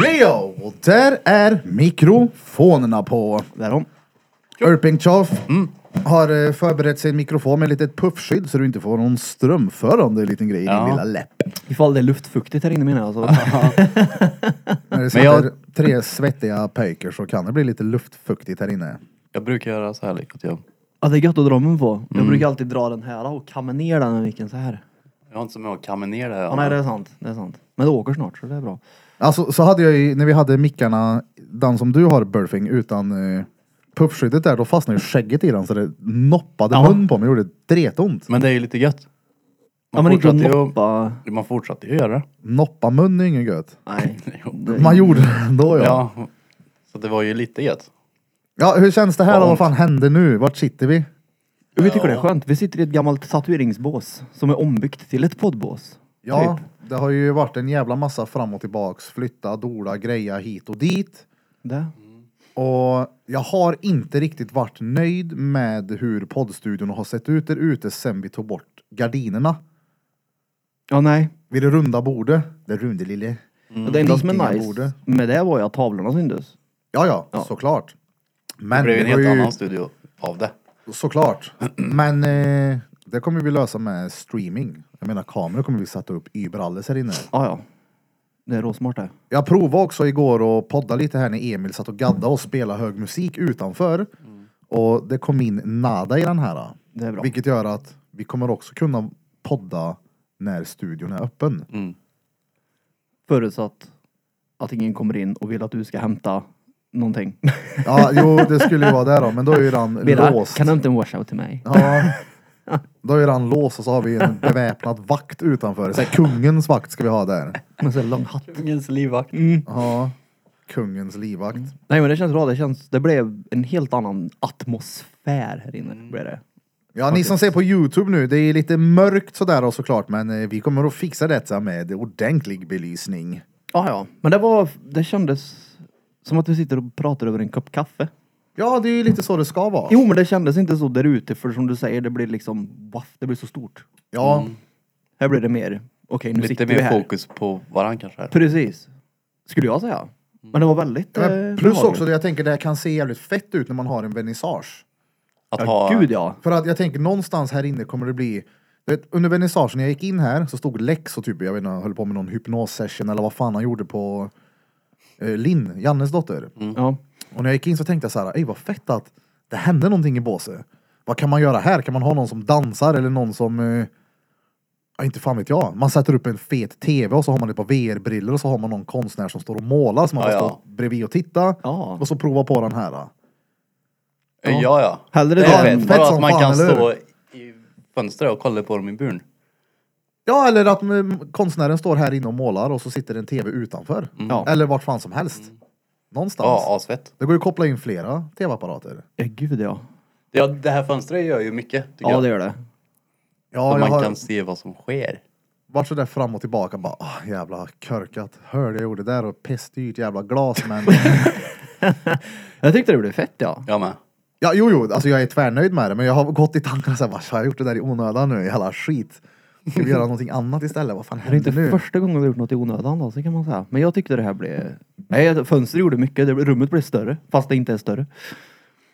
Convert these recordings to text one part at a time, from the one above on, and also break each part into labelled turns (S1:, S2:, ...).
S1: Rio! Och där är mikrofonena på.
S2: Där om.
S1: Irping Chaff
S3: Mm.
S1: har eh, förberett sin mikrofon med ett litet puffskydd så du inte får någon strömförande liten grej i
S3: Ja.
S1: din lilla läpp.
S2: Ifall det är luftfuktigt här inne menar jag. Så.
S1: När det
S3: Men
S1: sitter
S3: jag-
S1: tre svettiga pöjker så kan det bli lite luftfuktigt här inne.
S3: Jag brukar göra så här liksom. att Jag,
S2: Ja, det är gött att dra mun på. Jag brukar alltid dra den här och kamma ner den i micken så här.
S3: jag har inte så mycket att kamma ner det här.
S2: Ja, nej, det är sant. Det är sant. Men det åker snart så det är bra.
S1: Alltså så hade jag ju, när vi hade mickarna, den som du har Burfing, utan eh, puffskyddet där, då fastnade ju skägget i den så det noppade
S2: Ja.
S1: mun på mig och gjorde dretont.
S3: Men det är ju lite gött.
S2: Ja, men inte att
S3: fortsatte ju att-
S2: noppa.
S3: Man fortsatte ju göra det.
S1: Noppa mun är ju inget gött.
S2: Nej. Det-
S1: Man gjorde det ändå ja. ja.
S3: Ja. Så det var ju lite gött.
S1: hur känns det här då?
S3: Ja.
S1: Vad fan händer nu? Vart sitter vi?
S2: Jo, Vi tycker det är skönt. Vi sitter i ett gammalt tatueringsbås som är ombyggt till ett poddbås.
S1: Ja,
S2: Typ.
S1: det har ju varit en jävla massa fram och tillbaks. Flytta, dola, greja hit och dit.
S2: Det.
S1: Och jag har inte riktigt varit nöjd med hur poddstudion har sett ut där ute sen vi tog bort gardinerna.
S2: Ja, nej.
S1: Vid det runda bordet. Det runda lille.
S3: Mm.
S2: Och Det enda som är
S1: Vikingabordet.
S2: nice med det var ju att tavlorna syntes.
S1: Ja, ja,
S2: Ja.
S1: såklart.
S3: Det
S1: Men
S3: blev en
S1: var
S3: helt
S1: ju-
S3: annan studio av det.
S1: Såklart. Men eh, det kommer vi lösa med streaming. Jag menar kameror kommer vi sätta upp överallt här inne.
S2: Ja, ja. Det är råsmart det.
S1: Jag provade också igår att podda lite här när Emil satt och gaddade och spelade hög musik utanför. Och det kom in nada i den här.
S2: Det är bra.
S1: Vilket gör att vi kommer också kunna podda när studion är öppen.
S3: Mm.
S2: Förutsatt att ingen kommer in och vill att du ska hämta någonting.
S1: Ja, jo, det skulle ju vara där då, men då är ju den
S2: Birra,
S1: låst.
S2: kan du inte washa till mig?
S1: Ja. Då är den låst och så har vi en beväpnad vakt utanför. Så här, kungens vakt ska vi ha där.
S2: Med sån här lång hatt.
S3: Kungens livvakt.
S2: Mm.
S1: Ja, kungens livvakt.
S2: Nej men det känns bra, det känns, det blev en helt annan atmosfär här inne.
S3: Mm.
S2: Blev det.
S1: Ja, ni som ser på Youtube nu, det är lite mörkt sådär och såklart, men eh, vi kommer att fixa detta med ordentlig belysning.
S2: Ja, ja. Men det var, det kändes som att vi sitter och pratar över en kopp kaffe.
S1: Ja, det är ju lite så det ska vara.
S2: Jo men det kändes inte så där ute för som du säger, det blir liksom, waff, det blir så stort.
S1: Ja,
S2: Mm. Här blir det mer, okej nu
S3: Lite
S2: sitter vi
S3: mer
S2: här.
S3: fokus Mm. på varann kanske. Här.
S2: Precis. Skulle jag säga. Men det var väldigt...
S1: men
S2: eh,
S1: plus
S2: behagligt.
S1: också, det jag tänker det här kan se jävligt fett ut när man har en vernissage.
S3: Att
S2: Ja,
S3: ha...
S2: gud ja.
S1: För att jag tänker någonstans här inne kommer det bli du vet, under vernissagen när jag gick in här så stod Lex och typ, jag vet inte, höll på med någon hypnossession eller vad fan han gjorde på eh, Linn, Jannes dotter.
S3: Mm.
S2: ja.
S1: Och när jag gick in så tänkte jag så här, ej vad fett att det hände någonting i båset. Vad kan man göra här? Kan man ha någon som dansar eller någon som... Eh, ja, inte fan vet jag. Man sätter upp en fet tv och så har man ett par VR-briller och så har man någon konstnär som står och målar som man
S3: Ja,
S1: får
S3: ja.
S1: stå bredvid och titta.
S2: Ja.
S1: Och så prova på den här. Då.
S3: Ja, ja.
S2: Hellre
S3: det
S2: det
S3: är
S2: än-
S3: fett.
S1: fett
S3: Bara
S1: som
S3: att man
S1: fan,
S3: kan
S1: eller
S3: stå i fönstret och kolla på dem i buren.
S1: Ja, eller att mm, konstnären står här inne och målar och så sitter en tv utanför.
S2: Ja.
S1: Eller vart fan som helst. Någonstans.
S3: Mm. Ja, asfett.
S1: Det går ju att koppla in flera tv-apparater.
S2: Ja, gud ja.
S3: Ja, det här fönstret gör ju mycket
S2: Ja
S3: tycker jag.
S2: det gör det.
S1: Ja,
S3: Så
S1: jag
S3: man
S1: har
S3: kan se vad som sker.
S1: varit sådär fram och tillbaka bara, ah, jävla körkat. Hörde jag gjorde där och pestdyrt jävla glas men...
S2: Jag tyckte det blev fett ja.
S3: Jag med.
S1: ja, jo, jo, alltså jag är tvärnöjd med det men jag har gått i tankarna såhär, vad fan, har jag gjort det där i onödan nu? Jävla skit. Ska vi göra någonting annat istället? Vad fan
S2: Det är inte
S1: händer nu?
S2: första gången vi har gjort något i onödan då, så kan man säga. Men jag tyckte det här blev... Nej, fönstret gjorde mycket. Det, rummet blev större, fast det inte är större.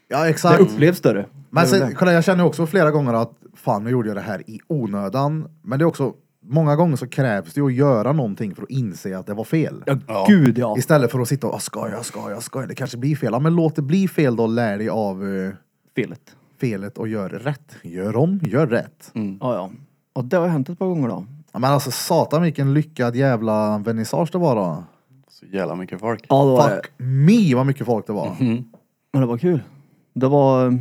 S1: Ja,
S2: Det
S1: exakt.
S2: upplevs större.
S1: Men
S2: Det är väl
S1: sen,
S2: det.
S1: kolla, jag känner också flera gånger att fan, nu gjorde jag det här i onödan. Men det är också, många gånger så krävs det ju att göra någonting för att inse att det var fel.
S2: ja, gud ja.
S1: Istället för att sitta och, "Ah, ska jag, ska jag, ska jag, det kanske blir fel. Ja, men låt det bli fel då, lär dig av eh,
S2: Felet.
S1: felet och gör rätt. Gör om, gör rätt.
S2: Ja, ja. Och det har hänt ett par gånger då.
S1: Ja, men alltså satan vilken lyckad jävla vernissage det var då.
S3: Så jävla mycket folk.
S2: Ja, det var det. Mhm.
S1: Fuck me vad mycket folk det var.
S2: Men det var kul. Det var...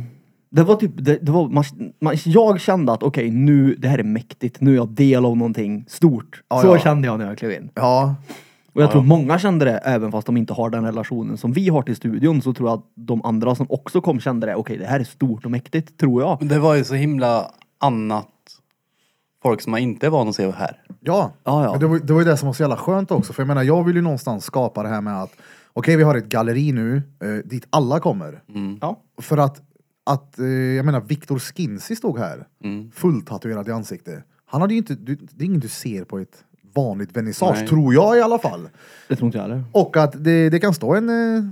S2: Det var typ, det, det var, man, man, jag kände att okej nu, det här är mäktigt, nu är jag del av någonting stort.
S1: Ja,
S2: Så
S1: ja.
S2: kände jag när jag klev in.
S1: Ja,
S2: Och jag tror många kände det, även fast de inte har den relationen som vi har till studion, så tror jag att de andra som också kom kände det, okej det här är stort och mäktigt, tror jag.
S3: Men det var ju så himla annat folk som man inte är van att se här.
S1: ja.
S2: Ja, ja.
S1: Men det, var, det var ju det som var så jävla skönt också. För jag menar, jag vill ju någonstans skapa det här med att okej, vi har ett galleri nu eh, dit alla kommer.
S2: Ja.
S1: För att, att eh, jag menar, Viktor
S2: Mm.
S1: Skinsi stod här. Fulltatuerad i ansiktet. Han hade ju inte, du, det är ingen du ser på ett vanligt vernissage,
S3: Nej.
S1: tror jag i alla fall.
S2: Det tror inte jag heller.
S1: Och att det, det kan stå en eh,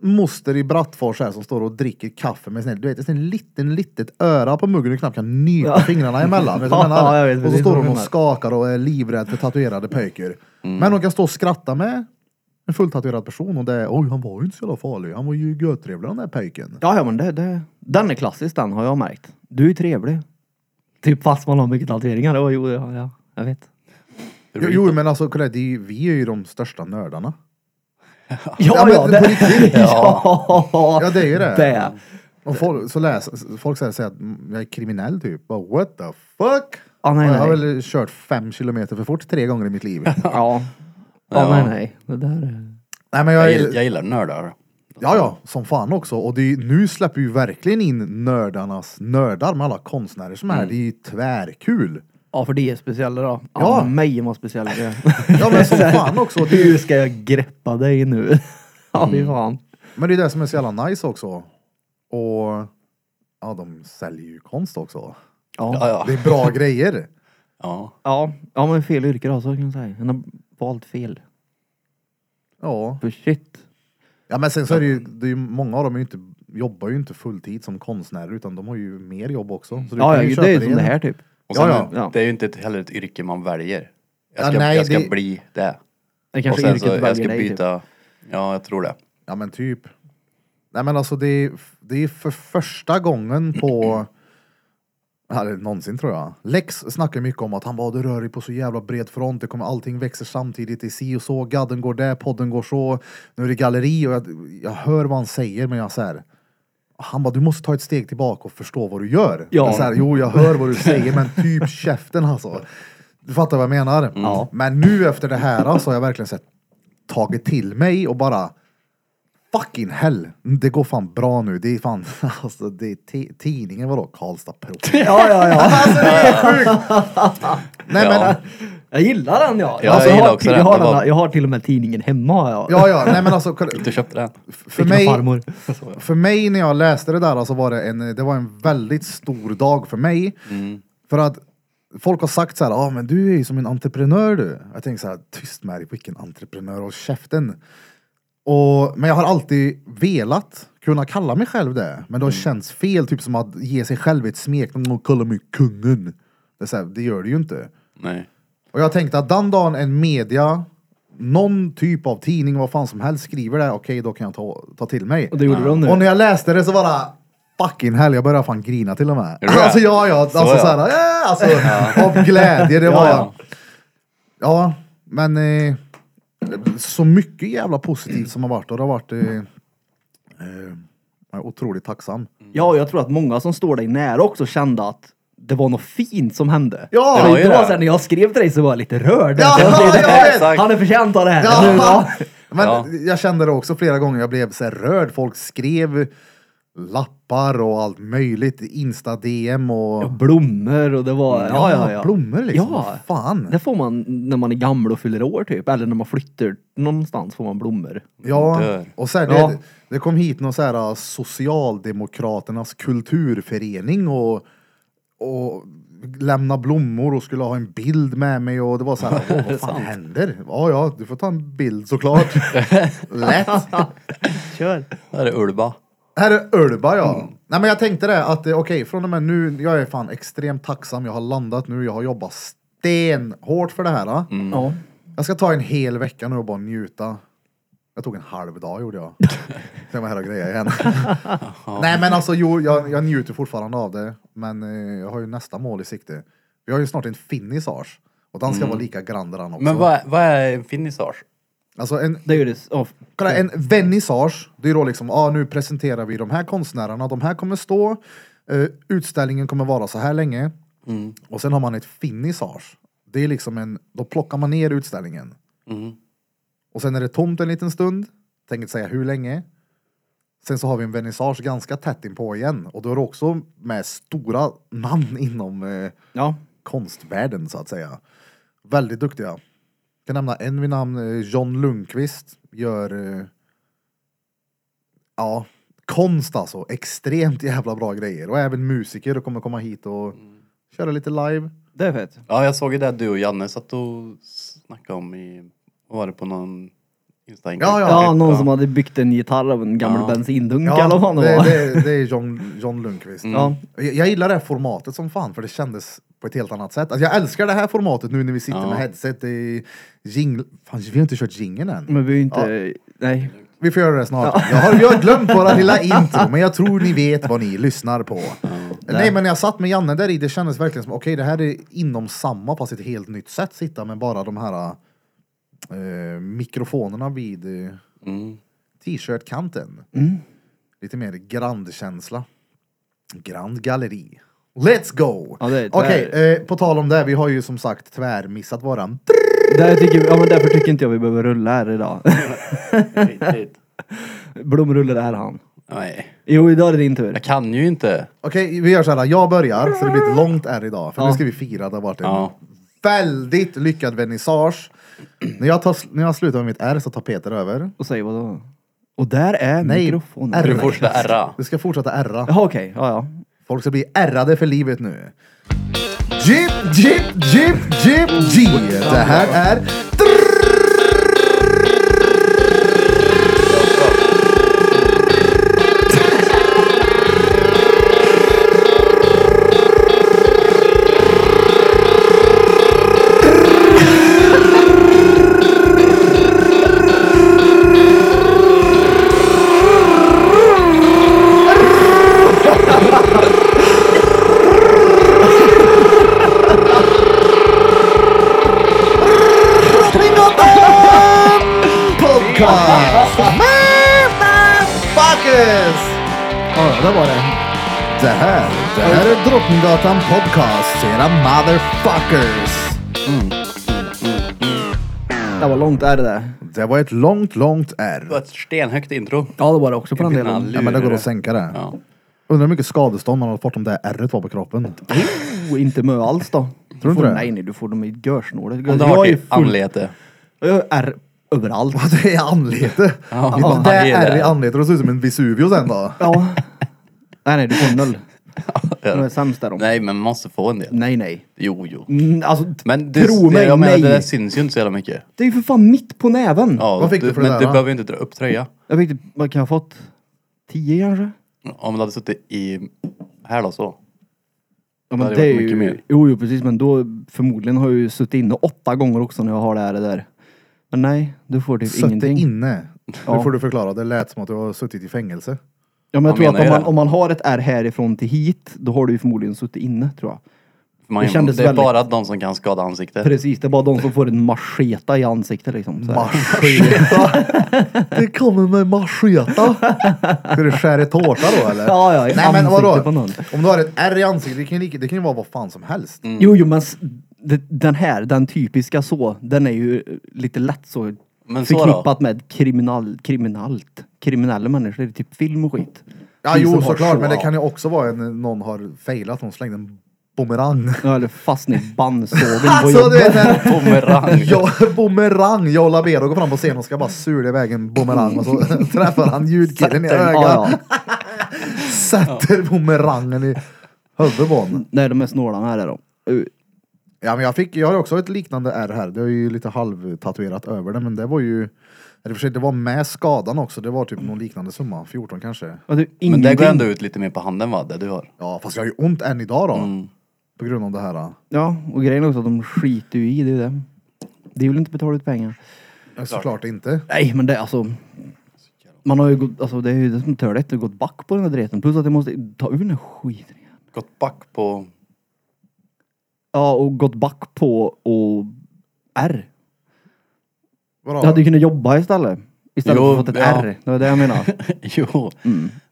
S1: moster i Brattfors här som står och dricker kaffe med sin, du vet, en sån liten, litet öra på muggen och knappt kan nypa
S2: Ja.
S1: fingrarna emellan. Vet du vad jag
S2: Ja,
S1: menar?
S2: jag vet
S1: och så
S2: precis
S1: står
S2: vad du
S1: hon och
S2: menar.
S1: skakar och är livrädd för tatuerade pöjker. Men hon kan stå och skratta med en fulltatuerad person och det är, oj han var ju inte så jävla farlig, han var ju görtrevlig den där pöjken.
S2: Ja, ja men det, det, den är klassisk den har jag märkt. Du är trevlig. Typ fast man har mycket tatueringar. Oh, jo, ja, ja, jag vet.
S1: Jo, jo men alltså kolla, det är ju, vi är ju de största nördarna.
S2: Ja, ja,
S1: men
S2: det,
S1: på riktigt.
S2: ja.
S1: Ja, det är ju det.
S2: det.
S1: Och folk, så läser, folk säger säger att mm, jag är kriminell typ. Bara, What the fuck?
S2: Ah, nej,
S1: jag har
S2: nej.
S1: väl kört fem kilometer för fort tre gånger i mitt liv.
S2: Ja. Ja, nej, nej. Det där är...
S1: Nej men jag,
S3: Jag,
S1: är-
S3: gill- jag gillar nördar.
S1: ja ja, som fan också. Och det är, ju- nu släpper vi ju verkligen in nördarnas nördar med alla konstnärer som är
S2: Mm.
S1: här. Det är ju tvärkul.
S2: Ja, för det är speciella då.
S1: Ja.
S2: Ja, mig var speciell.
S1: Ja men som fan också. Det är, ju-
S2: Hur ska jag greppa dig nu? Ja, fy fan.
S1: men det är det som är så jävla nice också. Och ja, de säljer ju konst också.
S2: Ja.
S3: Ja, ja.
S1: Det är bra grejer.
S3: ja.
S2: Ja. ja, men fel yrke då, så kan jag säga. Han har valt fel.
S1: Ja.
S2: För shit.
S1: Ja men sen så är det ju, det är ju många av dem är ju inte, jobbar ju inte fulltid som konstnärer utan de har ju mer jobb också. Så du kan
S2: Ja,
S1: ju
S2: ja
S1: köpa
S2: det är ju
S1: dig
S2: som
S1: en-
S2: det här typ.
S3: Och sen,
S1: Ja,
S2: ja.
S3: Det är ju inte ett, heller ett yrke man väljer. Jag
S1: Ja,
S3: ska,
S1: nej,
S3: jag ska
S1: det-
S3: bli det.
S2: Det
S3: Och
S2: kanske
S3: sen så
S2: yrket
S3: jag ska
S2: väljer dig typ.
S3: byta. Ja, jag tror det.
S1: Ja men typ. Nej men alltså det är, det är för första gången på, eller någonsin tror jag. Lex snackar mycket om att han var det rör dig på så jävla bred front, det kommer allting växer samtidigt, i si och så, gadden går där, podden går så, nu är det galleri och jag, jag hör vad han säger men jag säger han bara, du måste ta ett steg tillbaka och förstå vad du gör.
S2: Ja.
S1: Ja. Så här, jo, jag hör vad du säger, men typ käften alltså. Du fattar vad jag menar?
S2: Ja.
S1: Men nu efter det här så alltså, har jag verkligen sett, tagit till mig och bara fucking hell. Det går fan bra nu. Det är fan, alltså det är ti- tidningen vadå? Karlstad Pro.
S2: Ja, ja, ja.
S1: Nej
S3: ja.
S1: men,
S2: Jag gillar den ja. Alltså,
S3: jag
S2: jag,
S3: gillar
S2: har,
S3: också
S2: jag,
S3: den.
S2: har
S3: Det var-
S2: den, jag har till och med tidningen hemma. Ja.
S1: ja ja, nej men alltså. kolla,
S3: Du köpte den?
S1: För
S2: Fick av
S1: mig,
S2: farmor.
S1: för mig när jag läste det där alltså var det en, det var en väldigt stor dag för mig.
S3: Mm,
S1: För att folk har sagt så här, ah, men du är ju som en entreprenör du. Jag tänker så här, tyst med dig, vilken entreprenör, håll käften. Och, men jag har alltid velat kunna kalla mig själv det. Men det har känts fel, typ som att ge sig själv ett smeknamn och kalla mig kungen. Det, är så här, det gör det ju inte.
S3: Nej.
S1: Och jag tänkte att den dagen en media, någon typ av tidning, vad fan som helst skriver det, okej då kan jag ta, ta till mig.
S2: Och det gjorde de nu.
S1: Och när jag läste det så bara fucking hell, jag började fan grina till och med.
S3: Gjorde du det?
S1: Alltså ja, ja, alltså
S3: Så,
S1: så
S3: ja.
S1: här, ja, alltså av glädje. Det var, ja, men eh, så mycket jävla positivt som har varit och det har varit eh, eh, jag är otroligt tacksam.
S2: Ja, och jag tror att många som står dig nära också kände att det var något fint som hände.
S1: Ja,
S2: För
S3: det var ju
S2: det var
S3: det.
S2: sen när jag skrev till dig så var jag lite rörd.
S1: Ja,
S2: jag tänkte,
S1: jag
S2: "Nej,
S3: vet."
S2: Han är förtjänt av det här.
S1: Ja.
S2: Nu, ja.
S1: Men
S3: Ja.
S1: jag kände det också flera gånger, jag blev så här rörd. Folk skrev lappar och allt möjligt, Insta-DM och...
S2: Blommor och det var... Ja, ja, ja.
S1: Blommor liksom,
S2: Ja.
S1: vad fan.
S2: Det får man när man är gammal och fyller år typ. Eller när man flyttar någonstans får man blommor.
S1: Ja,
S3: Dör.
S1: och sen
S2: Ja.
S1: Det, det kom hit någon så här äh, Socialdemokraternas kulturförening och, och lämna blommor och skulle ha en bild med mig och det var så här, "Åh, vad fan händer? Ja, ja, du får ta en bild såklart. Lätt.
S2: Kör!
S3: Där är Ulba.
S1: Här är Ölba ja. Nej men jag tänkte det att eh, okej från och med nu, jag är fan extremt tacksam, jag har landat nu, jag har jobbat stenhårt för det här. eh.
S2: Mm. Ja.
S1: Jag ska ta en hel vecka nu och bara njuta. Jag tog en halv dag gjorde jag. Sen var jag här och grejade igen. Nej men alltså jo, jag, jag njuter fortfarande av det. Men eh, jag har ju nästa mål i sikte. Vi har ju snart en finissage. Och den ska vara lika grand den också.
S3: Mm. Men vad, är- vad är en finissage?
S1: Alltså en,
S2: Det gjorde... Oh.
S1: Kolla, en vernissage, det är då liksom, ah, nu presenterar vi de här konstnärerna, de här kommer stå, eh, utställningen kommer vara så här länge. Och sen har man ett finissage. Det är liksom en, då plockar man ner utställningen.
S3: Mm.
S1: Och sen är det tomt en liten stund, tänker inte säga hur länge. Sen så har vi en vernissage ganska tätt inpå igen. Och då är det också med stora namn inom eh,
S2: Ja.
S1: konstvärlden så att säga. Väldigt duktiga. Jag kan nämna en vid namn eh, John Lundqvist. Gör eh, ja, konst alltså. Extremt jävla bra grejer. Och även musiker och kommer komma hit och köra lite live.
S2: Det är fett.
S3: Ja, jag såg ju det du och Janne satt och snackade om i, vad var det på någon insta
S1: Ja, ja.
S2: Ja, någon som hade byggt en gitarr av en gammal
S3: Ja.
S2: bensindunk eller vad det
S1: det,
S2: var.
S1: det, det är John, John Lundqvist.
S2: Ja.
S1: Jag, jag gillar det här formatet som fan, för det kändes på ett helt annat sätt. Alltså, jag älskar det här formatet nu när vi sitter
S3: Ja.
S1: med headset. Det är jingle... Fan, vi har inte kört jingeln än.
S2: Men vi är ju inte, nej.
S1: Vi får göra det snart. Jag, har, jag har glömt våra lilla intro, men jag tror ni vet vad ni lyssnar på. Nej, men när jag satt med Janne där i, det kändes verkligen som okej, det här är inom samma, fast ett helt nytt sätt, sitta med bara de här eh, mikrofonerna vid eh,
S3: Mm.
S1: t-shirt-kanten.
S2: Mm.
S1: Lite mer grandkänsla. Grand galleri. Let's go!
S2: Ja, det- det
S1: Okej,
S2: är-
S1: eh, på tal om det, vi har ju som sagt tvärmissat våran.
S2: Där tycker, ja, men därför tycker inte jag vi behöver rulla här idag.
S3: Riktigt.
S2: Blomrulle det här han.
S3: Nej,
S2: Jo, idag är det din tur.
S3: jag kan ju inte.
S1: Okej, vi gör så här. Jag börjar, så det blir ett långt R idag. För
S2: Ja.
S1: nu ska vi fira. Det har varit en
S3: Ja.
S1: väldigt lyckad vernissage. när, jag tar, när jag slutar med mitt R så tar Peter över.
S2: Och säg vad då? Och där är
S1: Nej,
S2: mikrofonen.
S1: är
S3: Du får första ärra.
S1: Du ska fortsätta ärra.
S2: Jaha okej, ja ja.
S1: Folk ska bli ärrade för livet nu. Jip, jip, jip, jip, G. Det här är... Drottninggatan Podcast! Motherfuckers! Ja, det var det. Det här, det här är Drottninggatan Podcast, era motherfuckers!
S2: Det var långt är det där.
S1: Det var ett långt, långt R.
S3: Det var ett stenhögt intro.
S2: Ja det var det också på den
S3: Vilken
S2: delen.
S3: all-
S1: Ja, men det går att sänka det.
S3: Ja.
S1: Undrar hur mycket skadestånd man har fått om det ärret var på kroppen.
S2: Oh, inte mö alls då.
S1: Tror du
S2: får,
S1: inte det?
S2: Nej nej, du får dem i görsnåret.
S3: Om
S2: Jag
S3: du har
S2: är
S3: till
S2: full...
S3: anlete.
S2: Jag har ärr överallt.
S1: Ja, Alltså, Det är anlete.
S3: Ja,
S1: det
S3: det är
S1: är R i
S3: det.
S1: anlete, det ser ut som en Vesuvio sen då.
S2: Ja. nej nej, du får noll. De är sämst där de.
S3: Nej, men man måste få en del.
S2: Nej nej.
S3: Jo, jo.
S2: Mm, alltså,
S3: Men det,
S2: tro mig,
S3: jag menar,
S2: nej.
S3: det där syns ju inte så jävla mycket.
S2: Det är ju för fan mitt på näven.
S3: Ja,
S1: Vad fick
S3: du,
S1: du för det
S3: men
S1: där,
S3: du
S1: va?
S3: behöver ju inte dra upp tröja.
S2: Jag vet inte, vad kan jag ha fått? Tio kanske?
S3: Om du hade suttit i... Här då så.
S2: Ja,
S3: Det
S2: men
S3: hade
S2: det är
S3: varit
S2: ju,
S3: mycket mer.
S2: Jo, jo precis men då förmodligen har jag ju suttit inne åtta gånger också när jag har det här det där. Men nej, du får typ
S1: Suttit
S2: ingenting.
S1: inne.
S2: Ja.
S1: Nu får du förklara, det lät som att du har suttit i fängelse.
S2: Ja, men jag tror
S3: Man menar
S2: att om
S3: ju
S2: man,
S3: det.
S2: om man har ett R härifrån till hit, då har du ju förmodligen suttit inne tror jag.
S3: Man,
S2: Det kändes
S3: det är
S2: väldigt-
S3: bara de som kan skada ansiktet.
S2: Precis, det är bara de som får en macheta i ansiktet liksom. Så här.
S1: Macheta. Det kommer med macheta. Ska du skära i tårta då eller?
S2: Ja, ja, i
S1: Nej men
S2: ansiktet
S1: vadå?
S2: på någon.
S1: Om du har ett R i ansiktet, det kan ju lika- det kan ju vara vad fan som helst.
S2: Jo, jo men s- det- den här, den typiska så, den är ju lite lätt så
S3: Men så då?
S2: förknippat med kriminal, kriminellt. Kriminella människor, typ film och skit.
S1: Ja
S2: Vi
S1: jo
S2: som har
S1: såklart,
S2: så,
S1: men det
S2: ja.
S1: kan ju också vara en, någon har failat, någon slängde en bumerang.
S2: Ja, eller fastna i bandsågen på
S1: Alltså du
S2: jobbet.
S1: vet när
S3: Bumerang.
S1: Ja, bumerang. Jag och Labero går fram på scen och ska bara sula iväg en bumerang och så träffar han ljudkillen i ögat.
S2: Ja, ja.
S1: Sätter bumerangen i huvudet på honom.
S2: Nej, de är snåla med det då. Uh,
S1: Ja, men jag, fick, jag har också ett liknande R här. Det är ju lite halvtatuerat över det, men det var ju... Eller för sig, det var med skadan också. Det var typ någon liknande summa. 14 kanske.
S2: ja, det är
S3: Men det går
S2: ingenting.
S3: ändå ut lite mer på handen va, det du har.
S1: Ja, fast jag har ju ont än idag då.
S2: Mm.
S1: På grund av det här. då.
S2: Ja, och grejen är också att de skiter ju i det. är ju det. De vill inte betala ut pengar.
S1: Såklart inte.
S2: Nej, men det är alltså... Man har ju gått, alltså det är ju det som tör det, det har gått back på den här dreten. Plus att jag måste ta ur den här skiten igen.
S3: Gått back på...
S2: Ja, och gått back på och R. Jag
S1: Vadå?
S2: hade ju kunnat jobba istället. Istället
S3: Jo,
S2: för att få ett
S3: ja.
S2: R. Det var det jag menar.
S3: jo,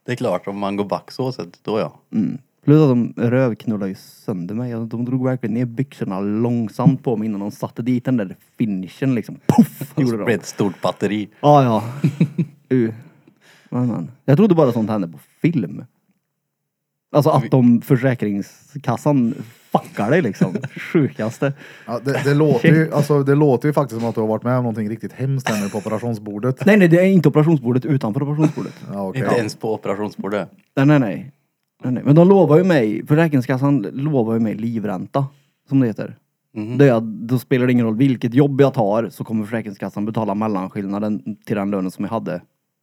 S3: det är klart om man går back så sett, då ja.
S2: Mm. Plus att de rövknullade ju sönder mig. Alltså, De drog verkligen ner byxorna långsamt på mig innan de satte dit den där finishen liksom. Puff!
S3: Det
S2: Gjorde
S3: blir
S2: de.
S3: ett stort batteri.
S2: Ja, ja. Uh. Men, men. Jag trodde bara sånt hände på film. Alltså att de Försäkringskassan fuckar dig liksom. Sjukaste.
S1: Ja, det, det, låter ju, alltså, det låter ju faktiskt som att du har varit med om någonting riktigt hemskt här nu på operationsbordet.
S2: Nej, nej, det är inte operationsbordet utanför operationsbordet.
S1: Ja, okej.
S3: Inte ens på operationsbordet.
S2: Nej, nej, nej. nej, nej. Men de lovar ju mig, Försäkringskassan lovar ju mig livränta. som det heter.
S3: Mhm.
S2: Det är, då spelar det ingen roll vilket jobb jag tar så kommer Försäkringskassan betala mellanskillnaden till den lönen som jag hade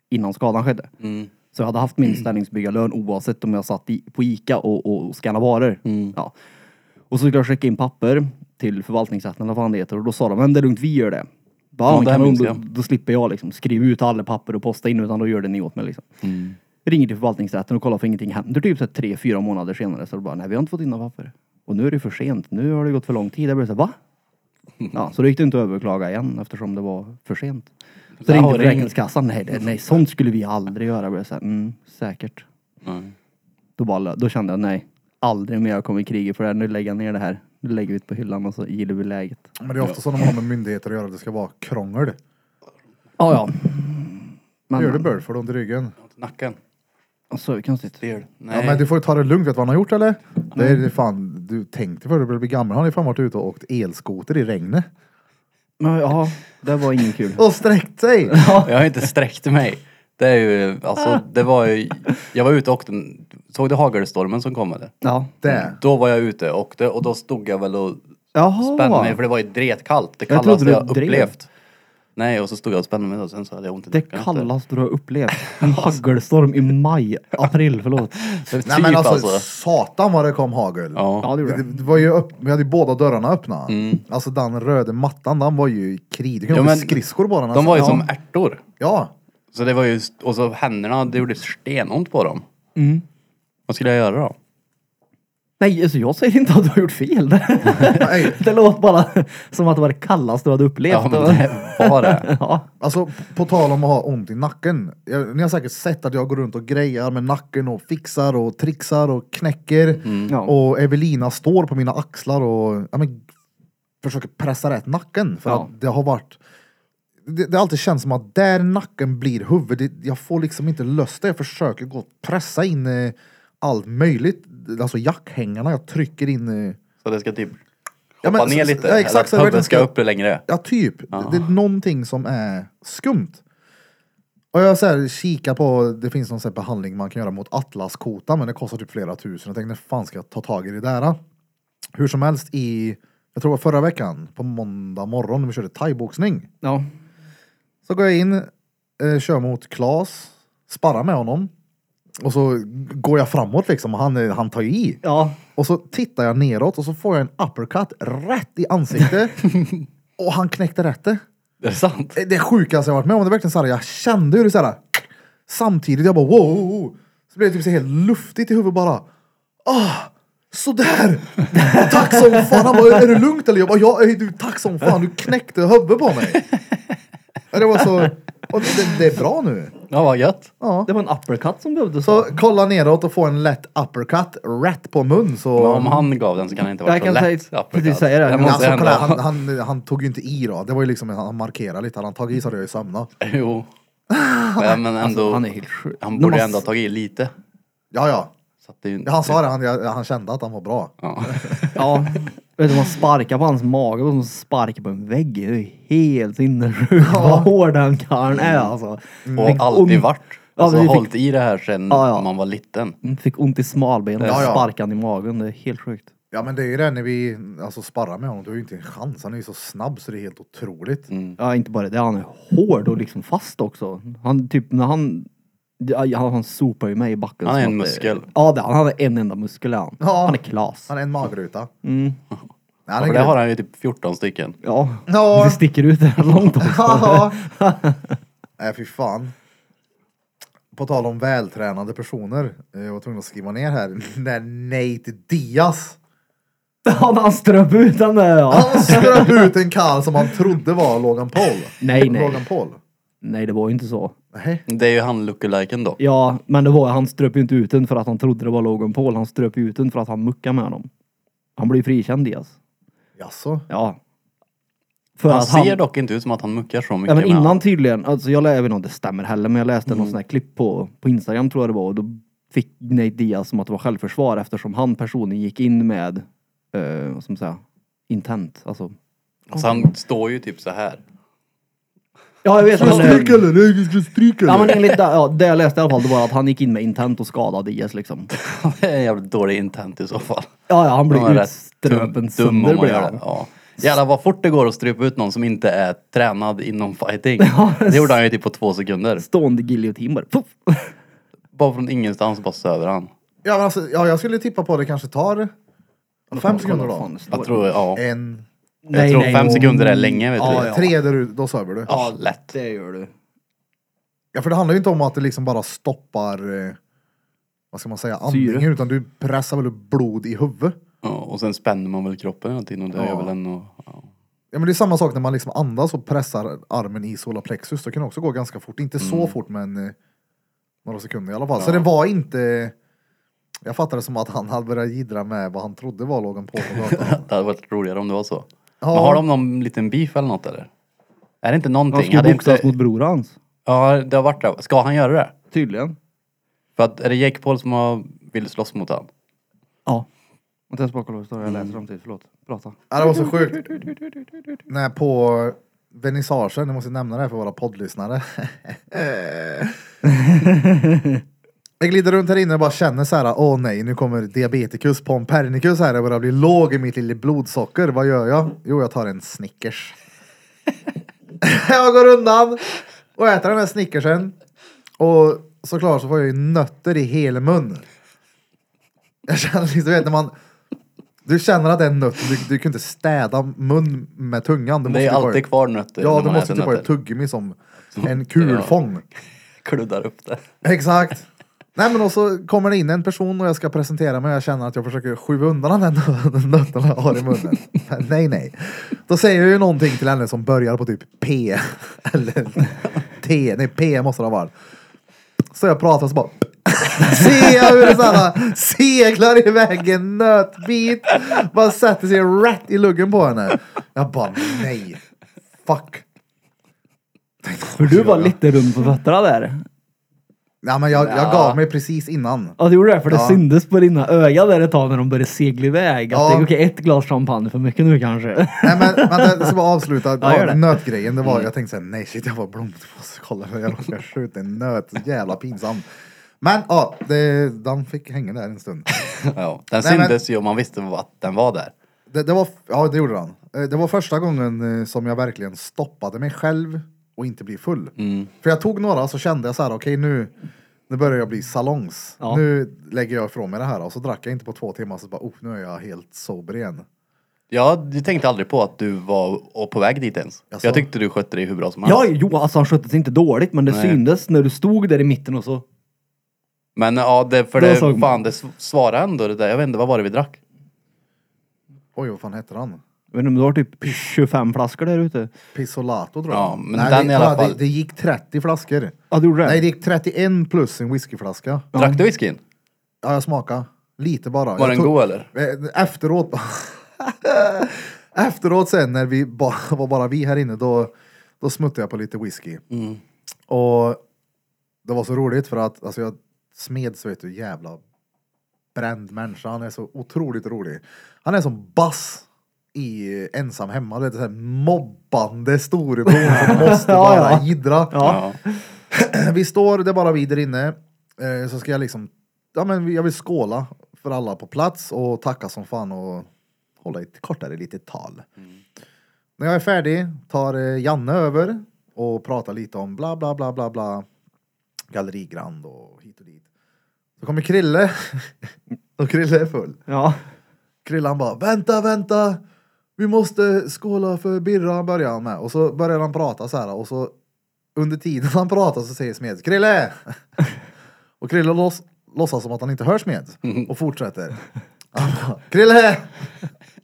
S2: innan skadan skedde.
S3: Mm.
S2: Så jag hade haft min ställningsbyggarlön oavsett om jag satt i, på Ica och, och scannade varor.
S3: Mm.
S2: Ja. Och så skulle jag checka in papper till förvaltningsrätten eller vad fan det heter och då sa de, men det är lugnt, vi gör det. Bara,
S3: Ja,
S2: ja,
S3: det här
S2: kanon,
S3: minns
S2: då,
S3: jag.
S2: då slipper jag liksom skriva ut alla papper och posta in utan då gör det ni åt mig liksom.
S3: Mm.
S2: Ringer till förvaltningsrätten och kollar för ingenting händer. Typ så här tre, fyra månader senare så är det bara, nej vi har inte fått in några papper. Och nu är det för sent. Nu har det gått för lång tid. Jag blir så här, va? Ja, så det gick det inte att överklaga igen eftersom det var för sent. Så
S3: Ja,
S2: ringde
S3: ring.
S2: Försäkringskassan. Nej, det, nej, sånt skulle vi aldrig göra. Jag blev så här, mm, säkert.
S3: Nej.
S2: Då, bara, lö- då kände jag, nej, aldrig mer jag kommer kriga för det här. Nu lägger jag ner det här. Nu lägger vi det på hyllan och så gillar vi läget.
S1: Men det är ofta så när man har med myndigheter att göra, det ska vara krångel.
S2: Ja, ja. Men,
S1: Gör det bör för runt i ryggen.
S3: Nacken.
S2: Så är det konstigt.
S3: Del. Nej. Mm.
S1: Ja, men du får ju ta det lugnt, vet du vad han har gjort eller? Det är fan, du tänkte för du började bli gammal. Han har ju fan varit ute och åkt elskoter i regnet.
S2: Men, ja, det var ingen kul.
S1: Och sträckt sig!
S3: Jag har inte sträckt mig. Det är ju,
S1: Ah.
S3: alltså det var ju, jag var ute och åkte, såg du hagelstormen som kom eller?
S2: Ja.
S1: Det.
S3: Då var jag ute och åkte och då stod jag väl och
S2: Jaha.
S1: Ah.
S3: spände mig för det var ju dretkallt. Det
S2: Jag
S3: kallaste
S2: trodde
S3: jag,
S2: du drev.
S3: upplevt. Nej och så stod jag och spände mig och sen så hade jag ont i
S2: Det
S3: nacken efter.
S2: kallaste du har upplevt. En hagelstorm i maj, april, förlåt.
S3: Det är Typ
S1: Nej men alltså,
S3: alltså.
S1: satan vad det kom hagel.
S3: Ja. Mm.
S2: Ja, det gjorde
S1: Det,
S2: det.
S1: det var ju upp, vi hade ju båda dörrarna öppna. Alltså den röda mattan, den var ju i krig. Du kunde
S3: Ja,
S1: åka
S3: men
S1: skridskor bara.
S3: De var ju
S1: alltså, ja.
S3: som ärtor.
S1: Ja.
S3: Så det var ju, och så händerna, det gjorde stenont på dem.
S1: Mm.
S3: Vad skulle jag göra då?
S2: Nej, alltså jag säger inte att du har gjort fel.
S1: Nej,
S2: det låter bara som att det var det kallaste du hade upplevt.
S3: Ja men det var det.
S2: ja.
S1: alltså på tal om att ha ont i nacken. Jag, ni har säkert sett att jag går runt och grejar med nacken och fixar och trixar och knäcker.
S2: Ja.
S1: Och Evelina står på mina axlar och ja, men, försöker pressa rätt nacken. För
S2: Ja.
S1: att det har varit... Det, det har alltid känts som att där nacken blir huvudet, jag får liksom inte löst det. Jag försöker gå och pressa in eh, allt möjligt. Alltså jackhängarna, jag trycker in... Eh,
S3: Så det ska typ hoppa
S1: Ja, men så-
S3: ner lite?
S1: ja, exakt,
S3: eller att
S1: så jag vet
S3: huvudet
S1: inte.
S3: ska upp längre?
S1: Ja, typ. Det, det är någonting som är skumt. Och jag så här, kikar på, det finns någon så här behandling man kan göra mot atlaskota, men det kostar typ flera tusen. Jag tänkte, när fan ska jag ta tag i det där? då?" Hur som helst i, jag tror det var förra veckan, på måndag morgon när vi körde thaiboxning.
S2: ja.
S1: Så går jag in, eh, kör mot Klas, sparrar med honom. Och så går jag framåt liksom, och han, eh, han tar ju i.
S2: Ja.
S1: Och så tittar jag neråt och så får jag en uppercut rätt i ansiktet. och han knäckte rätt det.
S3: Är det sant?
S1: Det- det sjukaste jag varit med om. Det var verkligen så här, jag kände hur det så här, samtidigt, jag bara wow, wow, wow. Så blev det typ så här helt luftigt i huvudet bara. Ah, sådär! Tack som fan! Han bara, är det lugnt eller? Jag bara, ja, ey, du, tack som fan, du knäckte huvudet på mig. Ja, Det var så, och det, det är bra nu.
S3: Ja vad gött.
S1: Ja.
S2: Det var en uppercut som behövdes.
S1: Så kolla neråt och få en lätt uppercut rätt på mun så...
S3: Men om han gav den så kan det inte vara
S2: Jag
S3: så
S2: kan
S3: lätt.
S2: säga-
S3: uppercut.
S2: precis säga det.
S3: det
S2: Men
S1: Men
S3: måste
S1: alltså, kolla,
S3: hända.
S1: han, han, han tog ju inte i då. Det var ju liksom, han markerade lite. Hade han tagit i så hade jag ju sömnat.
S3: Jo. Men, men ändå.
S2: Alltså, han
S3: han,
S2: är helt sjuk.
S3: borde
S2: När man-
S3: ändå ha tagit i lite.
S1: Ja, ja.
S3: Så att det, är ju-
S1: Ja, Han sa det, han, jag- han kände att han var bra.
S3: Ja.
S2: Ja. Vet du, man sparkar på hans mage, och som sparkar på en vägg. Det är helt sinnessjukt vad hård den karln är alltså. Fick
S3: Och alltid
S2: ont-
S3: vart.
S2: Ja,
S3: Alltså
S2: vi fick-
S3: hållit i det här sen
S2: Ja, ja.
S3: man var liten.
S2: Mm. Fick ont i smalbenet,
S1: Ja, ja.
S2: sparkan i magen. Det är helt sjukt.
S1: Ja men det är ju det när vi alltså, sparrar med honom, du har ju inte en chans. Han är ju så snabb så det är helt otroligt.
S2: Ja, inte bara det. Han är hård och liksom fast också. Han typ när han... ja, Han, han sopar ju mig i backen.
S3: Han är
S2: som
S3: en
S2: att det-
S3: muskel.
S2: Ja, det, han är en enda muskel är han.
S1: Ja.
S2: Han är klas.
S1: Han är en magruta.
S2: Mm.
S1: Nej,
S3: Ja,
S1: han är
S3: för det
S1: grym.
S3: har han ju typ 14 stycken.
S2: Ja.
S1: Ja.
S2: Det sticker ut där långt också.
S1: Ja. Nej fy fan. På tal om vältränade personer. eh, Jag var tvungen att skriva ner här. När Nate Diaz.
S2: Han, han ströp ut den där ja.
S1: Han ströp ut en karl som han trodde var Logan Paul.
S2: Nej, nej.
S1: Logan Paul.
S2: Nej, det var ju inte så.
S1: Nej.
S3: Det är ju han lookaliken då.
S2: Ja, men det var, han ströp ju inte ut den för att han trodde det var Logan Paul. Han ströp ju ut den för att han muckade med honom. Han blev ju frikänd Diaz.
S1: Jaså?
S2: Ja. För
S3: Han
S2: att
S3: ser dock inte ut som att han muckar så mycket
S2: Ja, men
S3: med
S2: innan tydligen, alltså jag, lä- jag vet inte om det stämmer heller, men jag läste någon sån här klipp på, på Instagram tror jag det var och då fick Nate Diaz som att det var självförsvar eftersom han personen gick in med, eh, vad ska man säga, intent. Alltså.
S3: han. Så han står ju typ så här.
S2: Ja, jag vet.
S1: Ska jag
S2: Men,
S1: stryka eller? Nej, ska jag stryka
S2: ja,
S1: eller?
S2: men enligt det, ja, det jag läste i alla fall, det var att han gick in med intent och skadade Diaz liksom.
S3: det är en jävligt dålig intent i så fall.
S2: Ja, ja, han blev
S3: Ja, rätt.
S2: ut, ströpen
S3: dum
S2: sönder
S3: om man
S2: blir
S3: gör
S2: han.
S3: det. Ja. Jävlar vad fort det går att strypa ut någon som inte är tränad inom fighting. Det gjorde han ju typ på två sekunder.
S2: Stående giljotin bara. Puff.
S3: Bara från ingenstans bara söver han.
S1: Ja, men alltså, ja, jag skulle tippa på det kanske tar fem sekunder
S2: Fan,
S1: då.
S2: det står-
S3: Jag tror, ja.
S1: En,
S3: Jag tror fem sekunder är länge vet
S2: Ja,
S3: du.
S2: ja.
S1: tre där ute, då söver du.
S3: Ja, lätt.
S2: Det gör du.
S1: Ja, för det handlar ju inte om att det liksom bara stoppar, eh, vad ska man säga, andningen,
S2: Syre.
S1: utan du pressar väl upp blod i huvudet.
S3: Ja, och sen spänner man väl kroppen hela tiden och det
S1: Ja.
S3: gör väl en och... Ja.
S1: Ja, men det är samma sak när man liksom andas och pressar armen i solarplexus. Det kan också gå ganska fort. Inte så fort, men eh, några sekunder i alla fall. Så
S3: Mm. Ja.
S1: det var inte... Jag fattade som att han hade börjat jiddra med vad han trodde var Logan Paul på gatan.
S3: Det hade varit roligare om det var så.
S1: Ja.
S3: Men har de någon liten beef eller något eller? Är det inte
S2: Han
S3: någonting?
S2: ska
S3: Hade
S2: boxas
S3: inte...
S2: mot bror hans.
S3: Ja, det har varit det. Ska han göra det?
S2: Tydligen.
S3: För att är det Jake Paul som har... vill slåss mot han?
S2: Ja. Mm. Vänta jag spakar loss, jag läser samtidigt. Förlåt. Prata.
S1: ja, det var så sjukt. Nej, på vernissagen, jag måste nämna det här för våra poddlyssnare. Jag glider runt här inne och bara känner så här, åh nej, nu kommer diabetikus pompernicus här, jag börjar bli låg i mitt lilla blodsocker, vad gör jag? Jo, jag tar en Snickers. jag går undan och äter den här Snickersen. Och såklart så får jag ju nötter i hela mun. Jag känner liksom, du vet när man, du känner att det är en nöt, du, du kan inte städa mun med tungan. Du
S3: Det är
S1: måste typ ha-
S3: alltid kvar nötter
S1: Ja,
S3: när
S1: du
S3: man
S1: måste
S3: äter
S1: typ ha ett
S3: nötter.
S1: tuggummi som en kulfång.
S3: Kluddar upp det.
S1: Exakt. Nej men och så kommer det in en person och jag ska presentera mig och jag känner att jag försöker skjuta undan den här nö- nöten jag har i munnen. Men nej nej. Då säger jag ju någonting till henne som börjar på typ P. Eller T. Nej P måste det ha varit. Så jag pratar så bara Ser jag hur det såhär seglar iväg en nötbit. Bara sätter sig rätt i luggen på henne. Jag bara nej. Fuck.
S2: För du var lite rund på fötterna där.
S1: Nej men jag, jag
S3: Ja.
S1: gav mig precis innan.
S2: Ja, du gjorde det. För det
S1: Ja.
S2: syndes på dina ögon där ett tag när de började segla iväg. Att
S1: Ja.
S2: det är okej, ett glas champagne för mycket nu kanske.
S1: Nej men vänta, jag ska bara avsluta.
S2: Ja, gör
S1: Ja,
S2: det. Mm.
S1: nötgrejen, det var, jag tänkte såhär, nej shit jag var blomsterpåse, kolla jag råkade skjuta en nöt, Så jävla pinsam. Men ja, det, den fick hänga där en stund.
S3: Ja, den
S1: Nej, men-
S3: syntes ju om man visste att den var där.
S1: Det, det var, ja det gjorde den. Eh, Det var första gången eh, som jag verkligen stoppade mig själv och inte bli full.
S2: Mm.
S1: För jag tog några så kände jag så här: okej nu, nu börjar jag bli salongs.
S2: Ja.
S1: Nu lägger jag ifrån mig det här och så drack jag inte på två timmar så bara, oh nu är jag helt sober igen.
S3: Ja, du tänkte aldrig på att du var på väg dit ens.
S1: Jaså?
S3: Jag tyckte du skötte dig hur bra som helst.
S2: Ja, jo, alltså han skötte sig inte dåligt, men det
S3: Nej.
S2: syndes när du stod där i mitten och så.
S3: Men ja, det, för
S2: Då
S3: det,
S2: såg man.
S3: fan det svarade ändå det där. Jag vet inte, vad var det vi drack?
S1: Oj vad fan hette han?
S2: Jag vet inte om det var typ 25 flaskor där ute.
S1: Pissolato tror jag.
S3: Ja, men den
S1: det,
S3: i alla
S1: kolla,
S3: fall.
S1: Det, det gick 30 flaskor.
S2: Ja, du gjorde det?
S1: Nej, det gick 31 plus en whiskyflaska.
S3: Drack du whiskyn?
S1: Ja, jag smakade. Lite bara.
S3: Var
S1: jag
S3: den
S1: tog-
S3: god eller?
S1: Eh, Efteråt. Efteråt sen när vi ba, var bara vi här inne, då, då smuttade jag på lite whisky.
S2: Mm.
S1: Och det var så roligt för att alltså jag smeds, vet du, jävla bränd människa. Han är så otroligt rolig. Han är som Bass i eh, Ensam Hemma. Du vet, så här mobbande storebror som måste
S2: Ja,
S1: bara
S2: ja.
S1: jiddra.
S2: Ja.
S1: Vi står, det är bara vi där inne. Eh, så ska jag liksom, ja men jag vill skåla för alla på plats och tacka som fan och hålla ett kortare litet tal. När jag är färdig tar eh, Janne över och pratar lite om bla bla bla bla bla. Galleri Grand och hit och dit. Så kommer Krille. och Krille är full.
S2: Ja.
S1: Krillan bara vänta, vänta. Vi måste skåla för Birra börjar han med. Och så börjar han prata så här och så under tiden han pratar så säger Smed Krille! och Krille låts, låtsas som att han inte hör Smed och fortsätter. Han bara Krille!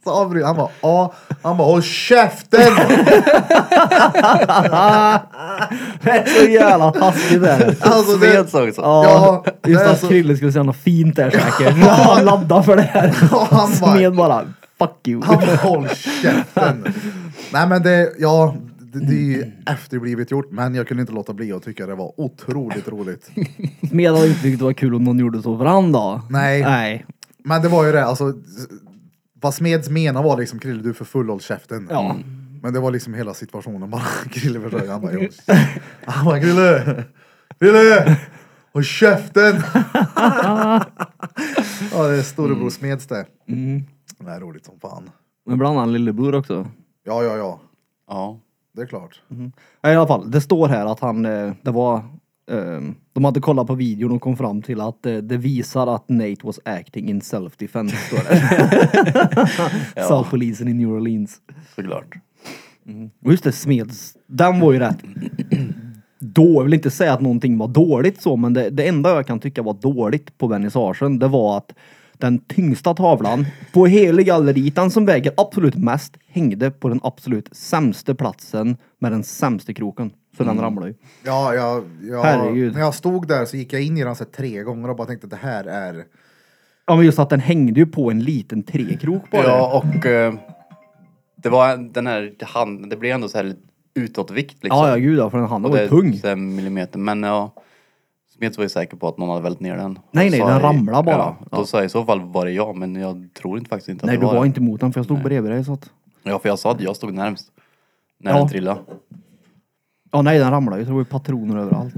S1: Så avbryter han bara ja. Han bara håll käften!
S2: Det är så jävla taskigt där.
S1: Alltså, det-
S3: Sveds också.
S2: Ja,
S1: Ja, det
S2: just
S1: är
S2: att
S1: så-
S2: Krille skulle säga något fint där säkert. Han laddade för det här.
S1: Ja, han bara-
S2: Smed bara, fuck you.
S1: Han bara håll käften! Nej men det, ja. Det, det är ju efterblivet gjort men jag kunde inte låta bli att tycka det var otroligt roligt.
S2: Smed hade inte tyckt det var kul om någon gjorde så för han då.
S1: Nej.
S2: Nej.
S1: Men det var ju det, alltså. s- Vad Smeds menar var liksom Krille du är för full, håll käften.
S2: Ja.
S1: Men det var liksom hela situationen bara. Krille försökte, han bara, "Jo." han bara Krille! Krille! Håll Mm. käften! ja det är storebror Smeds det. Det är roligt som fan.
S2: Men bland annat lillebror också.
S1: Ja, ja, ja.
S3: Ja.
S1: Det är klart.
S2: Ja, I alla fall, det står här att han, eh, det var, eh, de hade kollat på videon och kom fram till att eh, det visar att Nate was acting in self defense står det. Sa polisen i New Orleans.
S3: Såklart.
S2: Och just det, Smeds, den var ju rätt då, jag vill inte säga att någonting var dåligt så, men det, det enda jag kan tycka var dåligt på vernissagen, det var att den tyngsta tavlan på hela galleriet, den som väger absolut mest, hängde på den absolut sämsta platsen med den sämsta kroken. Så
S3: Mm.
S2: den ramlade ju.
S1: Ja, jag, jag,
S2: Herregud.
S1: när jag stod där så gick jag in i den så här tre gånger och bara tänkte att det här är...
S2: Ja men just att den hängde ju på en liten trekrok bara.
S3: Ja, och eh, det var en- den här handen, det blev ändå så här lite utåtvikt liksom.
S2: ja, ja gud ja, för den handen var
S3: det
S2: ju
S3: är
S2: tung.
S3: så här millimeter, men ja. Smeds var ju säker på att någon hade vält ner den.
S2: Nej,
S3: Och
S2: nej,
S3: sa
S2: den
S3: jag-
S2: ramlade bara.
S3: Ja, då
S2: Ja.
S3: sa jag i så fall var det jag, men jag tror inte faktiskt inte att
S2: Nej
S3: det
S2: du
S3: var,
S2: var
S3: det.
S2: inte mot den för jag stod bredvid dig så att.
S3: Ja, för jag sa att jag stod närmst. När
S2: Ja.
S3: den trillade.
S2: Ja nej den ramlade ju, så det var ju patroner överallt.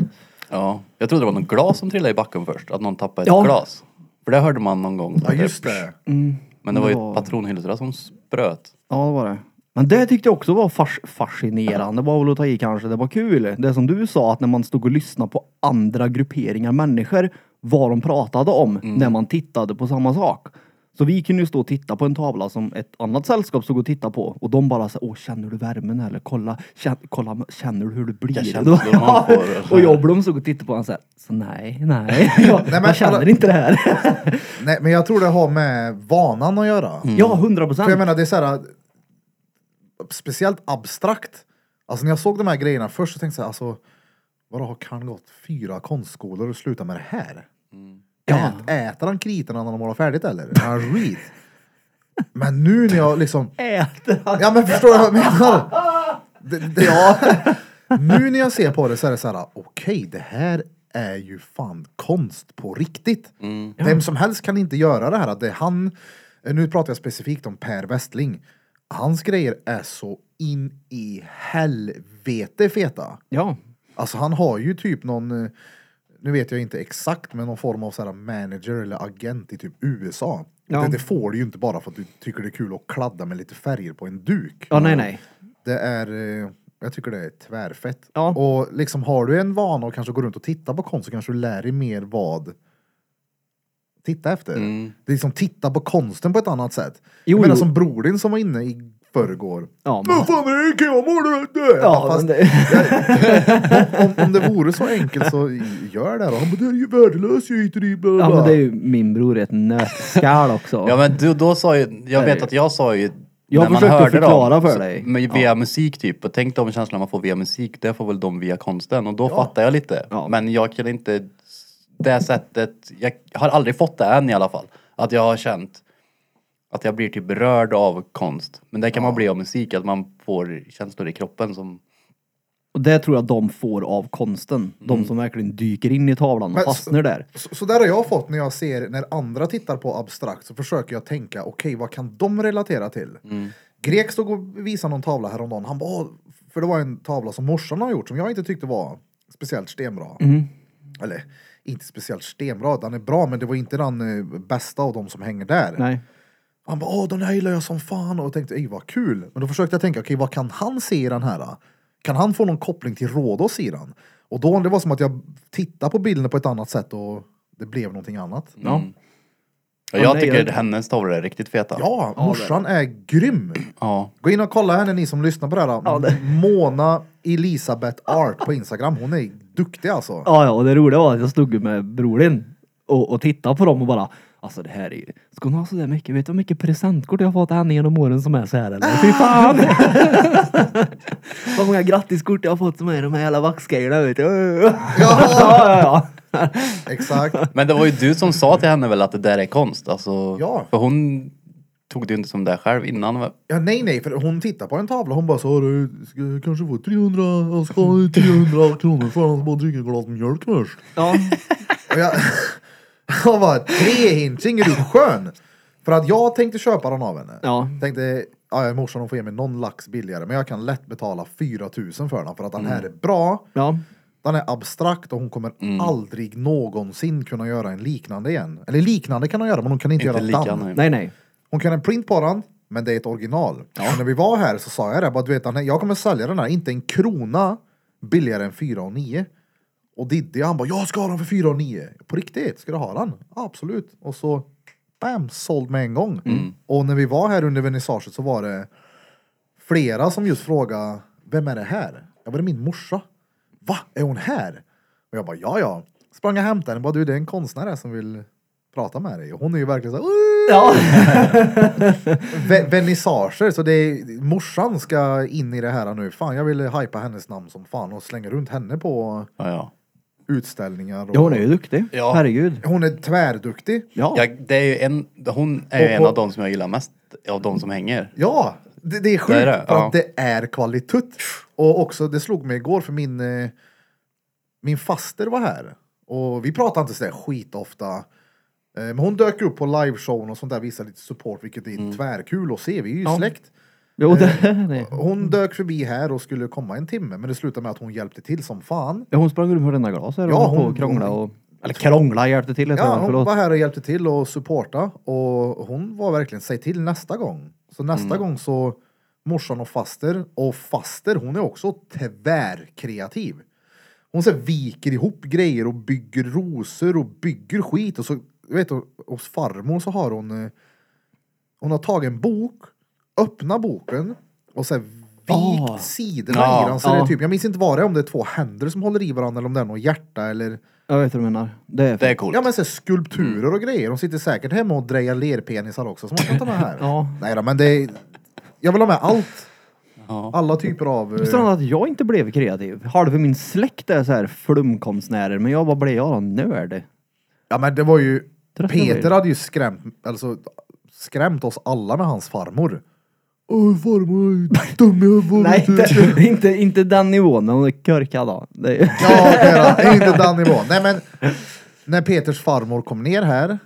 S3: Ja. Jag trodde det var någon glas som trillade i backen först, att någon tappade ett
S2: Ja.
S3: glas. För det hörde man någon gång. typ.
S1: Ja, just det.
S3: Men det var ju
S2: Ja.
S3: ett patronhylsor som spröt.
S2: Ja det var det. Men det tyckte jag också var fas- fascinerande, var väl att ta i kanske, det var kul. Det som du sa att när man stod och lyssnade på andra grupperingar människor, vad de pratade om när man tittade på samma sak. Så vi kunde ju stå och titta på en tavla som ett annat sällskap stod och tittade på och de bara så åh känner du värmen eller kolla, känn, kolla känner du hur det blir?
S3: Jag känner hur man får-
S2: och jag och Blom stod och tittade på honom såhär, så nej, nej, jag,
S1: men
S2: jag känner
S1: alla-
S2: inte det här.
S1: Nej, men jag tror det har med vanan att göra.
S2: Ja, hundra
S1: För jag
S2: procent.
S1: menar, det är så här... Speciellt abstrakt. Alltså när jag såg de här grejerna först så tänkte jag så här, alltså... Vadå, har Karn gått fyra konstskolor och slutat med det här?
S2: Ja.
S1: Ät, äter han kritorna när de målar färdigt eller? Är han skit? Men nu när jag liksom...
S2: Äter han?
S1: Ja men förstår du vad jag menar? Det, det, Nu när jag ser på det så är det så här, okej det här är ju fan konst på riktigt. Vem som helst kan inte göra det här. Att det är han, nu pratar jag specifikt om Per Westling. Hans grejer är så in i helvete feta.
S2: Ja.
S1: Alltså han har ju typ någon, eh, nu vet jag inte exakt, men någon form av så här manager eller agent i typ USA.
S2: Ja.
S1: Det, det får du ju inte bara för att du tycker det är kul att kladda med lite färger på en duk.
S2: Ja, nej, nej.
S1: Det är, eh, jag tycker det är tvärfett.
S2: Ja.
S1: Och liksom har du en vana och kanske går runt och tittar på konst så kanske du lär dig mer vad titta efter. Det är liksom titta på konsten på ett annat sätt.
S2: Jo,
S1: jag menar
S2: jo.
S1: som bror din som var inne i förrgår.
S2: Ja, men-
S1: Vad fan är det? Kan jag måla det? här?"
S2: Ja,
S1: Fast-
S2: men det...
S1: om, om det vore så enkelt så gör det då. Han bara, det är ju värdelöst, jag hit och dit, bla bla
S2: Ja
S1: bla.
S2: men det är ju min bror i ett nötskal också.
S3: Ja men du, då sa ju, jag vet att jag sa ju
S2: Jag
S3: när man
S2: försökte
S3: hörde
S2: förklara
S3: dem,
S2: för
S3: så-
S2: dig.
S3: Men via musik typ, och tänk de känslorna man får via musik, det får väl de via konsten och då fattar jag lite.
S2: Ja.
S3: Men jag kan inte, det sättet, jag har aldrig fått det än i alla fall. Att jag har känt att jag blir typ berörd av konst. Men det kan man bli av musik, att man får känslor i kroppen som,
S2: Och det tror jag de får av konsten. De som verkligen dyker in i tavlan och
S1: Men-
S2: fastnar där.
S1: Så, så där har jag fått när jag ser när andra tittar på abstrakt så försöker jag tänka okej vad kan de relatera till? Grek stod och visade någon tavla häromdagen. Han bara, "Åh," för det var en tavla som morsan har gjort som jag inte tyckte var speciellt stenbra.
S2: Mhm.
S1: Eller inte speciellt stenbra, den är bra men det var inte den eh, bästa av de som hänger där.
S2: Nej.
S1: Han bara åh den här gillar jag som fan och jag tänkte ej vad kul. Men då försökte jag tänka okej vad kan han se i den här? då? Kan han få någon koppling till Rhodos i den? Och då det var som att jag tittade på bilderna på ett annat sätt och det blev någonting annat.
S2: Ja.
S3: ja,
S2: Ja,
S3: jag
S2: nej,
S3: tycker
S2: jag-
S3: hennes tavlor är riktigt feta.
S1: Ja, morsan är grym.
S3: ja.
S1: Gå in och kolla henne ni som lyssnar på det här.
S2: Ja, det-
S1: Mona Elisabeth Art på Instagram. Hon är duktig alltså.
S2: Ja ja, och det roliga var att jag stod ju med bror din och, och tittade på dem och bara Alltså det här är ju, ska hon ha sådär mycket? Vet du hur mycket presentkort jag har fått av henne genom åren som är så här eller? Fy fan! Vad många grattiskort jag har fått som är de här jävla vaxgrejerna vet du. Ja ja ja.
S1: Exakt.
S3: Men det var ju du som sa till henne väl att det där är konst? Alltså,
S1: Ja.
S3: För hon tog det ju inte som det själv innan. va?
S1: Ja, nej, nej, för hon tittar på en tavla hon bara så du ska jag kanske få 300, jag ska ha 300 kronor för att bara dricka ett glas mjölk först.
S2: ja.
S1: Och jag, jag bara, tre hinting, är du skön? För att jag tänkte köpa den av henne.
S2: Ja.
S1: Tänkte, ja morsan hon får ge mig någon lax billigare, men jag kan lätt betala 4000 för den för att den
S3: Mm.
S1: här är bra.
S2: ja.
S1: Den är abstrakt och hon kommer aldrig någonsin kunna göra en liknande igen. Eller liknande kan hon göra, men hon kan inte,
S3: Inte
S1: göra
S3: lika
S1: den.
S3: nej.
S2: Nej nej.
S1: Hon kan ha en print på den, men det är ett original. Och när vi var här så sa jag det, bara, du vet, den här- jag kommer sälja den här, inte en krona billigare än 4 och 9. Och Diddy han bara, jag ska ha den för 4 och 9. På riktigt, ska du ha den? Ja, absolut. Och så, bam, såld med en gång. Och när vi var här under vernissaget så var det flera som just frågade Vem är det här? Jag var det är min morsa. Va? Är hon här? Och jag bara ja ja. Sprang och hämtade henne. Bara du det är en konstnär här som vill prata med dig. Och hon är ju verkligen så här, "Åh!"
S2: Ja.
S1: Ve- vernissager. Så det är, morsan ska in i det här nu. Fan jag vill hypa hennes namn som fan och slänga runt henne på
S3: Ja, ja.
S1: utställningar. Och...
S2: ja, hon är ju duktig.
S3: Ja.
S2: Herregud.
S1: hon är tvärduktig.
S2: Ja.
S3: Jag, det är ju en, hon är ju
S1: Och-
S3: en
S1: och-
S3: av de som jag gillar mest av de som hänger.
S1: Ja, det, det är sjukt
S3: Det är det,
S1: för
S3: ja.
S1: att det är kvalitet. Och också, det slog mig igår för min, eh, min faster var här. Och vi pratar inte sådär skitofta. Eh, Men hon dök upp på liveshowen och sånt där, visade lite support, vilket är tvärkul att se. Vi är ju
S2: Mm. Ja.
S1: släkt.
S2: Jo, det, nej.
S1: Hon dök förbi här och skulle komma en timme, men det slutade med att hon hjälpte till som fan.
S2: Ja, hon sprang runt med varenda glas här
S1: Ja,
S2: och, hon,
S1: hon-
S2: och krånglade och... Eller krångla hjälpte till heter
S1: Ja,
S2: ja,
S1: hon
S2: förlåt.
S1: var här och hjälpte till och supporta och hon var verkligen, säg till nästa gång. Så nästa
S2: Mm.
S1: gång så morsan och faster och faster hon är också tvärkreativ. Hon så här viker ihop grejer och bygger rosor och bygger skit och så vet du, hos farmor så har hon eh, hon har tagit en bok, öppnat boken och så här vikt
S2: Ah.
S1: sidorna
S3: Ja,
S1: i den. Så det är
S2: ja.
S1: typ, jag minns inte vad det är, om det är två händer som håller i varandra eller om det är något hjärta eller
S2: Jag vet hur du menar. Det är...
S3: Det är coolt. Mm.
S1: Ja men så här, skulpturer och grejer. De sitter säkert hemma och drejar lerpenisar också som man kan ta med här.
S2: Ja.
S1: Nej då, men det är... Jag vill ha med allt.
S3: Ja.
S1: Alla typer av... eh,
S2: Visst är det att jag inte blev kreativ? Halva min släkt är så här flumkonstnärer, men jag, vad blev jag då? Nörd?
S1: Ja men det var ju...
S2: Tröttnar
S1: Peter
S2: vi.
S1: hade ju skrämt, alltså, skrämt oss alla med hans farmor. Åh farmor, dum jag har varit.
S2: Nej, inte, inte, inte den nivån, men hon är korkad då. Det är,
S1: Ja, okej då. inte den nivån. Nej men, när Peters farmor kom ner här,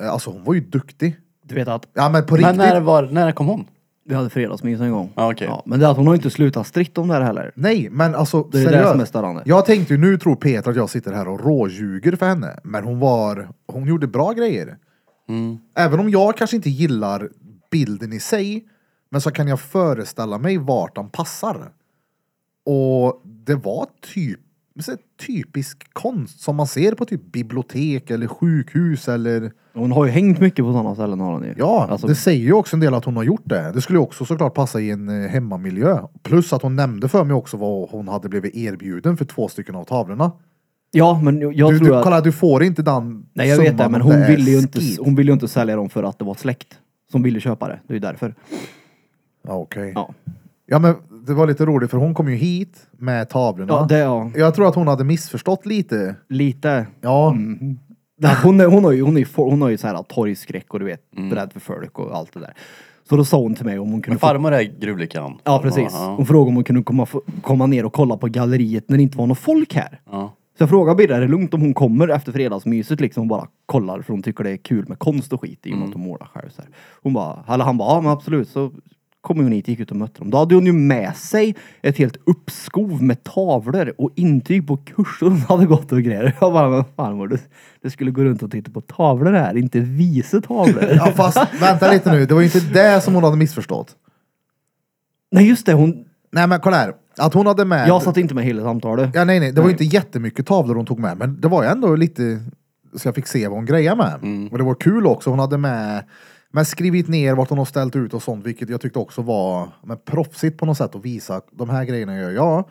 S1: eh, alltså hon var ju duktig.
S2: du vet att
S1: Ja men på
S3: Men
S1: riktigt.
S3: när, var, när kom hon?
S2: vi hade fredagsmys en gång.
S3: Ja, okej.
S2: men det är att hon har inte slutat stritt om det här heller.
S1: Nej, men alltså
S2: Det är det som är
S1: seriöst.
S2: störande.
S1: jag tänkte ju nu tror Peter att jag sitter här och råljuger för henne. Men hon var, hon gjorde bra grejer.
S2: Mm.
S1: Även om jag kanske inte gillar bilden i sig. Men så kan jag föreställa mig vart den passar. Och det var typ så här typisk konst som man ser på typ bibliotek eller sjukhus eller
S2: Hon har ju hängt mycket på sådana ställen har hon ju.
S1: Ja,
S2: Alltså,
S1: det säger ju också en del att hon har gjort det. Det skulle ju också såklart passa i en eh, hemmamiljö. Plus att hon nämnde för mig också vad hon hade blivit erbjuden för två stycken av tavlorna.
S2: ja men jag
S1: Du,
S2: tror
S1: du,
S2: att...
S1: kolla, du får inte den
S2: Nej jag vet det,
S1: summan
S2: men
S1: om
S2: hon
S1: är
S2: ville, ju inte,
S1: skit.
S2: hon ville ju inte sälja dem för att det var ett släkt som ville köpa det. Det är ju därför.
S1: Ja, okej.
S2: Ja,
S1: Ja, men det var lite roligt för hon kom ju hit med tavlorna.
S2: ja det ja.
S1: Jag tror att hon hade missförstått lite.
S2: Lite.
S1: Ja,
S2: Mm. Det här, Hon, är, hon har ju, hon är, ju for- hon har ju så här torgskräck och du vet,
S3: Mm.
S2: rädd för folk och allt det där. Så då sa hon till mig om hon kunde
S3: Men
S2: få
S3: farmor är gruvlikadan.
S2: Ja, precis. Mm.
S3: Ja,
S2: Hon frågade om hon kunde komma, få- komma ner och kolla på galleriet när det inte var någon folk här.
S3: ja.
S2: Så jag frågade Birra, är det lugnt om hon kommer efter fredagsmyset liksom och bara kollar för hon tycker det är kul med konst och skit i och med att hon målar själv så här. Hon bara, eller han bara, ja men absolut. Så kom hon hit, gick ut och mötte dem. Då hade hon ju med sig ett helt uppskov med tavlor och intyg på kurser hon hade gått och grejer. Jag bara, men farmor du, du skulle gå runt och titta på tavlor här, inte visa tavlor.
S1: ja fast vänta lite nu. Det var ju inte det som hon hade missförstått.
S2: Nej just det, hon,
S1: Nej, men kolla här. Att hon hade med...
S2: jag satt inte med i hela samtalet.
S1: Äh, Ja, nej, nej. Det var ju inte jättemycket tavlor hon tog med, men det var ju ändå lite så jag fick se vad hon grejade med. Och det var kul också. Hon hade med, men skrivit ner vart hon har ställt ut och sånt, vilket jag tyckte också var men, proffsigt på något sätt att visa de här grejerna gör jag.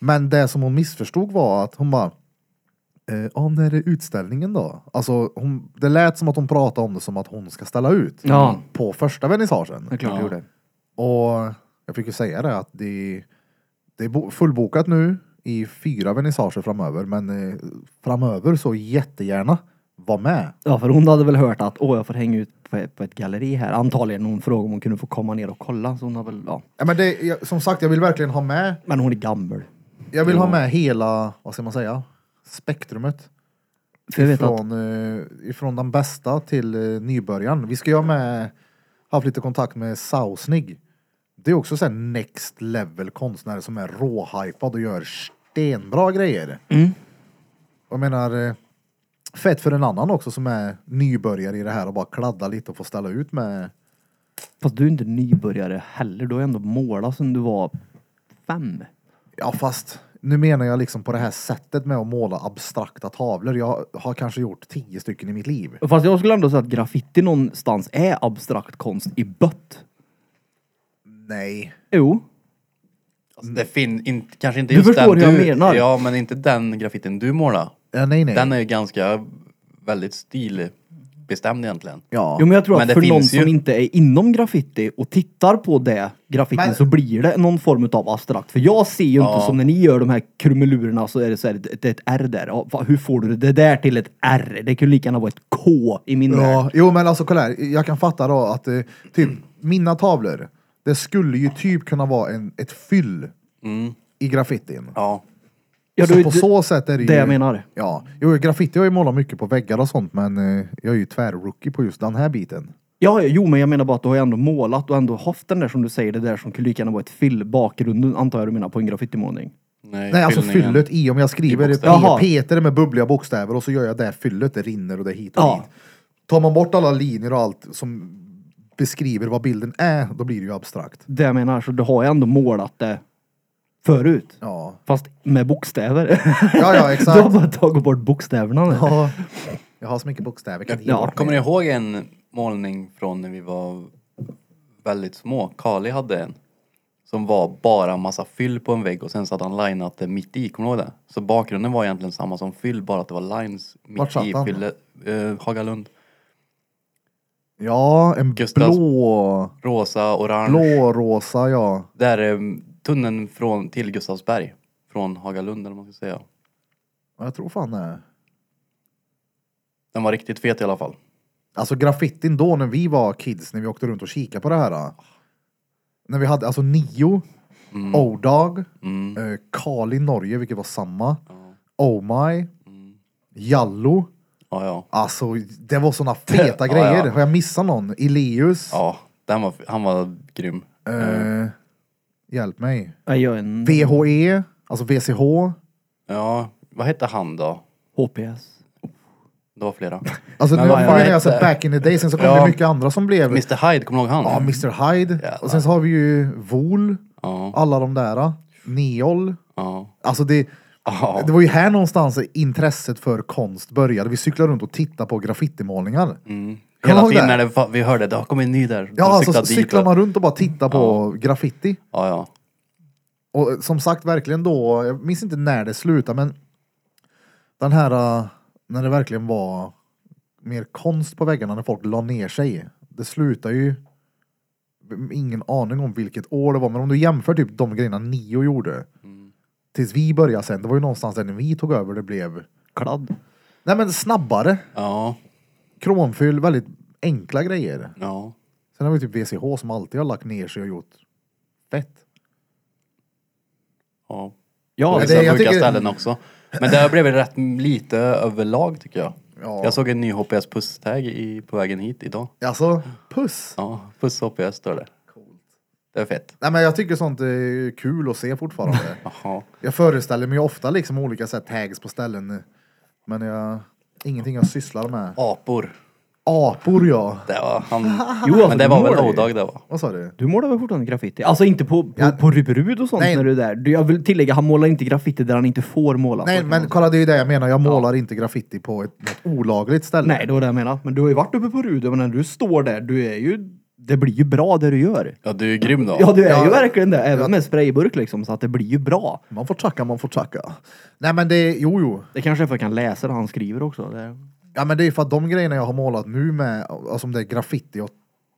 S1: Men det som hon missförstod var att hon bara, eh, ja, när är utställningen då? Alltså, hon, det lät som att hon pratade om det som att hon ska ställa ut
S2: Ja.
S1: på första vernissagen.
S2: Det är klart
S3: Ja.
S2: du gjorde.
S1: Och jag fick ju säga det att det, det är bo- fullbokat nu i fyra vernissager framöver. Men eh, framöver så jättegärna var med.
S2: Ja, för hon hade väl hört att åh, jag får hänga ut på ett, på ett galleri här. Antagligen hon frågade om hon kunde få komma ner och kolla. Så hon har väl, ja.
S1: Ja, men det, jag, som sagt, jag vill verkligen ha med.
S2: Men hon är gammal.
S1: Jag vill ha med hela, vad ska man säga, spektrumet.
S2: För jag vet att,
S1: Från, eh, ifrån den bästa till eh, nybörjaren. Vi ska ju ha med, haft lite kontakt med Sausnig. Det är också så här next level konstnärer som är råhypad och gör stenbra grejer.
S2: Mm.
S1: Jag menar, eh, fett för en annan också som är nybörjare i det här och bara kladdar lite och får ställa ut med
S2: Fast du är inte nybörjare heller. Du har ändå målat sedan du var fem.
S1: Ja, fast nu menar jag liksom på det här sättet med att måla abstrakta tavlor. Jag har kanske gjort tio stycken i mitt liv.
S2: Fast jag skulle ändå säga att graffiti någonstans är abstrakt konst i bött.
S1: Nej.
S2: Jo.
S3: Alltså, det fin, in, kanske inte
S2: Du
S3: just
S2: förstår
S3: den
S2: hur jag menar.
S3: Ja, men inte den graffitin du målar.
S1: Ja, Eh, nej, nej.
S3: Den är ju ganska, väldigt stilbestämd egentligen.
S1: Ja.
S2: Jo men jag tror
S3: Men
S2: att
S3: det
S2: för någon
S3: finns ju-
S2: som inte är inom graffiti och tittar på det graffitin
S1: Men-
S2: så blir det någon form av abstrakt. För jag ser ju inte som när ni gör de här krumelurerna så är det så här, det är ett R där. Ja, va- Hur får du det där till ett R? Det kunde lika gärna vara ett K i min värld.
S1: Ja, jo men alltså kolla här. Jag kan fatta då att eh, typ mina tavlor, det skulle ju typ kunna vara en, ett fyll i graffitin.
S3: Mm. Ja.
S2: Ja,
S1: så
S2: du-
S1: på
S2: du-
S1: så sätt är det ju...
S2: det jag menar.
S1: Ja, jo graffiti har jag ju målat mycket på väggar och sånt men eh, jag är ju tvärrookie på just den här biten.
S2: Ja, jo, men jag menar bara att du har ju ändå målat och ändå haft den där som du säger, det där som kunde lika gärna vara ett fyll, bakgrunden antar jag du menar på en graffitimålning.
S3: Nej,
S1: Nej alltså
S3: fyllningen.
S1: fyllet i, om jag skriver
S3: I
S1: P-
S2: bokstäver. Jaha.
S1: Peter med bubbliga bokstäver och så gör jag det fyllet, det rinner och det hit och
S2: Ja.
S1: dit. Tar man bort alla linjer och allt som beskriver vad bilden är, då blir det ju abstrakt.
S2: Det jag menar, så du har ju ändå målat det förut.
S1: Ja,
S2: Fast med bokstäver.
S1: ja, ja
S2: Du har
S1: exakt.
S2: bara tagit bort bokstäverna nu.
S1: Ja. Jag har så mycket bokstäver. Kan inte ge
S2: Ja.
S1: bort
S3: Kommer
S1: mer.
S3: ni ihåg en målning från när vi var väldigt små? Kali hade en. Som var bara massa fyll på en vägg och sen så hade han linat det mitt i, kommer du ihåg det? Så bakgrunden var egentligen samma som fyll, bara att det var lines
S1: Vart
S3: mitt
S1: satt
S3: i
S1: han?
S3: fyllet. Eh, Hagalund.
S1: Ja, en
S3: Gustavs-
S1: blå,
S3: Rosa, orange.
S1: blårosa ja.
S3: Där är tunneln från, till Gustavsberg. Från Hagalund eller vad man ska säga.
S1: Ja, Jag tror fan det.
S3: Den var riktigt fet i alla fall.
S1: Alltså graffitin då när vi var kids, när vi åkte runt och kikade på det här. då. När vi hade alltså Nio,
S3: Mm.
S1: O-Dog,
S3: Mm.
S1: eh, Kali Norge, vilket var samma,
S3: Ja.
S1: Oh My,
S3: Mm.
S1: Jallo.
S3: ja, ja.
S1: Alltså det var såna feta
S3: Ja,
S1: grejer.
S3: ja.
S1: Har jag missat någon? Ileus?
S3: Ja, den var, han var grym.
S1: Eh, hjälp
S3: Mm.
S1: mig.
S2: Jag gör en
S1: VHE, alltså VCH.
S3: Ja, vad hette han då?
S2: HPS.
S3: Det var flera.
S1: Alltså
S3: Men
S1: nu
S3: vad
S1: fan, när jag
S3: hette-
S1: sett back in the day, sen så kom
S3: Ja.
S1: det mycket andra som blev...
S3: Mr Hyde, kommer du ihåg han?
S1: Ja, Mr Hyde.
S3: Jävlar.
S1: Och sen så har vi ju Vol,
S3: Ja,
S1: alla de där. ah. Neol.
S3: ja,
S1: Alltså det,
S3: ja.
S1: det var ju här någonstans intresset för konst började. Vi cyklade runt och tittade på graffitimålningar.
S3: Mm.
S1: Kommer du
S3: Hela
S1: ihåg
S3: tiden
S1: det?
S3: när det, fa- vi hörde det har kommit en ny där.
S1: Ja,
S3: Då
S1: alltså
S3: cyklade dit
S1: cyklar
S3: och-
S1: man runt och bara tittar på graffiti.
S3: Ja, ja.
S1: Och eh, som sagt, verkligen då, jag minns inte när det slutade, men den här, eh, när det verkligen var mer konst på väggarna, när folk la ner sig. Det slutar ju, mm, ingen aning om vilket år det var, men om du jämför typ de grejerna Nio gjorde, tills vi började sen, det var ju någonstans där när vi tog över det blev,
S2: Kladd.
S1: nej men snabbare,
S3: Ja,
S1: kromfyll, väldigt enkla grejer.
S3: ja.
S1: Sen har vi typ VCH som alltid har lagt ner sig och gjort fett.
S3: ja.
S2: Ja,
S3: På
S1: det-
S3: vissa
S1: jag
S3: sjuka
S1: tycker-
S3: ställen också. Men det har blivit rätt lite överlag tycker jag.
S1: Ja.
S3: Jag såg en ny HPS puss-tag i, på vägen hit idag.
S1: Alltså, puss!
S3: Ja, puss HPS står det. Det är fett.
S1: Nej men jag tycker sånt är kul att se fortfarande.
S3: Jaha.
S1: jag föreställer mig ju ofta liksom olika sätt tags på ställen. Men jag, ingenting jag sysslar med.
S3: Apor.
S1: Apor ja.
S3: Det var han.
S2: Jo, alltså,
S3: Men det var
S2: du
S3: väl
S2: målar ju.
S3: Odag det var.
S1: Vad sa du?
S2: Du målar väl fortfarande graffiti? Alltså inte på, på,
S1: Ja.
S2: på Rubrud och sånt
S1: Nej.
S2: när du är där. Du, jag vill tillägga, han målar inte graffiti där han inte får måla.
S1: Nej
S2: Så kan
S1: men
S2: man-
S1: kolla det är ju det jag menar. Jag målar inte graffiti på ett något olagligt ställe.
S2: Nej, det var det jag menade. Men du har ju varit uppe på Rud men när du står där, du är ju... Det blir ju bra det du gör.
S3: Ja, du är grym då.
S2: Ja, du är
S1: Ja.
S2: ju verkligen det. Även med sprayburk liksom, så att det blir ju bra.
S1: Man får tacka, man får tacka. Nej men det, jo jo.
S2: Det kanske är för att jag kan läsa det han skriver också. Det...
S1: Ja men det är ju för att de grejerna jag har målat nu med, alltså om det är graffiti och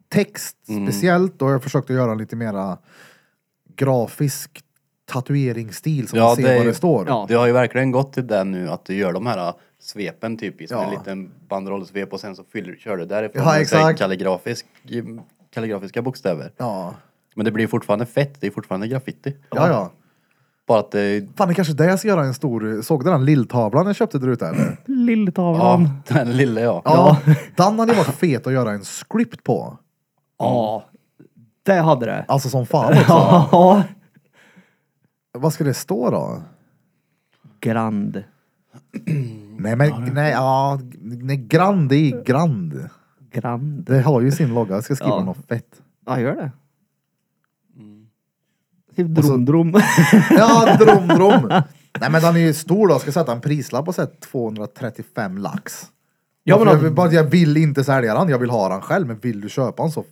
S1: text
S2: Mm.
S1: speciellt, då har jag försökt att göra en lite mera grafisk tatueringsstil så
S3: Ja,
S1: man ser
S3: det är-
S1: vad det står.
S2: Ja.
S3: Du har ju verkligen gått till det nu att du gör de här äh, svepen typiskt.
S1: Ja.
S3: En liten banderollsvep och sen så fyller, kör du därifrån.
S1: Ja,
S3: med, säg,
S1: exakt.
S3: Kalligrafisk, kalligrafiska bokstäver.
S1: ja.
S3: Men det blir fortfarande fett, det är fortfarande graffiti.
S1: Ja, ja.
S3: Bara att det
S1: Fan, det kanske är det jag ska göra en stor... Såg du den lilltavlan jag köpte där ute eller?
S2: Lilltavlan.
S3: ja, den lilla ja.
S1: Ja. Den hade ju varit fet att göra en script på.
S2: Ja. Det hade det.
S1: Alltså som fan också.
S2: Ja.
S1: Vad ska det stå då?
S2: Grand.
S1: Nej men, nej, ja, nej, grand är grand.
S2: Grand.
S1: Det har ju sin logga, jag ska skriva
S2: Ja.
S1: något fett.
S2: Ja, gör det. Mm. Typ drom, drom.
S1: Ja, drom, drom. Nej men den är ju stor då, ska sätta en prislapp på så här 235 lax.
S2: Ja, men
S1: jag,
S2: att-
S1: vill, bara- jag vill inte sälja den, jag vill ha den själv. Men vill du köpa den så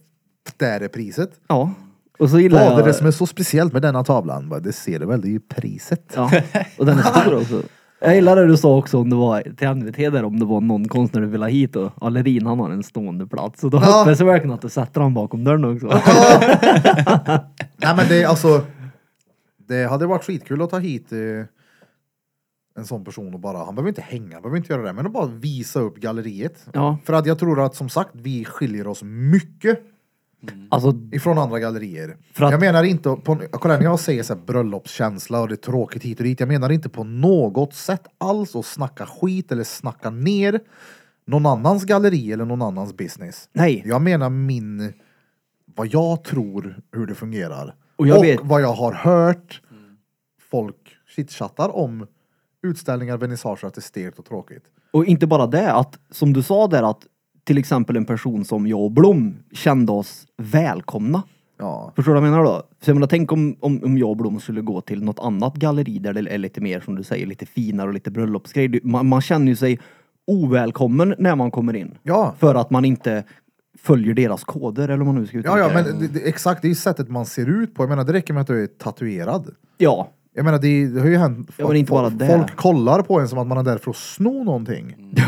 S1: där är priset.
S2: Ja. Och så gillar
S1: Vad är
S2: jag...
S1: det som är så speciellt med denna tavlan? Bara, Det ser du väl, det är ju priset.
S2: Ja, och den är stor också. Jag gillar det du sa också om det var till NVT där om det var någon konstnär du ville ha hit och Allerin han har en stående plats. Så då hoppas jag verkligen att du sätter han bakom dörren också.
S1: Nej men det är alltså. Det hade varit skitkul att ta hit eh, en sån person och bara, han behöver inte hänga, han behöver inte göra det, men att bara visa upp galleriet.
S2: Ja,
S1: För att jag tror att som sagt, vi skiljer oss mycket
S2: alltså
S1: ifrån andra gallerier.
S2: För att-
S1: Jag menar inte på, kolla när jag säger så här bröllopskänsla och det är tråkigt hit och dit. Jag menar inte på något sätt alls att snacka skit eller snacka ner någon annans galleri eller någon annans business.
S2: nej.
S1: Jag menar min, vad jag tror hur det fungerar.
S2: Och jag vet-
S1: vad jag har hört folk chitchattar om utställningar, vernissager, att det är stelt och tråkigt.
S2: Och inte bara det, att som du sa där att till exempel en person som jag och Blom kände oss välkomna.
S1: Ja.
S2: Förstår du vad jag menar då? Så jag menar, tänk om, om, om jag och Blom skulle gå till något annat galleri där det är lite mer som du säger, lite finare och lite bröllopsgrej. Du- Man, man känner ju sig ovälkommen när man kommer in.
S1: Ja.
S2: För att man inte följer deras koder eller vad man nu ska uttrycka
S1: Ja, ja,
S2: det.
S1: men det, det, exakt, det är ju sättet man ser ut på. Jag menar, det räcker med att du är tatuerad.
S2: Ja,
S1: Jag menar, det, det har ju hänt.
S2: Ja, men inte bara det. Mm.
S1: Folk kollar på en som att man är där för att sno någonting. Och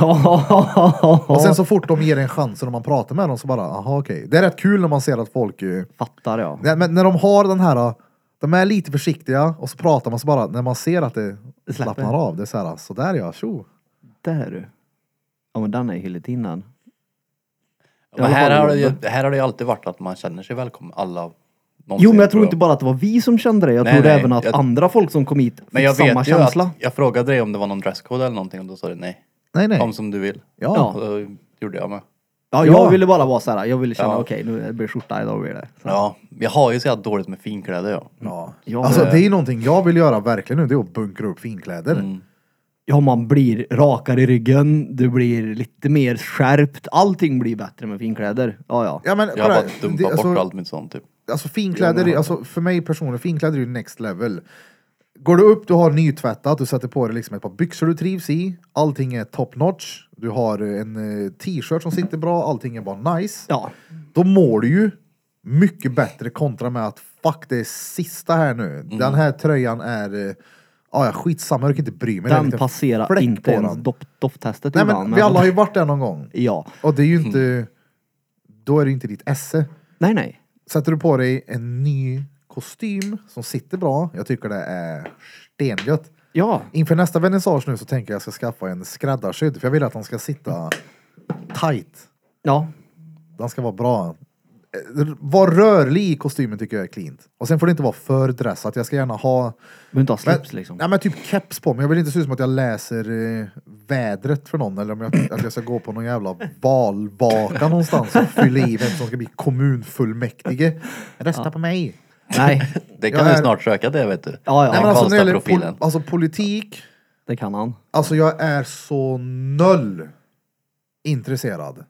S2: ja.
S1: sen så fort de ger en chansen och man pratar med dem så bara, aha okej. Det är rätt kul när man ser att folk, eh,
S2: fattar jag.
S1: nej, men när de har den här, eh, de är lite försiktiga och så pratar man så bara, när man ser att det
S2: Det släpper.
S1: slappnar av. Det är så här, sådär ja, tjo.
S2: Där du. Ja men den är ju hela tiden.
S3: Men
S2: I alla fall
S3: här har, det
S2: i
S3: ju, här har det ju alltid varit att man känner sig välkommen. Alla. någonsin,
S2: Jo men jag tror inte bara att det var vi som kände det. Jag
S3: Nej,
S2: tror
S3: nej,
S2: även att
S3: jag-
S2: andra folk som kom hit fick
S3: Men jag
S2: samma
S3: vet ju
S2: känsla.
S3: att jag frågade dig om det var någon dresscode eller någonting och då sa du nej.
S1: Nej, nej.
S3: Kom som du vill.
S1: Ja.
S2: Ja.
S3: Och då gjorde jag med.
S2: Ja, jag
S1: Ja.
S2: ville bara vara så här. jag ville känna
S3: Ja.
S2: okej nu blir det skjorta idag blir det. Så.
S3: Ja, jag har ju så jävla dåligt med finkläder jag.
S1: Ja.
S2: Ja,
S1: alltså
S2: det-
S1: det är ju någonting jag vill göra verkligen nu, det är att bunkra upp finkläder.
S3: Mm.
S2: Ja man blir rakare i ryggen, du blir lite mer skärpt, allting blir bättre med finkläder. Ja ja.
S1: Ja, men,
S3: Jag har
S1: kolla,
S3: bara
S1: det-
S3: dumpat
S1: alltså-
S3: bort allt mitt sånt typ.
S1: Alltså finkläder, är, alltså för mig personligen, finkläder är ju next level. Går du upp, du har nytvättat, du sätter på dig liksom ett par byxor du trivs i, allting är top notch, du har en eh, t-shirt som sitter bra, allting är bara nice.
S2: Ja.
S1: Då mår du ju mycket bättre kontra med att fuck det är sista här nu.
S2: Mm.
S1: Den här tröjan är, eh, ja ja, skitsamma, jag kan inte bry mig. Det är en
S2: Den
S1: liten
S2: passerar
S1: fläck på
S2: inte ens
S1: den.
S2: doft- dofttestet
S1: Nej
S2: ibland,
S1: men vi alla har ju varit där någon gång.
S2: Ja. Mm.
S1: Och det är ju inte, då är det ju inte ditt esse.
S2: Nej nej.
S1: Sätter du på dig en ny kostym som sitter bra, jag tycker det är stengött.
S2: Ja.
S1: Inför nästa vernissage nu så tänker jag att jag ska skaffa en skräddarsydd, för jag vill att den ska sitta tight.
S2: Ja.
S1: Den ska vara bra. Eh, Var rörlig i kostymen tycker jag är cleant. Och sen får det inte vara för dressat. Jag ska gärna ha...
S2: Behöver inte ha
S1: Men,
S2: slips liksom.
S1: nej, men typ keps på mig. Jag vill inte se ut som att jag läser eh, vädret för någon eller om jag, att jag ska gå på någon jävla valvaka någonstans och fylla i vem som ska bli kommunfullmäktige. Rösta på mig.
S2: Nej,
S3: Det
S1: Jag
S3: kan du
S1: är-
S3: snart söka det vet du.
S2: Ja, ja.
S1: Nej,
S3: Den
S1: men alltså, när det gäller
S3: Karlstad-profilen.
S1: pol- alltså politik,
S2: det kan han.
S1: alltså jag är så noll intresserad.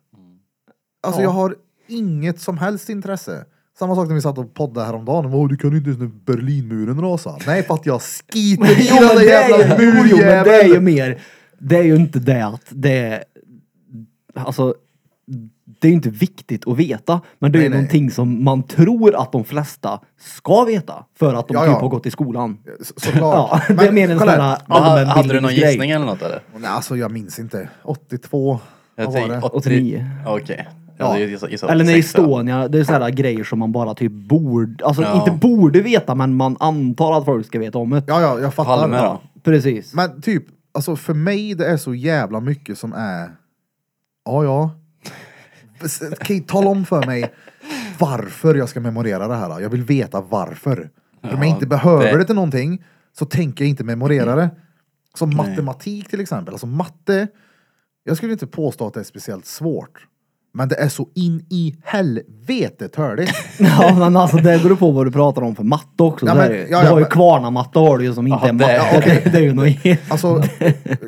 S1: Alltså
S2: Ja.
S1: jag har inget som helst intresse. Samma sak när vi satt och poddade häromdagen. Åh, du kan ju inte ens när Berlinmuren rasade. Nej, för att jag skiter i den där jävla
S2: ju, jo, jo, men det är ju
S1: murjäveln.
S2: mer, det är ju inte det att det är, alltså, det är ju inte viktigt att veta, men det är
S1: Nej,
S2: ju
S1: nej.
S2: någonting som man tror att de flesta ska veta för att de
S1: Ja,
S2: typ
S1: ja.
S2: har gått i skolan.
S1: Så- Såklart.
S2: Ja, det är mer en sån
S1: kolla här.
S2: här
S3: Men ha- Hade du någon
S2: allmänbildningsgrej.
S3: gissning eller något eller?
S1: Nej, alltså jag minns inte. 82.
S3: Jag
S1: Vad var det?
S3: tänkte
S2: 89.
S3: Okej. Jag hade ju gissat- gissat
S2: Eller när
S3: sexa.
S2: Estonia, det är sådana grejer som man bara typ borde, alltså
S3: Ja.
S2: inte borde veta men man antar att folk ska veta om det.
S1: Ja, ja, jag fattar.
S3: Palme då?
S2: Precis.
S1: Men typ, alltså för mig det är så jävla mycket som är, ja ja. S- Kan ju tala om för mig varför jag ska memorera det här. Jag vill veta varför. För om jag
S3: Ja,
S1: inte behöver
S3: det-
S1: det till någonting så tänker jag inte memorera det. Som matematik till exempel. Alltså matte, jag skulle inte påstå att det är speciellt svårt. Men det är så in i helvete törligt.
S2: Ja men alltså det beror på vad du pratar om för matte också.
S1: Ja,
S2: så
S1: men-
S2: är det ju.
S1: ja,
S2: du
S1: ja,
S2: har ju
S1: men-
S2: Kvarna-matte har du ju som inte
S3: Jaha,
S2: är matte.
S3: det-
S2: Det, det, är ju något helt...
S1: Alltså,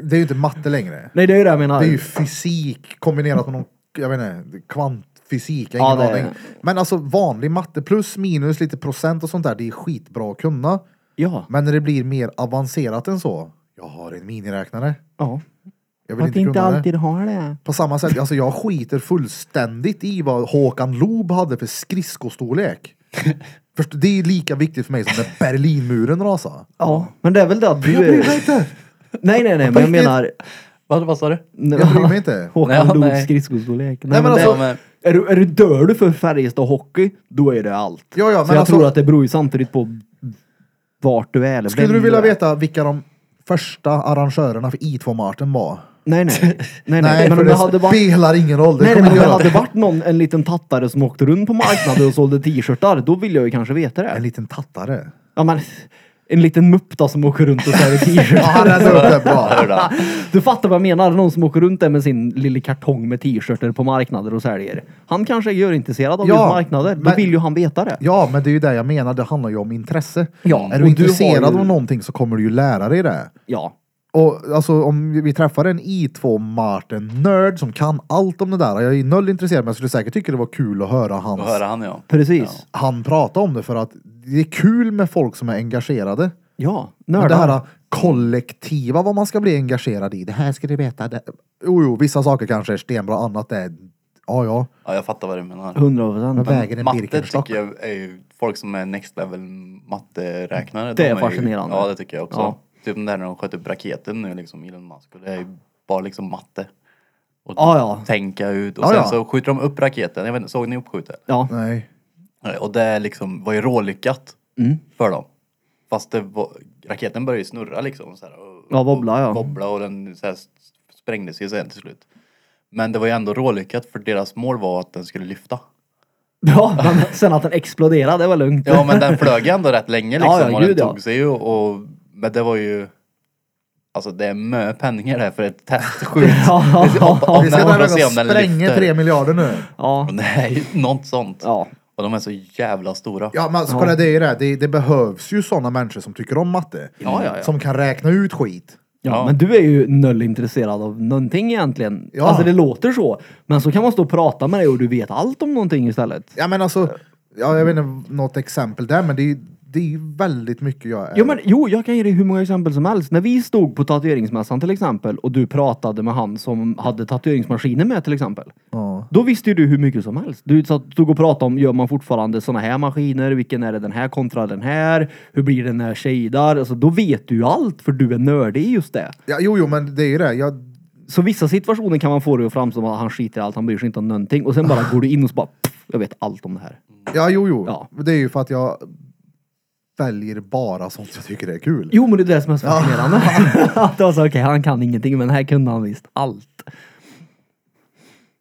S1: det är ju inte matte längre.
S2: Nej det är ju det jag menar.
S1: Det är ju fysik kombinerat med någon, jag vet inte, kvantfysik fysik, jag
S2: Ja,
S1: har ingen
S2: det är
S1: aning. Men alltså vanlig matte, plus minus, lite procent och sånt där, det är skitbra att kunna.
S2: Ja.
S1: Men när det blir mer avancerat än så, jag har en miniräknare.
S2: ja.
S1: Jag vill
S2: Att
S1: inte,
S2: inte
S1: kunna det.
S2: alltid har det.
S1: På samma sätt, alltså jag skiter fullständigt i vad Håkan Loob hade för skridskostorlek. Först, det är lika viktigt för mig som när Berlinmuren rasade.
S2: Ja, men det är väl det att du
S1: Jag bryr mig
S2: är...
S1: inte!
S2: Nej, nej, nej, men jag menar...
S3: Vad, vad sa du?
S1: Jag bryr mig inte.
S2: Håkan
S3: Nej,
S2: Loops
S3: nej.
S2: skridskostorlek.
S1: Nej, men
S2: det-
S1: alltså-
S3: ja, men,
S2: är, du, är du dör du för Färjestad hockey, då är det allt.
S1: Ja, ja,
S2: Så
S1: men
S2: jag
S1: alltså,
S2: tror att det beror ju samtidigt på vart du är eller
S1: skulle
S2: vem
S1: du vilja
S2: är.
S1: veta vilka de första arrangörerna för I2-marten var?
S2: Nej, nej. Nej, nej.
S1: Nej,
S2: men
S1: för
S2: om det
S1: det
S2: hade varit...
S1: spelar ingen roll. Det
S2: Nej,
S1: kommer
S2: men om
S1: inte
S2: det
S1: göra.
S2: hade varit någon, en liten tattare som åkte runt på marknaden och sålde t-shirtar, då vill jag ju kanske veta
S1: En
S2: det.
S1: liten tattare.
S2: Ja, men, en liten mupp då som åker runt och säljer
S1: Ja, han
S2: t-shirtar.
S1: räddade upp det bra.
S3: hör du då?
S2: Du fattar vad jag menar, någon som åker runt där med sin lilla kartong med t-shirtar på marknader och säljer. Han kanske är görintresserad av
S1: Ja,
S2: just marknader, då
S1: men-
S2: vill ju han veta det.
S1: Ja, men det är ju det jag menar. Det handlar ju om intresse.
S2: Ja,
S1: är du
S2: och du
S1: intresserad
S2: har ju-
S1: av någonting så kommer du ju lära dig det.
S2: Ja.
S1: Och alltså om vi- vi träffar en I2 Martin nörd som kan allt om det där. Jag är noll intresserad men jag skulle säkert tycka det var kul att höra hans,
S3: Vad hörde han ja.
S2: Precis.
S1: han prata om det för att det är kul med folk som är engagerade.
S2: Ja,
S1: Men
S2: nördar.
S1: det här kollektiva vad man ska bli engagerad i. Det här ska du veta. Det... Jo, jo, vissa saker kanske är stenbra, annat är ja, ja.
S3: Ja, jag fattar vad du menar.
S2: 100
S1: Vad
S2: procent.
S1: väger en
S3: Matte
S1: Birkenstock?
S3: tycker jag är ju folk som är next level matteräknare.
S2: Det
S3: de
S2: är
S3: ju-
S2: fascinerande.
S3: Ja, det tycker jag också.
S2: Ja.
S3: Typ den där när de sköt upp raketen nu liksom, Elon Musk. Och det är ju bara liksom matte. Och
S2: Ja, ja.
S3: tänka ut. Och
S1: Ja,
S3: sen
S1: ja.
S3: så skjuter de upp raketen. Jag vet inte, såg ni uppskjutet?
S2: Ja,
S1: Nej.
S3: Nej, Och det är liksom, var ju rålyckat
S2: Mm.
S3: för dem. Fast det var, raketen började ju snurra liksom. Så här, och,
S2: Ja, wobbla, ja.
S3: Och, wobbla och den så här, sprängdes ju sen till slut. Men det var ju ändå rålyckat för deras mål var att den skulle lyfta.
S2: ja men sen att den exploderade, det var lugnt.
S3: Ja men den flög ändå rätt länge liksom.
S2: Ja, ja,
S3: och
S2: gud,
S3: den
S2: ja.
S3: tog sig ju och, men det var ju... Alltså det är mö penningar där för ett testskjut.
S2: Ja.
S3: Det är- om- om
S1: Vi ska
S3: den-
S1: där
S3: om
S1: och
S3: den ser om den
S1: spränger
S3: lyfter.
S1: tre miljarder nu.
S2: Ja.
S3: Det är ju något sånt.
S2: Ja.
S3: Och de är så jävla stora.
S1: Ja men alltså, kolla det är ju det. det. Det behövs ju sådana människor som tycker om matte.
S3: Ja, ja, ja.
S1: Som kan räkna ut skit.
S2: Ja,
S3: Ja.
S2: men du är ju noll intresserad av någonting egentligen.
S1: Ja.
S2: Alltså det låter så. Men så kan man stå och prata med dig och du vet allt om någonting istället.
S1: Ja men alltså, ja, jag vet inte något exempel där men det är ju det är ju väldigt mycket jag är.
S2: Jo, men, jo, jag kan ge dig hur många exempel som helst. När vi stod på tatueringsmässan till exempel och du pratade med han som hade tatueringsmaskinen med till exempel.
S1: ja.
S2: Då visste ju du hur mycket som helst. Du satt- stod och pratade om, gör man fortfarande såna här maskiner? Vilken är det den här kontra den här? Hur blir den här shadar? Alltså, då vet du ju allt för du är nördig i just det.
S1: Ja, jo, jo men det är ju det. Jag,
S2: Så vissa situationer kan man få det att framstå som att han skiter i allt, han bryr sig inte om någonting. Och sen bara går du in och så bara, "Pff, jag vet allt om det här.
S1: ja jo jo.
S2: Ja.
S1: Det är ju för att jag väljer bara sånt jag tycker är kul.
S2: Jo, men det är det som är så fascinerande. att det var så, okej, han kan ingenting, men här kunde han visst allt.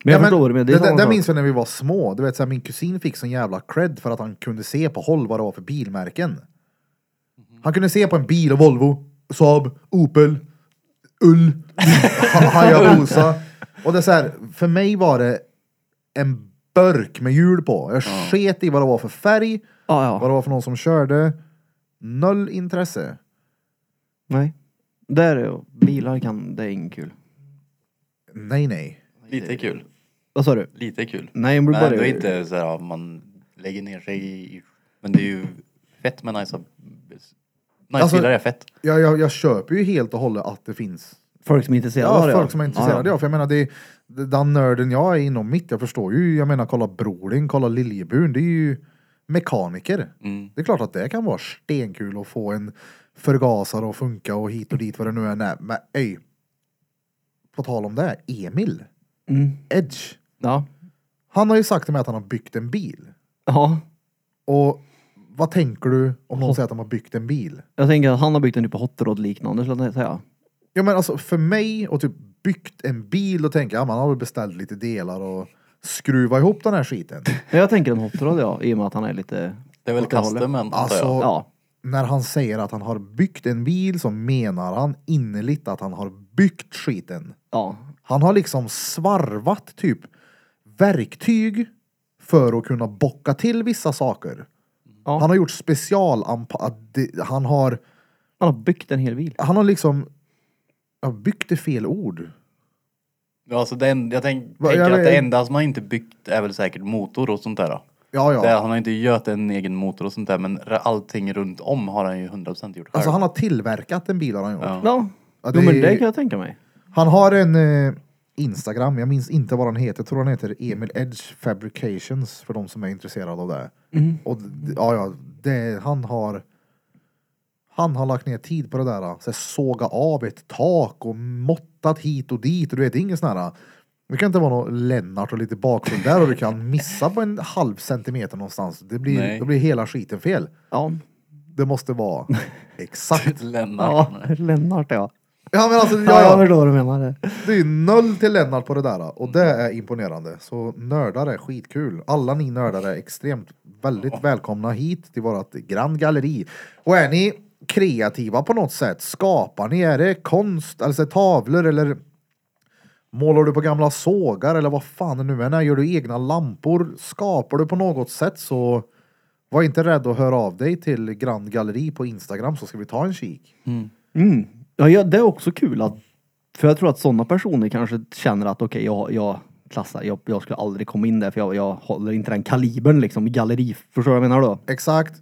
S2: Men
S1: Ja,
S2: jag förstår vad du menar. Det, är
S1: det,
S2: samma
S1: det
S2: sak.
S1: minns jag när vi var små. Du vet, så här, min kusin fick sån jävla cred för att han kunde se på håll vad det var för bilmärken. Han kunde se på en bil och Volvo, Saab, Opel, Ull, Hayabusa. Och det är så här, för mig var det en burk med hjul på. Jag sket i vad det var för färg,
S2: Ja, ja.
S1: vad det var för någon som körde. Noll intresse.
S2: Nej. Där är jag. Bilar kan, det är inget kul.
S1: Nej, nej.
S3: Lite kul.
S2: Vad sa du?
S3: Lite kul.
S2: Nej, men
S3: Men
S2: bara...
S3: ändå inte så här, man lägger ner sig i... Men det är ju fett med nice... Nice
S1: Alltså-
S3: bilar är fett.
S1: Jag, jag, jag köper ju helt och hållet att det finns
S2: Folk som är intresserade
S1: Ja,
S2: av det.
S1: folk som är intresserade. Ja,
S2: Ja,
S1: för jag menar, det, det- den nörden jag är inom mitt, jag förstår ju. Jag menar, kolla Broling, kolla Liljebun, det är ju mekaniker. Det är klart att det kan vara stenkul att få en förgasare att funka och hit och dit vad det nu är. Nej, men öj. På tal om det, Emil,
S2: ja. Mm.
S1: Edge,
S2: ja.
S1: han har ju sagt till mig att han har byggt en bil.
S2: Ja.
S1: Och vad tänker du om någon säger att de har byggt en bil?
S2: Jag tänker att han har byggt en typ av hot rod liknande, skulle jag säga.
S1: Ja men alltså för mig och typ byggt en bil och tänka, ja man har väl beställt lite delar och skruva ihop den här skiten.
S2: Men jag tänker en hot rod, ja. I och med att han är lite...
S3: Det är väl
S2: åt det hållet.
S3: custom men antar
S1: Alltså,
S3: jag.
S2: Ja.
S1: när han säger att han har byggt en bil så menar han innerligt att han har byggt skiten.
S2: Ja.
S1: Han har liksom svarvat typ verktyg för att kunna bocka till vissa saker.
S2: Ja.
S1: Han har gjort specialanpassat, han har,
S2: Han har byggt en hel bil.
S1: han har liksom, jag byggde fel ord.
S3: Ja, så den, alltså, jag tänk,
S1: Va,
S3: tänker
S1: jag
S3: att det
S1: vet-
S3: enda som han inte byggt är väl säkert motor och sånt där. då.
S1: Ja, ja.
S3: Det, han har inte gjort en egen motor och sånt där men re- allting runt om har han ju 100% gjort själv.
S1: Alltså han har tillverkat en bil har han gjort.
S3: Ja.
S2: Ja.
S1: Ja,
S2: Jo,
S1: det-
S2: men det kan jag tänka mig.
S1: Han har en eh, Instagram, jag minns inte vad han heter. Jag tror han heter Emil Edge Fabrications för de som är intresserade av det. Och d- ja, ja, det, han har han har lagt ner tid på det där. Så här, såga av ett tak och måttat hit och dit. Och du vet, det är ingen sån här. Det kan inte vara någon Lennart och lite bakgrund där och du kan missa på en halv centimeter någonstans. Det blir,
S3: Nej.
S1: då blir hela skiten fel.
S2: Ja.
S1: Det måste vara exakt.
S3: Lennart.
S2: Ja, Lennart ja.
S1: Ja men alltså,
S2: Ja, jag
S1: ja, ja.
S2: förstår vad du menar.
S1: Det är noll till Lennart på det där och det är imponerande. Så nördar är skitkul. Alla ni nördar är extremt väldigt välkomna hit till vårat Grand Galleri. Och är ni kreativa på något sätt, skapar ni, är det konst, alltså tavlor eller målar du på gamla sågar eller vad fan det nu än är, gör du egna lampor, skapar du på något sätt så var inte rädd att höra av dig till Grand Galleri på Instagram så ska vi ta en kik.
S2: Mm. Ja, ja, det är också kul att, för jag tror att sådana personer kanske känner att okej, jag, jag klassar, jag, jag skulle aldrig komma in där för jag, jag håller inte den kalibern liksom i galleri. Förstår du vad jag menar då?
S1: Exakt.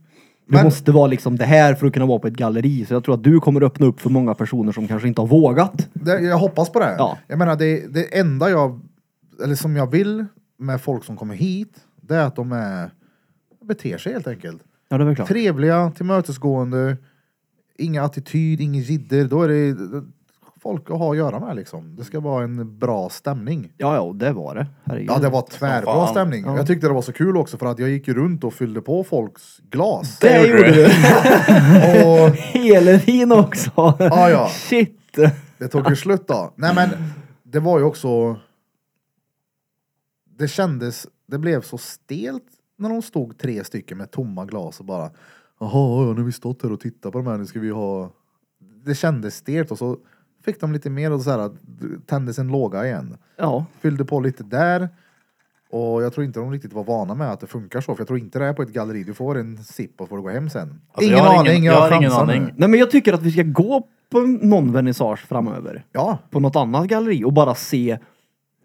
S2: Du måste vara liksom det här för att kunna vara på ett galleri. Så jag tror att du kommer öppna upp för många personer som kanske inte har vågat.
S1: Det, jag hoppas på det.
S2: Ja.
S1: Jag menar, det, det enda jag, eller som jag vill med folk som kommer hit, det är att de är, beter sig helt enkelt.
S2: Ja, det är väl klart.
S1: Trevliga, tillmötesgående, inga attityd, ingen jidder. Då är det folk att ha att göra med liksom. Det ska vara en bra stämning.
S2: Ja, ja, och det var det. Herregud.
S1: Ja, det var tvärbra
S3: fan.
S1: stämning.
S2: Ja.
S1: Jag tyckte det var så kul också för att jag gick ju runt och fyllde på folks glas.
S2: det
S3: gjorde
S2: gjorde
S3: du.
S2: du!
S1: Och
S2: Hela tiden också!
S1: Ja, ja.
S2: Shit!
S1: Det tog ju slut då. Nej men, det var ju också... Det kändes, det blev så stelt när de stod tre stycken med tomma glas och bara Jaha, ja, nu har vi stått här och tittat på de här, nu ska vi ha... Det kändes stelt och så fick de lite mer och så här tändes en låga igen.
S2: Ja,
S1: Fyllde på lite där. Och jag tror inte de riktigt var vana med att det funkar så, för jag tror inte det är på ett galleri. Du får en sipp och får gå hem sen.
S3: Alltså,
S1: ingen
S3: jag har
S1: aning,
S3: ingen-
S1: jag,
S3: jag har ingen
S1: chansar
S3: aning.
S1: nu.
S2: nej men jag tycker att vi ska gå på någon vernissage framöver.
S1: Ja,
S2: på något annat galleri och bara se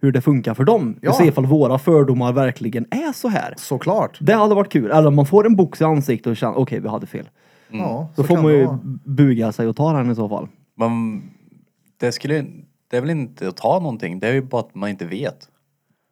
S2: hur det funkar för dem.
S1: Ja.
S2: Och se ifall våra fördomar verkligen är så här.
S1: såklart.
S2: Det hade varit kul. Eller om man får en box i ansiktet och känner okej, vi hade fel.
S3: Mm.
S1: Ja,
S2: Då
S1: så
S2: får
S1: kan
S2: man
S1: det
S2: ju
S1: vara.
S2: buga sig och ta den i så fall.
S3: Man, det, skulle, det är väl inte att ta någonting, det är ju bara att man inte vet.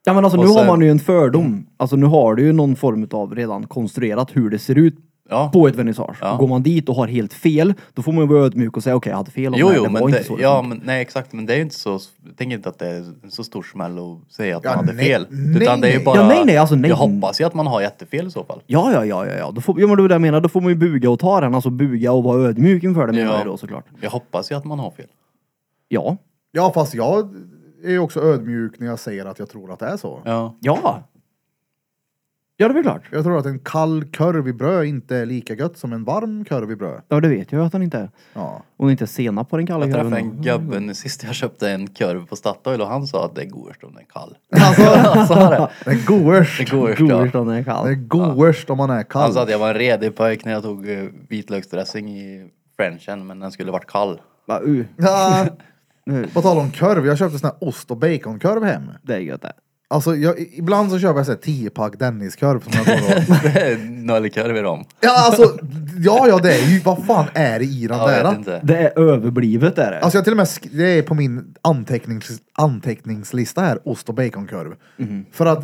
S2: Ja men alltså
S3: Och
S2: nu
S3: sen-
S2: har man ju en fördom. Alltså nu har du ju någon form av redan konstruerat hur det ser ut
S3: Ja.
S2: på ett vernissage.
S3: Ja.
S2: Och Går man dit och har helt fel, då får man ju vara ödmjuk och säga okej, jag hade fel. om
S3: Jo,
S2: det här.
S3: jo,
S2: det
S3: men,
S2: var
S3: det,
S2: inte så det
S3: ja,
S2: funkar."
S3: men nej exakt, men det är ju inte så, jag tänker inte att det är en så stor smäll att säga att
S1: Ja,
S3: man hade
S1: nej,
S3: fel.
S1: nej,
S3: utan det är ju
S1: nej.
S3: bara,
S2: Ja, nej, nej, alltså, nej.
S3: jag hoppas ju att man har jättefel i så fall.
S2: Ja, ja, ja, ja, ja. Då får, ja men det var det jag menar. Då får man ju buga och ta den. Alltså buga och vara ödmjuk inför det menar
S3: Ja.
S2: jag då såklart.
S3: Jag hoppas ju att man har fel.
S2: Ja.
S1: Ja, fast jag är ju också ödmjuk när jag säger att jag tror att det är så.
S3: Ja.
S2: Ja. Ja, det är väl klart.
S1: Jag tror att en kall korv i bröd inte är lika gött som en varm korv i bröd.
S2: Ja, det vet jag ju att han inte är.
S1: Ja.
S2: Hon är inte senap på den kalla
S3: Jag träffade
S2: korven.
S3: en gubbe nu sist jag köpte en korv på Statoil och han sa att det är godast om den är kall.
S1: Alltså,
S3: Han sa det.
S1: det är goerst.
S3: Det är godast, ja.
S2: Godis om den är
S1: Det är
S2: kall.
S1: goerst om man är kall.
S3: Han sa att jag Alltså, var en redig pojk när jag tog eh, vitlöksdressing i frenchen men den skulle varit kall.
S2: Va, uh,
S1: ja.
S2: Nu.
S1: På tal om korv, jag köpte sån här ost och baconkorv hem.
S2: det är gött det.
S1: Alltså, jag, ibland så köper jag så här 10-pack Dennis-korv som jag tar och...
S3: det är nollkorv i dem.
S1: Ja, alltså, ja, ja, det är ju... Vad fan är det i den
S3: Jag vet
S1: där?
S3: inte.
S2: Det är överblivet är det.
S1: Alltså jag till och med, sk- det är på min antecknings, anteckningslista här, ost och baconkorv. För att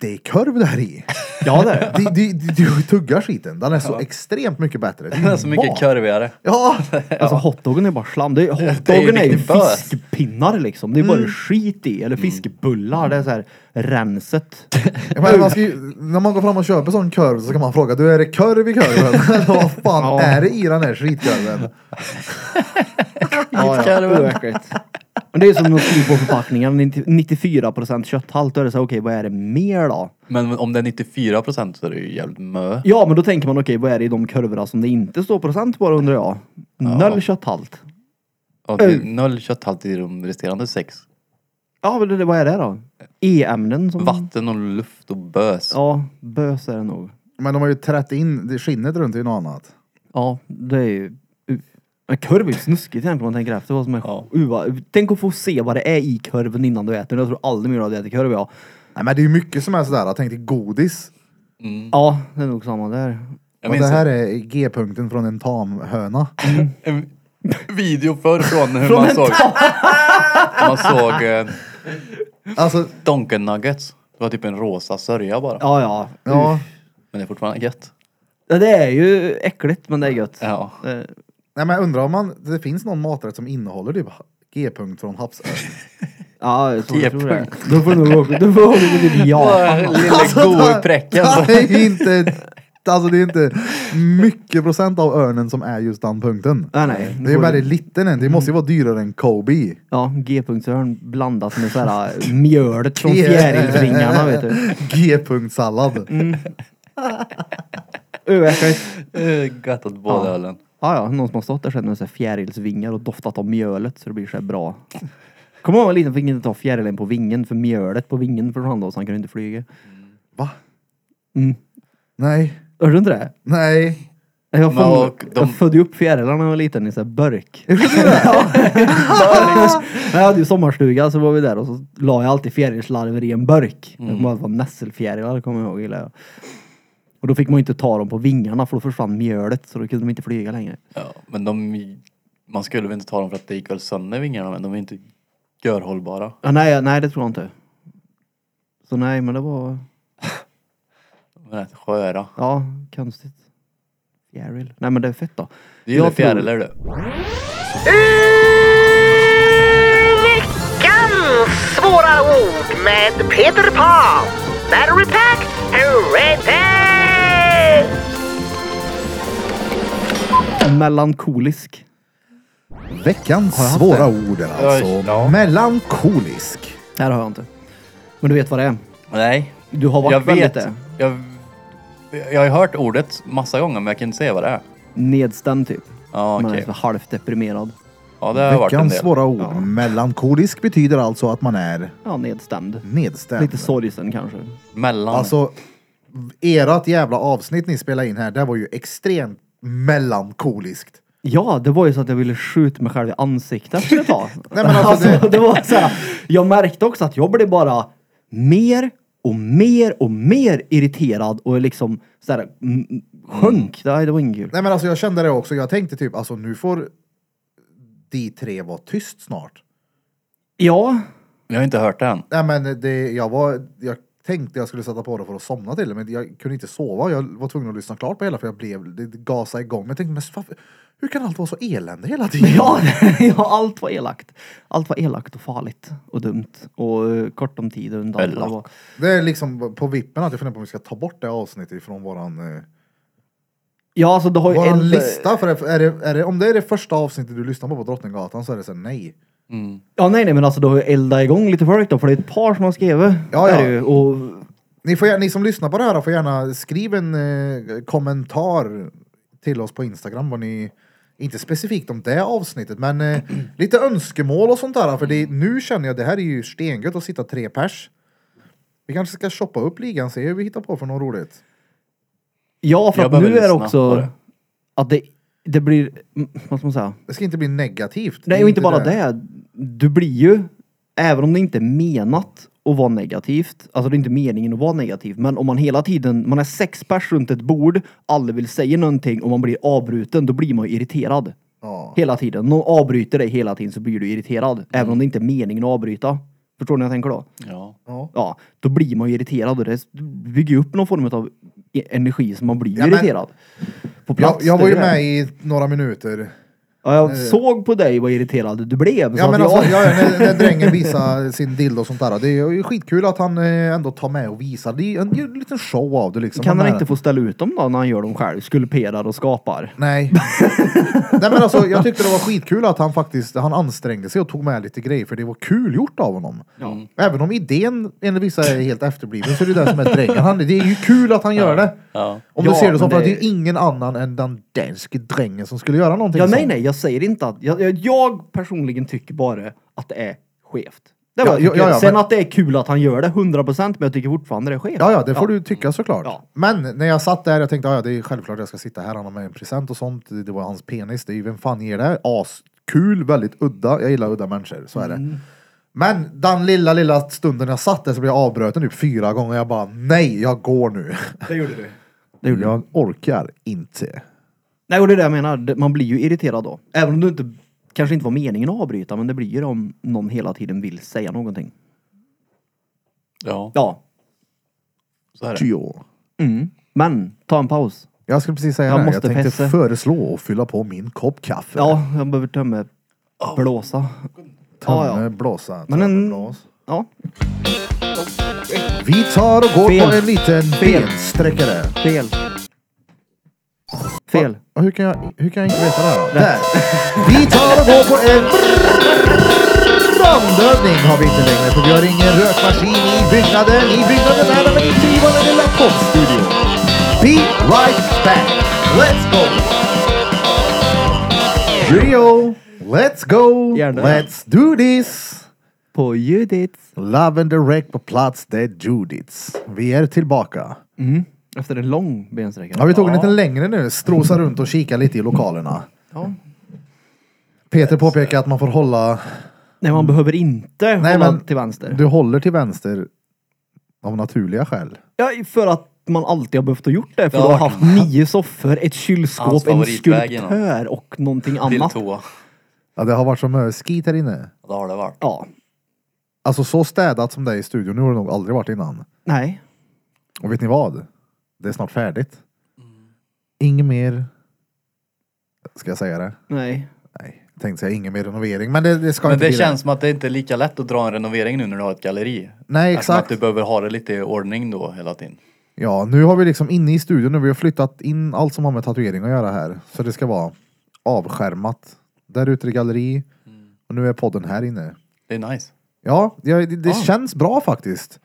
S1: det är korv där i.
S2: ja, det är det.
S1: Du, du, du, du tuggar skiten, den är så extremt mycket bättre.
S3: Det är så mycket körvigare.
S1: Ja,
S2: Alltså hotdoggen är bara slam. Det är,
S3: Det är ju
S2: hotdoggen är ju
S3: riktigt bös.
S2: fiskpinnar liksom. Det är bara skit i. Eller fiskbullar. Det är så här renset.
S1: jag menar, man ska ju, när man går fram och köper sån korv så kan man fråga, du är det korv i korven? Eller vad fan
S2: Ja.
S1: är det i den här skitkorven?
S2: Ja, ja. Oäckligt. Men det är som de skriver på förpackningen. 94% kötthalt. Då är det så här, okej vad är det mer då?
S3: Men om det är 94 procent så är det ju jävligt mö.
S2: Ja, men då tänker man okej, vad är det i de kurvorna som det inte står procent på undrar jag? Noll kötthalt.
S3: Och det är noll kötthalt i de resterande sex.
S2: Ja, men det, vad är det då? E-ämnen som...
S3: Vatten och luft och bös.
S2: Ja, bös är det nog.
S1: Men de har ju trätt in det skinnet runt i något annat.
S2: Ja, det är ju... Men korv är ju snuskigt egentligen om man tänker efter vad som är...
S3: Ja.
S2: Uh, vad- tänk att få se vad det är i korven innan du äter den. Jag tror aldrig mer att du äter korv ja.
S1: Nej men det är ju mycket som är sådär, jag tänkte godis.
S2: Ja, det är nog samma där.
S3: Mm. Jag
S1: Och
S3: minns
S1: det här är G-punkten från en tamhöna.
S3: en video förr från hur man såg... man såg eh,
S1: Alltså,
S3: Donken Nuggets. Det var typ en rosa sörja bara.
S2: Ja, ja.
S1: ja.
S3: Men det är fortfarande gött.
S2: Ja, Det är ju äckligt men det är gött.
S3: Ja.
S2: Eh,
S1: Nej men jag undrar om man, det finns någon maträtt som innehåller typ G-punkt från havsörn.
S2: Ja, jag tror, jag tror det.
S3: G-punkt.
S2: Då får du nog åka, då får du åka till Japan.
S3: Lille go i präcken.
S1: Alltså, Det är ju inte, alltså det är inte mycket procent av örnen som är just den punkten.
S2: Nej, nej.
S1: Det är ju bara en liten en, det måste ju vara dyrare än Kobe.
S2: Ja, G-punktsörn blandat med såhär mjölet från
S1: G-
S2: fjärilsvingarna vet du.
S1: G-punktsallad.
S3: Mm.
S2: Oäckligt.
S3: Eh, Gött åt båda ölen.
S2: Ja, ja, någon som har stått där sen med så här fjärilsvingar och doftat av mjölet så det blir så här bra. Kommer ihåg när jag var liten fick inte ta fjärilen på vingen för mjölet på vingen försvann då så han kunde inte flyga.
S1: Va?
S2: Mm.
S1: Nej,
S2: Hörde du inte det?
S1: nej.
S2: Jag,
S3: Men
S2: fan,
S3: och de-
S2: jag födde ju upp fjärilarna när jag var liten i så här burk. Ja. jag hade ju sommarstuga så var vi där och så la jag alltid fjärilslarver i en burk.
S3: Mm.
S2: Det var- det var nässelfjärilar kommer jag ihåg. gillar jag. Och då fick man ju inte ta dem på vingarna för då försvann mjölet så då kunde de inte flyga längre.
S3: Ja, men de... Man skulle väl inte ta dem för att det gick väl sönder vingarna men de är inte görhållbara.
S2: Ja, nej, nej det tror jag inte. Så nej men det var,
S3: De är rätt sköra.
S2: ja konstigt. Fjäril. Nej men det är fett då.
S3: Du gillar
S2: Jag tror-
S3: fjärilar du.
S4: Veckans svåra ord med Peter Pan. Battery pack, ready!
S2: Melankolisk.
S1: Veckans
S2: haft
S1: svåra ord är alltså
S3: Ja.
S1: melankolisk.
S2: Det här har jag inte. Men du vet vad det är.
S3: Nej.
S2: Du har varit
S3: Jag
S2: väldigt
S3: vet.
S2: det.
S3: Jag, jag har ju hört ordet massa gånger men jag kan inte säga vad det är.
S2: Nedstämd typ.
S3: Ja,
S2: Man
S3: okej.
S2: är så halvt deprimerad.
S3: Ja, det har varit en
S1: Veckans
S3: del.
S1: svåra ord. Melankolisk betyder alltså att man är
S2: Ja, nedstämd.
S1: nedstämd.
S2: Lite sorgsen kanske.
S3: Mellan.
S1: Alltså, ert jävla avsnitt ni spelade in här, det var ju extremt melankoliskt.
S2: Ja, det var ju så att jag ville skjuta mig själv i ansiktet efter ett tag.
S1: Nej, men alltså,
S2: det... var så här, jag märkte också att jag blev bara mer och mer och mer irriterad och liksom så här, m- m- sjönk. Nej, det var inget kul.
S1: Nej men alltså jag kände det också, jag tänkte typ alltså nu får de tre vara tyst snart.
S2: Ja,
S3: Jag har inte hört det än.
S1: Nej men det, jag var, jag tänkte jag skulle sätta på det för att somna till men jag kunde inte sova. Jag var tvungen att lyssna klart på hela för jag blev, det gasade igång. Men jag tänkte men varför- hur kan allt vara så elände hela tiden?
S2: ja, ja, allt var elakt. Allt var elakt och farligt och dumt och eh, kort om tid och undan.
S3: Elakt.
S2: Det var-
S1: Det är liksom på vippen att jag funderar på om vi ska ta bort det avsnittet från våran eh,
S2: Ja, alltså det har ju
S1: Våran
S2: en
S1: lista, för det, är det, är det, om det är det första avsnittet du lyssnar på på Drottninggatan så är det så här, nej.
S3: Mm.
S2: Ja, nej, nej, men alltså du har ju eldat igång lite folk då, för det är ett par som har skrivit.
S1: Ja, ja.
S2: Är det ju, och
S1: Ni, får, gärna- ni som lyssnar på det här får gärna skriva en eh, kommentar till oss på Instagram vad ni, inte specifikt om det avsnittet, men eh, lite önskemål och sånt där. För det, nu känner jag det här är ju stengött att sitta tre pers. Vi kanske ska shoppa upp ligan, se hur vi hittar på för något roligt.
S2: Ja, för
S3: Jag
S2: att
S3: behöver
S2: nu är det
S3: lyssna på
S2: också
S3: det.
S2: att det, det blir, mm, vad ska man säga?
S1: Det ska inte bli negativt.
S2: Nej, och inte bara det. Du blir ju, även om det inte är menat att vara negativt, alltså det är inte meningen att vara negativ, men om man hela tiden, man är sex pers runt ett bord, alla vill säga någonting och man blir avbruten, då blir man ju irriterad.
S1: Ja.
S2: Hela tiden. Någon avbryter dig hela tiden så blir du irriterad. Även om det inte är meningen att avbryta. Förstår ni vad jag tänker då?
S3: Ja.
S1: Ja.
S2: Ja, då blir man ju irriterad och det bygger ju upp någon form av e- energi som man blir
S1: Ja, men-
S2: irriterad. På plats.
S1: Jag, jag var
S2: det
S1: ju
S2: är det.
S1: med i några minuter.
S2: Ja, jag såg på dig vad irriterad du blev. så
S1: Ja
S2: att
S1: men
S2: jag-
S1: alltså, ja, ja, när, när drängen visar sin dildo och sånt där. Det är ju skitkul att han eh, ändå tar med och visar. Det är ju en, det är ju en liten show av det liksom.
S2: kan han
S1: är-
S2: inte få ställa ut dem då när han gör dem själv? Skulperar och skapar.
S1: Nej. Nej men alltså jag tyckte det var skitkul att han faktiskt, han ansträngde sig och tog med lite grejer för det var kul gjort av honom.
S3: Mm.
S1: Även om idén enligt vissa är helt efterbliven så är det det som är drängen. Han, det är ju kul att han gör det.
S3: Ja.
S1: Om
S2: Ja,
S1: du ser det som
S2: men
S1: för att
S2: det-
S1: det är ju ingen annan än den danske drängen som skulle göra någonting
S2: Ja, nej,
S1: sånt.
S2: nej, jag säger inte att... Jag, jag, jag personligen tycker bara att det är skevt. Det
S1: Ja,
S2: var jag tycker.
S1: ja, ja, men-
S2: Sen att det är kul att han gör det 100% men jag tycker fortfarande det är skevt.
S1: Ja, ja, det får du tycka såklart.
S2: Ja.
S1: Men när jag satt där, jag tänkte, ja, ja, det är självklart jag ska sitta här, han har med en present och sånt. Det det var hans penis, det är ju, vem fan ger det? här? Askul, väldigt udda. Jag gillar udda människor, så är
S2: Mm.
S1: det. Men den lilla, lilla stunden jag satt där så blev jag avbruten typ fyra gånger. Jag bara, nej, jag går nu.
S2: Det gjorde du.
S1: Jag orkar inte.
S2: Nej, och det är det jag menar. Det- Man blir ju irriterad då. Även om det inte, kanske inte var meningen att avbryta, men det blir ju det om någon hela tiden vill säga någonting.
S3: Ja,
S2: Ja.
S3: så är det.
S1: Jo.
S2: Mm. Men, ta en paus.
S1: Jag skulle precis säga
S2: Jag
S1: jag det, här. jag
S2: måste
S1: tänkte
S2: pissa.
S1: föreslå och fylla på min kopp kaffe.
S2: Ja, jag behöver tömme blåsa.
S1: Tömme,
S2: ja, ja.
S1: blåsa,
S2: Men
S1: tömme,
S2: en-
S1: blås.
S2: Ja,
S1: Vi tar och går
S2: Fel.
S1: på en liten
S2: Fel.
S1: bensträckare.
S2: fel. Fel.
S1: Och hur, kan jag, hur kan jag inte veta det här då? Där! Vi tar och går på en ramdövning har vi inte längre för vi har ingen rökmaskin i byggnaden. I byggnaden är den inte i vår lilla poddstudio. Be right back. Let's go! Rio, let's go!
S2: Gärna.
S1: Let's do this!
S2: På Judith.
S1: Love and direct på plats, det är Judiths. Vi är tillbaka.
S2: Mm. Efter en lång bensträcka.
S1: Ja, vi tog en lite längre nu. Strosa runt och kika lite i lokalerna.
S2: Ja.
S1: Peter påpekar att man får hålla...
S2: Nej, man behöver inte
S1: Nej,
S2: hålla
S1: men-
S2: till vänster.
S1: Du håller till vänster av naturliga skäl.
S2: Ja, för att man alltid har behövt ha gjort det. För
S3: Ja.
S2: du har haft nio soffor, ett
S3: Hans
S2: kylskåp, en
S3: favoritväg innan.
S2: skulptör och någonting
S3: Till
S2: annat.
S3: toa.
S1: Ja, det har varit som öskit här inne.
S3: Det har det varit.
S2: Ja.
S1: Alltså så städat som det är i studion, nu har det nog aldrig varit innan.
S2: Nej.
S1: Och vet ni vad? Det är snart färdigt. Inget mer... Ska jag säga det?
S2: Nej.
S1: Nej, jag tänkte säga inget mer renovering, men det, det ska
S3: Men
S1: inte
S3: det
S1: bli
S3: känns som att det inte är lika lätt att dra en renovering nu när du har ett galleri.
S1: Nej,
S3: Alltså
S1: exakt.
S3: Att du behöver ha det lite i ordning då hela tiden.
S1: Ja, nu har vi liksom inne i studion nu. Vi har flyttat in allt som har med tatuering att göra här. Så det ska vara avskärmat. Där ute i galleri.
S2: Mm.
S1: Och nu är podden här inne.
S3: Det är nice.
S1: Ja, det, det
S2: Ah.
S1: det känns bra faktiskt.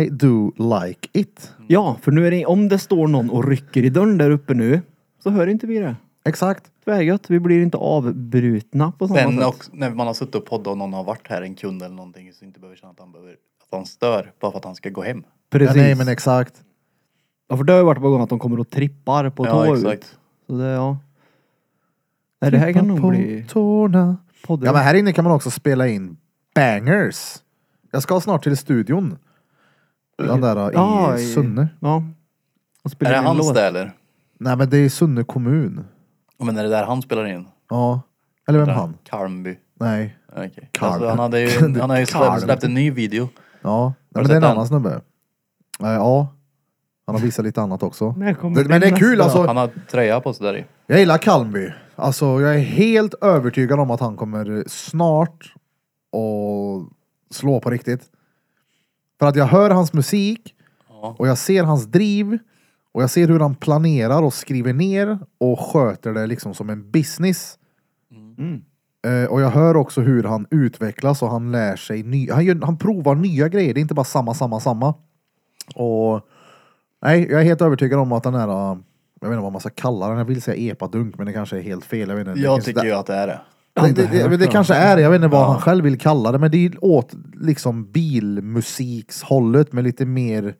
S1: I do like it.
S2: Ja, för nu är det, om det står någon och rycker i dörren där uppe nu, så hör inte vi det.
S1: Exakt.
S2: Tvärgött, vi blir inte avbrutna på samma
S3: Sen
S2: sätt.
S3: också, när man har suttit och poddat och någon har varit här, en kund eller någonting, så inte behöver känna att han behöver, att han stör bara för att han ska gå hem.
S1: Ja,
S2: Precis.
S1: nej, men exakt.
S2: ja, för det har ju varit på gång att de kommer och trippar på tå
S3: ja,
S2: ut.
S3: exakt.
S2: Så det, ja. Nej, det här kan
S1: På
S2: nog bli
S1: tårna.
S2: podden.
S1: Ja, men här inne kan man också spela in bangers. Jag ska snart till studion. Den där eh,
S2: Ja,
S1: i Sunne.
S2: Ja. Och
S3: Är
S2: spelar
S3: det
S2: in
S3: hans
S2: låt.
S3: det eller?
S1: Nej, men det är Sunne kommun.
S3: Ja, Men är det där han spelar in?
S1: Ja. Eller vem han?
S3: Karmby.
S1: Nej.
S3: Okej.
S1: Karl.
S3: Alltså, han hade ju, han har ju
S1: Karl.
S3: släppt, släppt en ny video.
S1: Ja,
S3: Har
S1: Nej,
S3: du
S1: men det är en
S3: sett
S1: annan snubbe. Eh, ja, han har visat lite annat också.
S2: När kommer
S1: Det, men det är
S2: din
S1: kul
S2: nästa?
S1: alltså.
S3: Han har tröja på sig där i.
S1: Jag gillar Kalmby. Alltså jag är helt övertygad om att han kommer snart och slå på riktigt. För att jag hör hans musik
S3: Ja.
S1: och jag ser hans driv och jag ser hur han planerar och skriver ner och sköter det liksom som en business.
S2: Mm.
S1: Eh, och jag hör också hur han utvecklas och han lär sig nya, han, gör, han provar nya grejer, det är inte bara samma, samma, samma. Och nej, jag är helt övertygad om att den här, eh, jag vet inte vad man ska kalla den, jag vill säga epadunk men det kanske är helt fel. Jag, vet inte.
S3: Jag
S1: det,
S3: tycker ju att det är det.
S1: det, det, det, det, det kanske är det, jag vet inte vad han själv vill kalla det men det är ju åt liksom bilmusikshållet med lite mer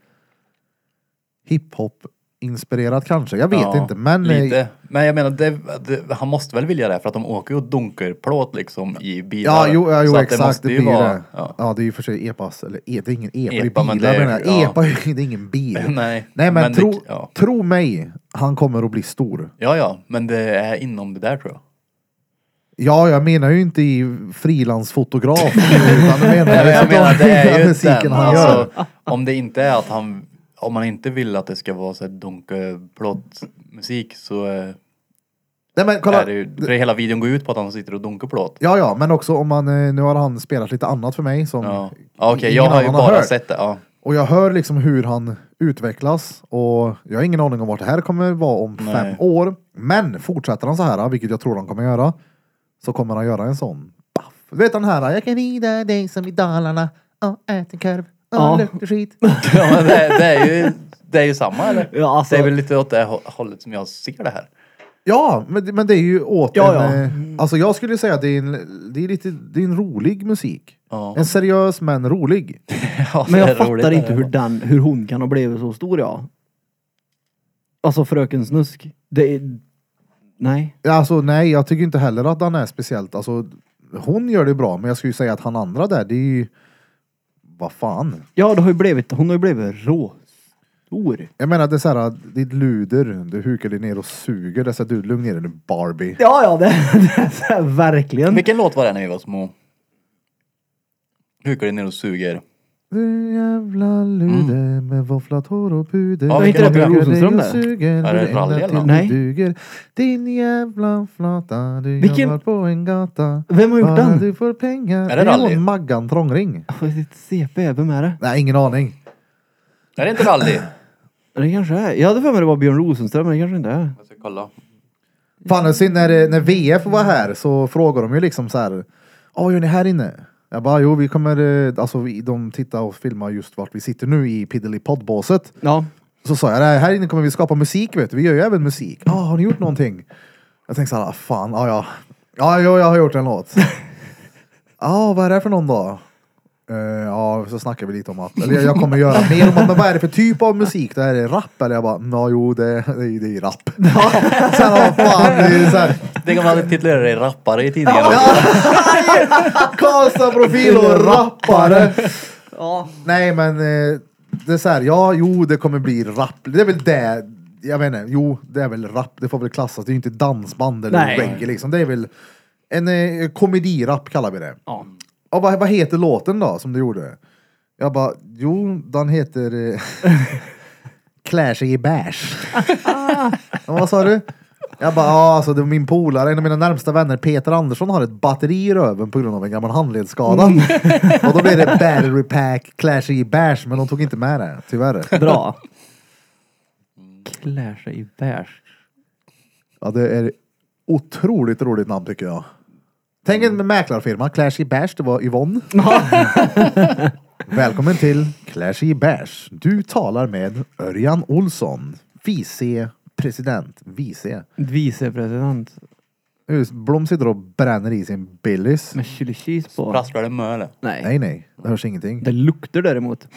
S1: hiphop inspirerat kanske. Jag vet
S3: Ja,
S1: inte men eh,
S3: Lite. Men jag menar, det, det, han måste väl vilja det för att de åker ju och dunkar plåt liksom i bilar.
S1: Ja, jo, ja,
S3: Så att
S1: jo
S3: det
S1: exakt.
S3: måste
S1: Det,
S3: ju
S1: blir
S3: vara-
S1: det. Ja.
S3: Ja.
S1: det är ju för sig epas, eller e, det är ingen epa,
S3: Epa,
S1: det är
S3: men
S1: bilar
S3: det är-
S1: menar jag.
S3: ja.
S1: Epa, är ju- det är ingen bil.
S3: Nej.
S1: Nej men,
S3: det-
S1: tro,
S3: ja.
S1: tro mig, han kommer att bli stor.
S3: ja, ja, men det är inom det där tror jag.
S1: Ja, jag menar ju inte i frilansfotograf. utan det menar liksom
S3: Nej, men jag menar, det är ju
S1: musiken
S3: den.
S1: han gör.
S3: Alltså, om det inte är att han, om man inte vill att det ska vara så här dunkeplåt musik så eh,
S1: Nej, men kolla.
S3: är det ju, för hela videon går ut på att han sitter och dunkar plåt.
S1: Ja, ja, men också om man, eh, nu har han spelat lite annat för mig som
S3: Ja. Ja, Okej,
S1: Mm. ingen
S3: jag har ju
S1: annan
S3: bara
S1: hört.
S3: sett det. Ja.
S1: Och jag hör liksom hur han utvecklas och jag har ingen aning om vart det här kommer vara om
S3: Nej.
S1: fem år. Men fortsätter han så här, vilket jag tror han kommer göra, så kommer han göra en sån baff. Du vet den här, jag kan rida dig som i Dalarna och äta korv och
S2: Ja.
S1: lukta skit.
S3: Ja, men det, det, är ju, det är ju samma eller?
S2: Ja, alltså-
S3: Det är väl lite åt det hå- hållet som jag ser det här.
S1: Ja, men, det- men det är ju åt
S2: Ja,
S1: en,
S2: ja.
S1: eh, Alltså jag skulle säga att det är en, det är lite, det är en rolig musik. En seriös men rolig.
S3: Ja,
S2: Men
S3: det
S2: jag
S3: är roligt.
S2: fattar inte hur, den, hur hon kan ha blivit så stor ja. Alltså Fröken Snusk. Det är... Nej.
S1: Alltså nej, jag tycker inte heller att han är speciellt, alltså hon gör det bra, men jag skulle ju säga att han andra där, det är ju, vad fan.
S2: Ja det har ju blivit, hon har ju blivit råstor.
S1: Jag menar det är såhär, ditt luder, du hukar dig ner och suger, det är såhär, du lugn ner dig nu Barbie.
S2: Ja ja det, det är så här, verkligen.
S3: Vilken låt var det när vi var små? Hukar dig ner och suger.
S1: Du jävla luder med våfflat hår och puder.
S3: Mm. Ja, Var inte det
S1: Hukar
S2: Björn
S1: dig
S2: Rosenström
S1: och
S2: där?
S1: Suger,
S3: Är det
S1: ända
S3: rally eller
S1: till
S3: något?
S1: du
S2: Nej.
S1: Duger. Din jävla flata, du
S2: Vilken-
S1: jobbar på en gata.
S2: Vem har gjort
S1: Bara
S2: den?
S1: du får pengar.
S3: det
S1: det är
S3: rally?
S1: hon Maggan Trångring.
S2: Ditt CP, vem är det?
S1: Nej, ingen aning.
S3: Är det inte rally?
S2: Det kanske är. Jag hade för mig det var Björn Rosenström men det kanske inte är.
S3: Jag ska kolla.
S1: Fan, det är synd, när, när VF var här så frågade de ju liksom så här. Ja, vad gör ni här inne? Jag bara, jo, vi kommer, eh, alltså vi, de tittar och filmar just vart vi sitter nu i Piddelipod-båset.
S2: Ja.
S1: Så sa jag, "Nej, här inne kommer vi skapa musik vet du, vi gör ju även musik. Ja, har ni gjort någonting? Jag tänkte såhär, fan, ah, ja ja. Ja, jo, jag har gjort en låt. Ja, vad är det för någon då? "Eh, Ja, så snackar vi lite om att, eller jag- jag kommer göra mer om att, men vad är det för typ av musik? Det här är rap eller? Jag bara, ja jo det, det, är- det är rap. Sen, ja, fan, det är så här,
S3: Tänk om man hade titulerat dig rappare i tidningarna.
S1: Karlstad-profil och rappare.
S2: Ja.
S1: Nej men eh, det är så här, ja jo det kommer bli rap. Det är väl det, jag vet inte, jo det är väl rap, det får väl klassas. Det är ju inte dansband eller
S2: Nej.
S1: reggae liksom. Det är väl en eh, komedirap kallar vi det.
S2: Ja.
S1: Ja, vad, vad heter låten då som du gjorde? Jag bara, jo den heter eh, Klär sig i bärs. Ja, vad sa du? Jag bara, ja alltså det var min polare, en av mina närmsta vänner, Peter Andersson har ett batteri i röven på grund av en gammal handledsskada. Och då blev det battery pack, klär sig i bärs, men de tog inte med det, tyvärr.
S2: Bra. Klär sig i bärs.
S1: Ja, det är otroligt roligt namn tycker jag. Tänk en mäklarfirma, klär sig i bärs, det var Yvonne. Välkommen till Klär sig i bärs. Du talar med Örjan Olsson, vice president, vice.
S2: Vicepresident.
S1: Just, Blom sitter och bränner i sin Billys.
S2: Med chili cheese på.
S3: Prasslar det mö eller?
S2: Nej.
S1: Nej, nej, det hörs ingenting.
S2: Det luktar däremot.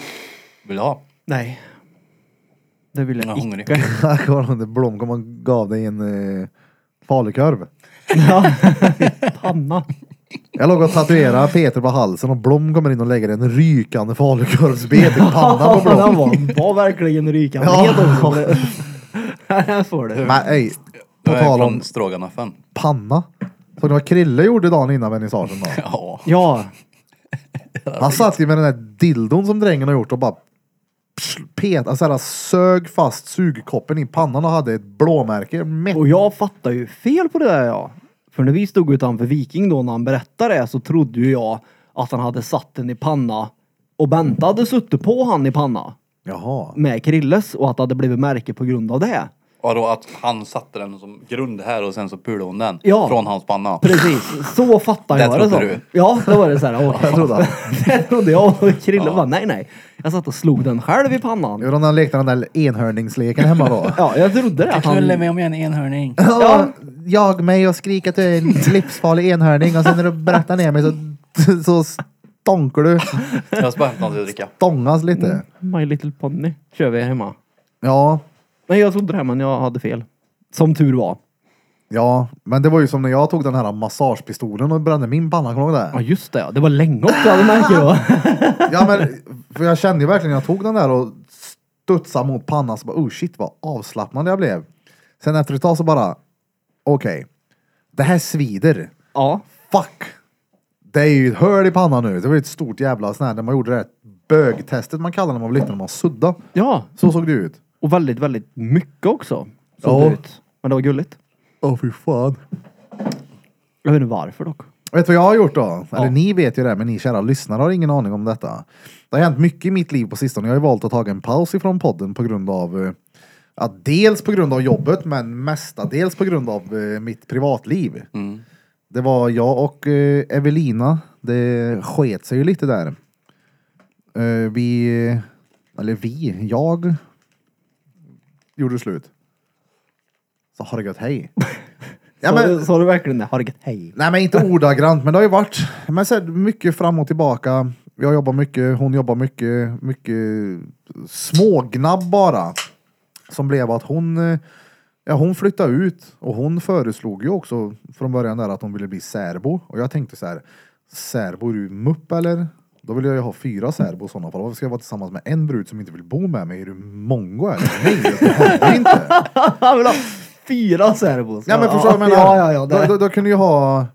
S3: Vill du ha?
S2: Nej. Det vill
S3: Jag
S2: jag
S3: är hungrig.
S2: icke.
S1: Tack vare Blom kom och gav dig en eh, falukorv.
S2: Ja. Panna.
S1: Jag låg och tatuerade Peter på halsen och Blom kommer in och lägger en rykande falukorvsbet i pannan på
S2: Ja,
S1: Blom.
S2: den var, var verkligen rykande
S1: Ja.
S2: het också. Här får du.
S1: Men ej, på
S3: Du är
S1: tal om
S3: från stroganoffen.
S1: panna. Såg ni vad Krille gjorde dagen innan vernissagen då?
S3: Ja.
S2: Ja.
S1: Han satt ju med den där dildon som drängen har gjort och bara petade, alltså, här, sög fast sugkoppen i pannan och hade ett blåmärke. Mätt.
S2: Och jag fattar ju fel på det där ja. För när vi stod utanför Viking då när han berättade det så trodde ju jag att han hade satt den i panna och Bente hade suttit på han i panna
S1: Jaha.
S2: med Krilles och att det hade blivit märke på grund av det.
S3: Och då att han satte den som grund här och sen så pulade hon den.
S2: Ja.
S3: Från hans panna.
S2: Precis, så fattar
S3: Det
S2: jag det
S3: trodde
S2: som.
S3: du.
S2: Ja, då var det så här. Åh,
S1: Jag trodde han.
S2: det trodde jag och Krille
S3: Ja.
S2: bara nej nej. Jag satt och slog den själv i pannan.
S1: Gjorde han lekte den där enhörningsleken hemma då?
S2: Ja, jag trodde det.
S3: Jag
S2: Att han...
S3: knullar mig om jag är en enhörning.
S1: Ja. Jag mig och skrik att du är en livsfarlig enhörning och sen när du berättar ner mig så, så stonkar du.
S3: Jag ska bara hämta något att dricka.
S1: Stångas lite.
S2: My little pony kör vi hemma.
S1: Ja,
S2: Nej, jag trodde det här men jag hade fel. Som tur var.
S1: ja, men det var ju som när jag tog den här massagepistolen och brände min panna, kommer du ihåg
S2: Ja
S1: det?
S2: just det ja. det var länge också jag hade märkt det va?
S1: Ja, men för jag kände ju verkligen, jag tog den där och studsade mot pannan så bara, oh shit vad avslappnad jag blev. Sen efter ett tag så bara, okej, det här svider.
S2: Ja.
S1: Fuck! Det är ju ett hål i pannan nu. Det var ju ett stort jävla sån här, när man gjorde det här bögtestet man kallade det när man var liten, när man sudda.
S2: Ja.
S1: Så såg det ut.
S2: Och väldigt, väldigt mycket också. Såg
S1: Ja.
S2: det ut. Men det var gulligt.
S1: Åh fy fan.
S2: Jag vet inte varför dock.
S1: Vet du vad jag har gjort då? Eller ni vet ju det, men ni kära lyssnare har ingen aning om detta. Det har hänt mycket i mitt liv på sistone. Jag har ju valt att ta en paus ifrån podden på grund av eh, ja, dels på grund av jobbet, men mestadels på grund av eh, mitt privatliv. Det var jag och eh, Evelina. Det sket sig ju lite där. Eh, vi, eller vi, jag gjorde slut. Så har det gött, hej.
S2: Ja,
S1: Ja, men,
S2: Sa du verkligen det? Har det gött, hej.
S1: nej men inte ordagrant, men det har ju varit men så här, mycket fram och tillbaka. Jag jobbar mycket, hon jobbar mycket, mycket smågnabb bara. Som blev att hon, eh, ja hon flyttade ut och hon föreslog ju också från början där att hon ville bli särbo. Och jag tänkte så här, särbo är du mupp eller? Då vill jag ju ha fyra särbo i sådana fall. Varför ska jag vara tillsammans med en brud som inte vill bo med mig? Är du mongo eller? Nej, det händer inte.
S2: Han vill ha fyra serbos.
S1: Ja men förstår du vad jag menar?
S2: Ja, ja, ja.
S1: då,
S2: Det.
S1: då, då kunde ju ha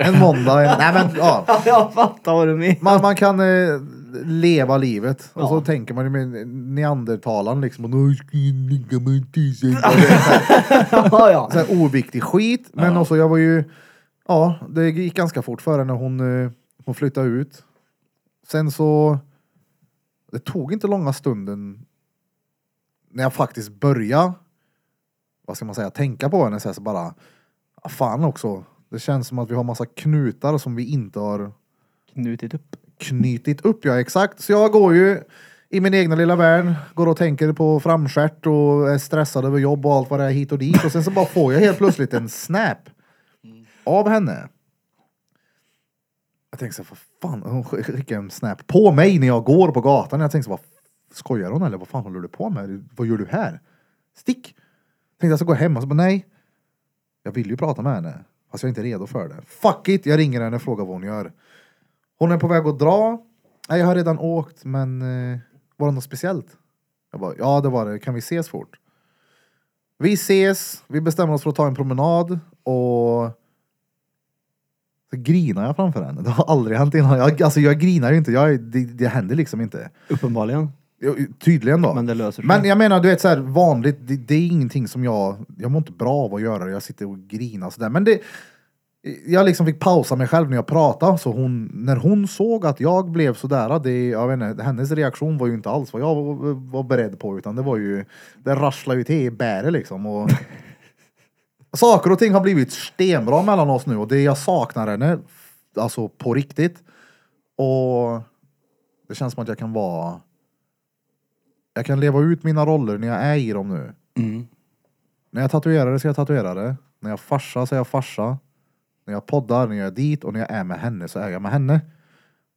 S1: en måndag. En, nej men ja.
S2: Jag fattar vad du menar.
S1: Man, man kan eh, leva livet. Och så
S2: Ja.
S1: tänker man ju med neandertalaren liksom. Och, "Nu ska jag ligga med en tisdag."
S2: Ja, ja.
S1: så här oviktig skit. Men också jag var ju, ja det gick ganska fort för henne. Hon, eh, hon flyttade ut. Sen så, det tog inte långa stunden när jag faktiskt började, vad ska man säga, tänka på henne så, här, så bara, "Ah, fan också. Det känns som att vi har massa knutar som vi inte har
S2: Knutit upp.
S1: knutit upp, ja exakt. Så jag går ju i min egna lilla värld, går och tänker på framskärt och är stressad över jobb och allt vad det är hit och dit. Och sen så bara får jag helt plötsligt en snap av henne. Jag tänker så här, vad fan, hon sk- skickar en snap på mig när jag går på gatan. Jag tänker så här, vad skojar hon eller vad fan håller du på med? Vad gör du här? Stick! Tänkte jag ska gå hem och så bara nej. Jag vill ju prata med henne. Fast jag är inte redo för det. Fuck it! Jag ringer henne och frågar vad hon gör. Hon är på väg att dra. Nej, jag har redan åkt, men eh, var det något speciellt? Jag bara, ja det var det. Kan vi ses fort? Vi ses, vi bestämmer oss för att ta en promenad och så grinar jag framför henne. Det har aldrig hänt innan. Jag, alltså jag grinar ju inte, jag, är- det, det händer liksom inte.
S2: Uppenbarligen.
S1: Jag- Tydligen då.
S2: Men det löser sig.
S1: Men jag menar, du vet så här, vanligt, det, det är ingenting som jag, jag mår inte bra av att göra det, jag sitter och grinar sådär. Men det, jag liksom fick pausa mig själv när jag pratade, så hon, när hon såg att jag blev sådär, det, jag vet inte, hennes reaktion var ju inte alls vad jag var, var beredd på, utan det var ju, det rasslade ju till i bäret liksom. Och, Saker och ting har blivit stenbra mellan oss nu och det jag saknar henne, alltså på riktigt. Och det känns som att jag kan vara jag kan leva ut mina roller när jag är i dem nu.
S3: Mm.
S1: När jag tatuerar det så är jag tatuerar det. När jag farsar så är jag farsa. När jag poddar, när jag är dit och när jag är med henne så är jag med henne.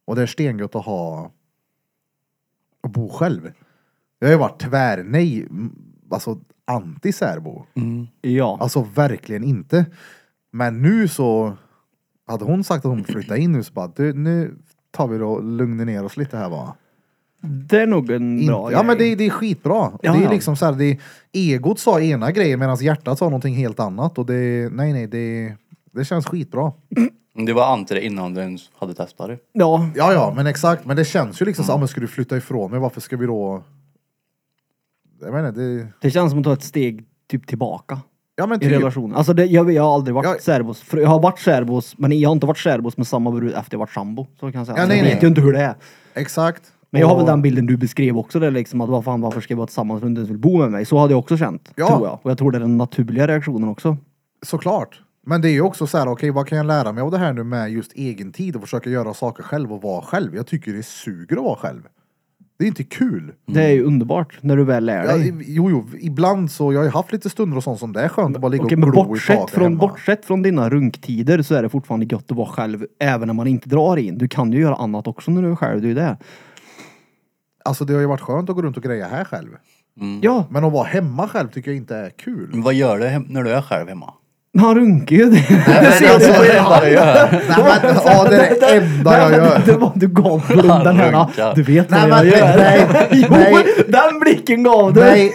S1: Och det är stengött att ha och bo själv. Jag har ju varit tvärnej, m- alltså anti-särbo.
S3: Mm.
S2: Ja.
S1: Alltså verkligen inte. Men nu så hade hon sagt att hon flyttade in nu så bara du, nu tar vi och lugnar ner oss lite här va.
S2: Det är nog en
S1: Inte.
S2: bra
S1: Mm. Ja
S2: grej.
S1: men det, det är skitbra. Och
S2: Ja,
S1: det är
S2: ja.
S1: liksom så här, det, egot sa ena grejen medan hjärtat sa någonting helt annat. Och det, nej nej, det, det känns skitbra.
S3: Mm. Det var anti det innan du ens hade testat det.
S2: Ja.
S1: Ja ja, men exakt. Men det känns ju
S2: Mm.
S1: liksom så, ah, men ska du flytta ifrån mig, varför ska vi då... Jag menar, det...
S2: Det känns som att ta ett steg typ tillbaka.
S1: Ja men
S2: I
S1: typ.
S2: relationen. Alltså det, jag, jag har aldrig varit
S1: Ja.
S2: särbos. För Jag har varit särbos, men jag har inte varit särbos med samma brud efter jag varit sambo. Så kan jag säga.
S1: Ja,
S2: Så
S1: nej,
S2: jag
S1: nej.
S2: vet ju inte hur det är.
S1: Exakt.
S2: Men jag har väl
S1: Och-
S2: den bilden du beskrev också, där liksom att vad fan, varför ska jag vara tillsammans om du inte ens vill bo med mig? Så hade jag också känt,
S1: Ja.
S2: tror jag. Och jag tror det är den naturliga reaktionen också.
S1: Såklart. Men det är ju också så här, okej vad kan jag lära mig av det här nu med just egen tid och försöka göra saker själv och vara själv. Jag tycker det suger att vara själv. Det är inte kul.
S2: Det är ju underbart när du väl lär
S1: Mm. Ja,
S2: dig.
S1: i- jo, jo, ibland så, jag har ju haft lite stunder och sånt som det är skönt att bara ligga
S2: Okej,
S1: och
S2: men
S1: glo i
S2: bortsett
S1: saker
S2: från,
S1: hemma.
S2: bortsett från dina runktider så är det fortfarande gött att vara själv, även när man inte drar in. Du kan ju göra annat också när du är själv, det är ju det.
S1: Alltså det har ju varit skönt att gå runt och greja här själv. Mm.
S2: Ja,
S1: Men att vara hemma själv tycker jag inte är kul.
S3: Men vad gör du hem- när du är själv hemma?
S2: han runkar ju. Det
S1: Nej, men alltså,
S3: Det enda du gör.
S1: nej, men, ja, det är det enda jag gör.
S2: Det var du gav den här.
S3: Runkar.
S2: Du vet
S1: Nej,
S2: vad jag
S1: men-
S2: gör.
S1: nej,
S2: jo,
S1: nej.
S2: den blicken gav du.
S1: Nej,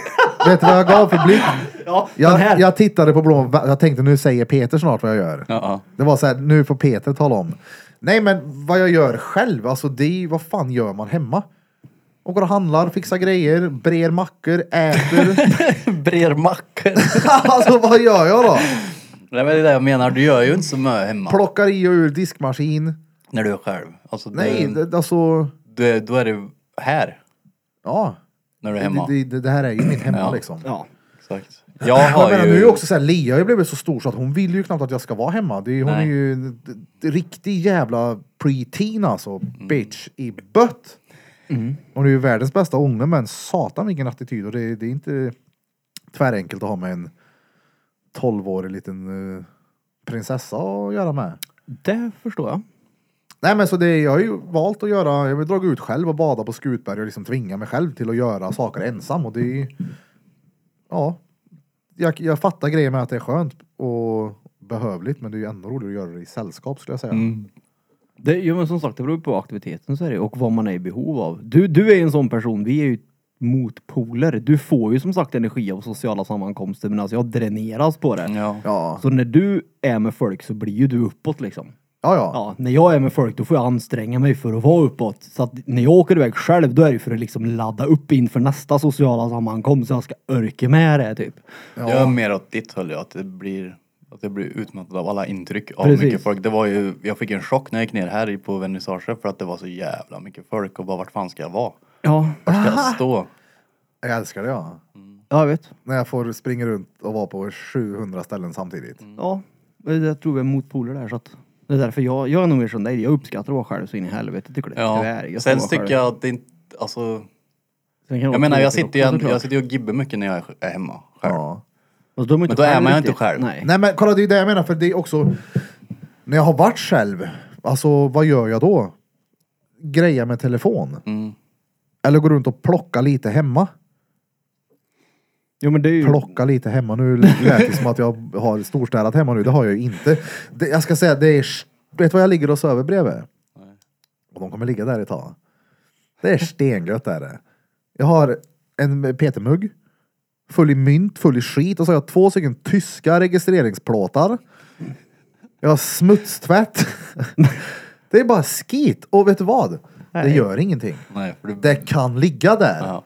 S1: vet du vad jag gav för blick?
S2: Ja, den här.
S1: Jag, jag tittade på Blom, jag tänkte nu säger Peter snart vad jag gör.
S3: Ja,
S1: Det var så här, nu får Peter tala om. Nej men vad jag gör själv, alltså det är ju- vad fan gör man hemma? Och går och handlar, fixar grejer, brer mackor, äter.
S3: ja. Brer mackor.
S1: alltså vad gör jag då?
S3: Nej men det är det jag menar, du gör ju inte så mycket hemma
S1: Plockar i och ur diskmaskin.
S3: när du är själv. Alltså,
S1: Nej,
S3: du,
S1: det, alltså,
S3: du, är- då är du här
S1: ja.
S3: när du är
S1: Det,
S3: hemma.
S1: det, det, det här är ju mitt hemma
S3: Ja.
S1: liksom.
S2: Ja.
S3: Exakt. Jag
S1: Jag
S3: har
S1: menar,
S3: ju...
S1: nu är ju också såhär, Lia har ju blivit så stor så att hon vill ju knappt att jag ska vara hemma. Det är, hon
S3: Nej.
S1: är ju en d- d- riktig jävla pre-teen alltså.
S3: Mm.
S1: Bitch i bött. Hon är ju världens bästa unge men satan vilken attityd och det, det är inte... tvärenkelt att ha med en 12-årig liten eh, prinsessa att göra med.
S2: Det förstår jag.
S1: Nej men så det, jag har ju valt att göra, jag vill dra ut själv och bada på Skutberg och liksom tvinga mig själv till att göra saker ensam och det är ju- Ja. Jag, jag fattar grejen med att det är skönt och behövligt men det är ju ändå roligare att göra det i sällskap skulle jag
S3: Mm.
S1: säga.
S2: Det, jo men som sagt, det beror på aktiviteten så är det, och vad man är i behov av. Du, du är en sån person, vi är ju motpoler. Du får ju som sagt energi av sociala sammankomster medan jag dräneras på det.
S3: Ja.
S1: Ja.
S2: Så när du är med folk så blir ju du uppåt liksom.
S1: Ja, ja.
S2: Ja, när jag är med folk då får jag anstränga mig för att vara uppåt. Så att när jag åker iväg själv då är det för att liksom ladda upp inför nästa sociala sammankomst så jag ska örka med det typ.
S3: Jag är mer åt ditt håll, ja, att det blir att jag blir utmattad av alla intryck av
S2: Precis.
S3: mycket folk. Det var ju, jag fick en chock när jag gick ner här i- på vernissagen för att det var så jävla mycket folk och bara vart fan ska jag vara?
S2: Ja,
S3: Vart ska jag stå?
S1: Jag älskar det ja.
S2: jag vet.
S1: När jag får springa runt och vara på 700 ställen samtidigt.
S2: Ja, men jag tror vi är motpoler där så att det är därför jag, jag är nog mer som dig. Jag uppskattar att vara själv så in i helvete tycker det. Det är
S3: Ja.
S2: gött
S3: Sen
S2: att vara
S3: tycker
S2: själv.
S3: jag att det inte, alltså.
S2: Sen kan det vara
S3: Jag menar jag
S2: tråkigt
S3: sitter ju
S2: också,
S3: ändå- jag
S2: såklart.
S3: sitter ju och gibbar mycket när jag är hemma själv.
S1: Ja.
S2: Fast då är man ju
S3: Men då är man ju
S2: riktigt.
S3: inte själv.
S2: Nej.
S1: Nej men kolla det är det jag menar för det är också När jag har varit själv Alltså vad gör jag då? Greja med telefon
S3: Mm.
S1: Eller gå runt och plocka lite hemma
S2: Jo men det är ju...
S1: Plocka lite hemma nu lät det som att jag har storstädat hemma nu Det har jag ju inte det, Jag ska säga det är Vet du vad jag ligger och söver bredvid? Och de kommer ligga där ett tag Det är stengött är det Jag har en PT-mugg Full i mynt, full i skit och så har jag två stycken tyska registreringsplåtar Jag har smutstvätt. det är bara skit. Och vet du vad? Det gör ingenting.
S3: Nej, för det,
S1: Det kan ligga där.
S3: Ja.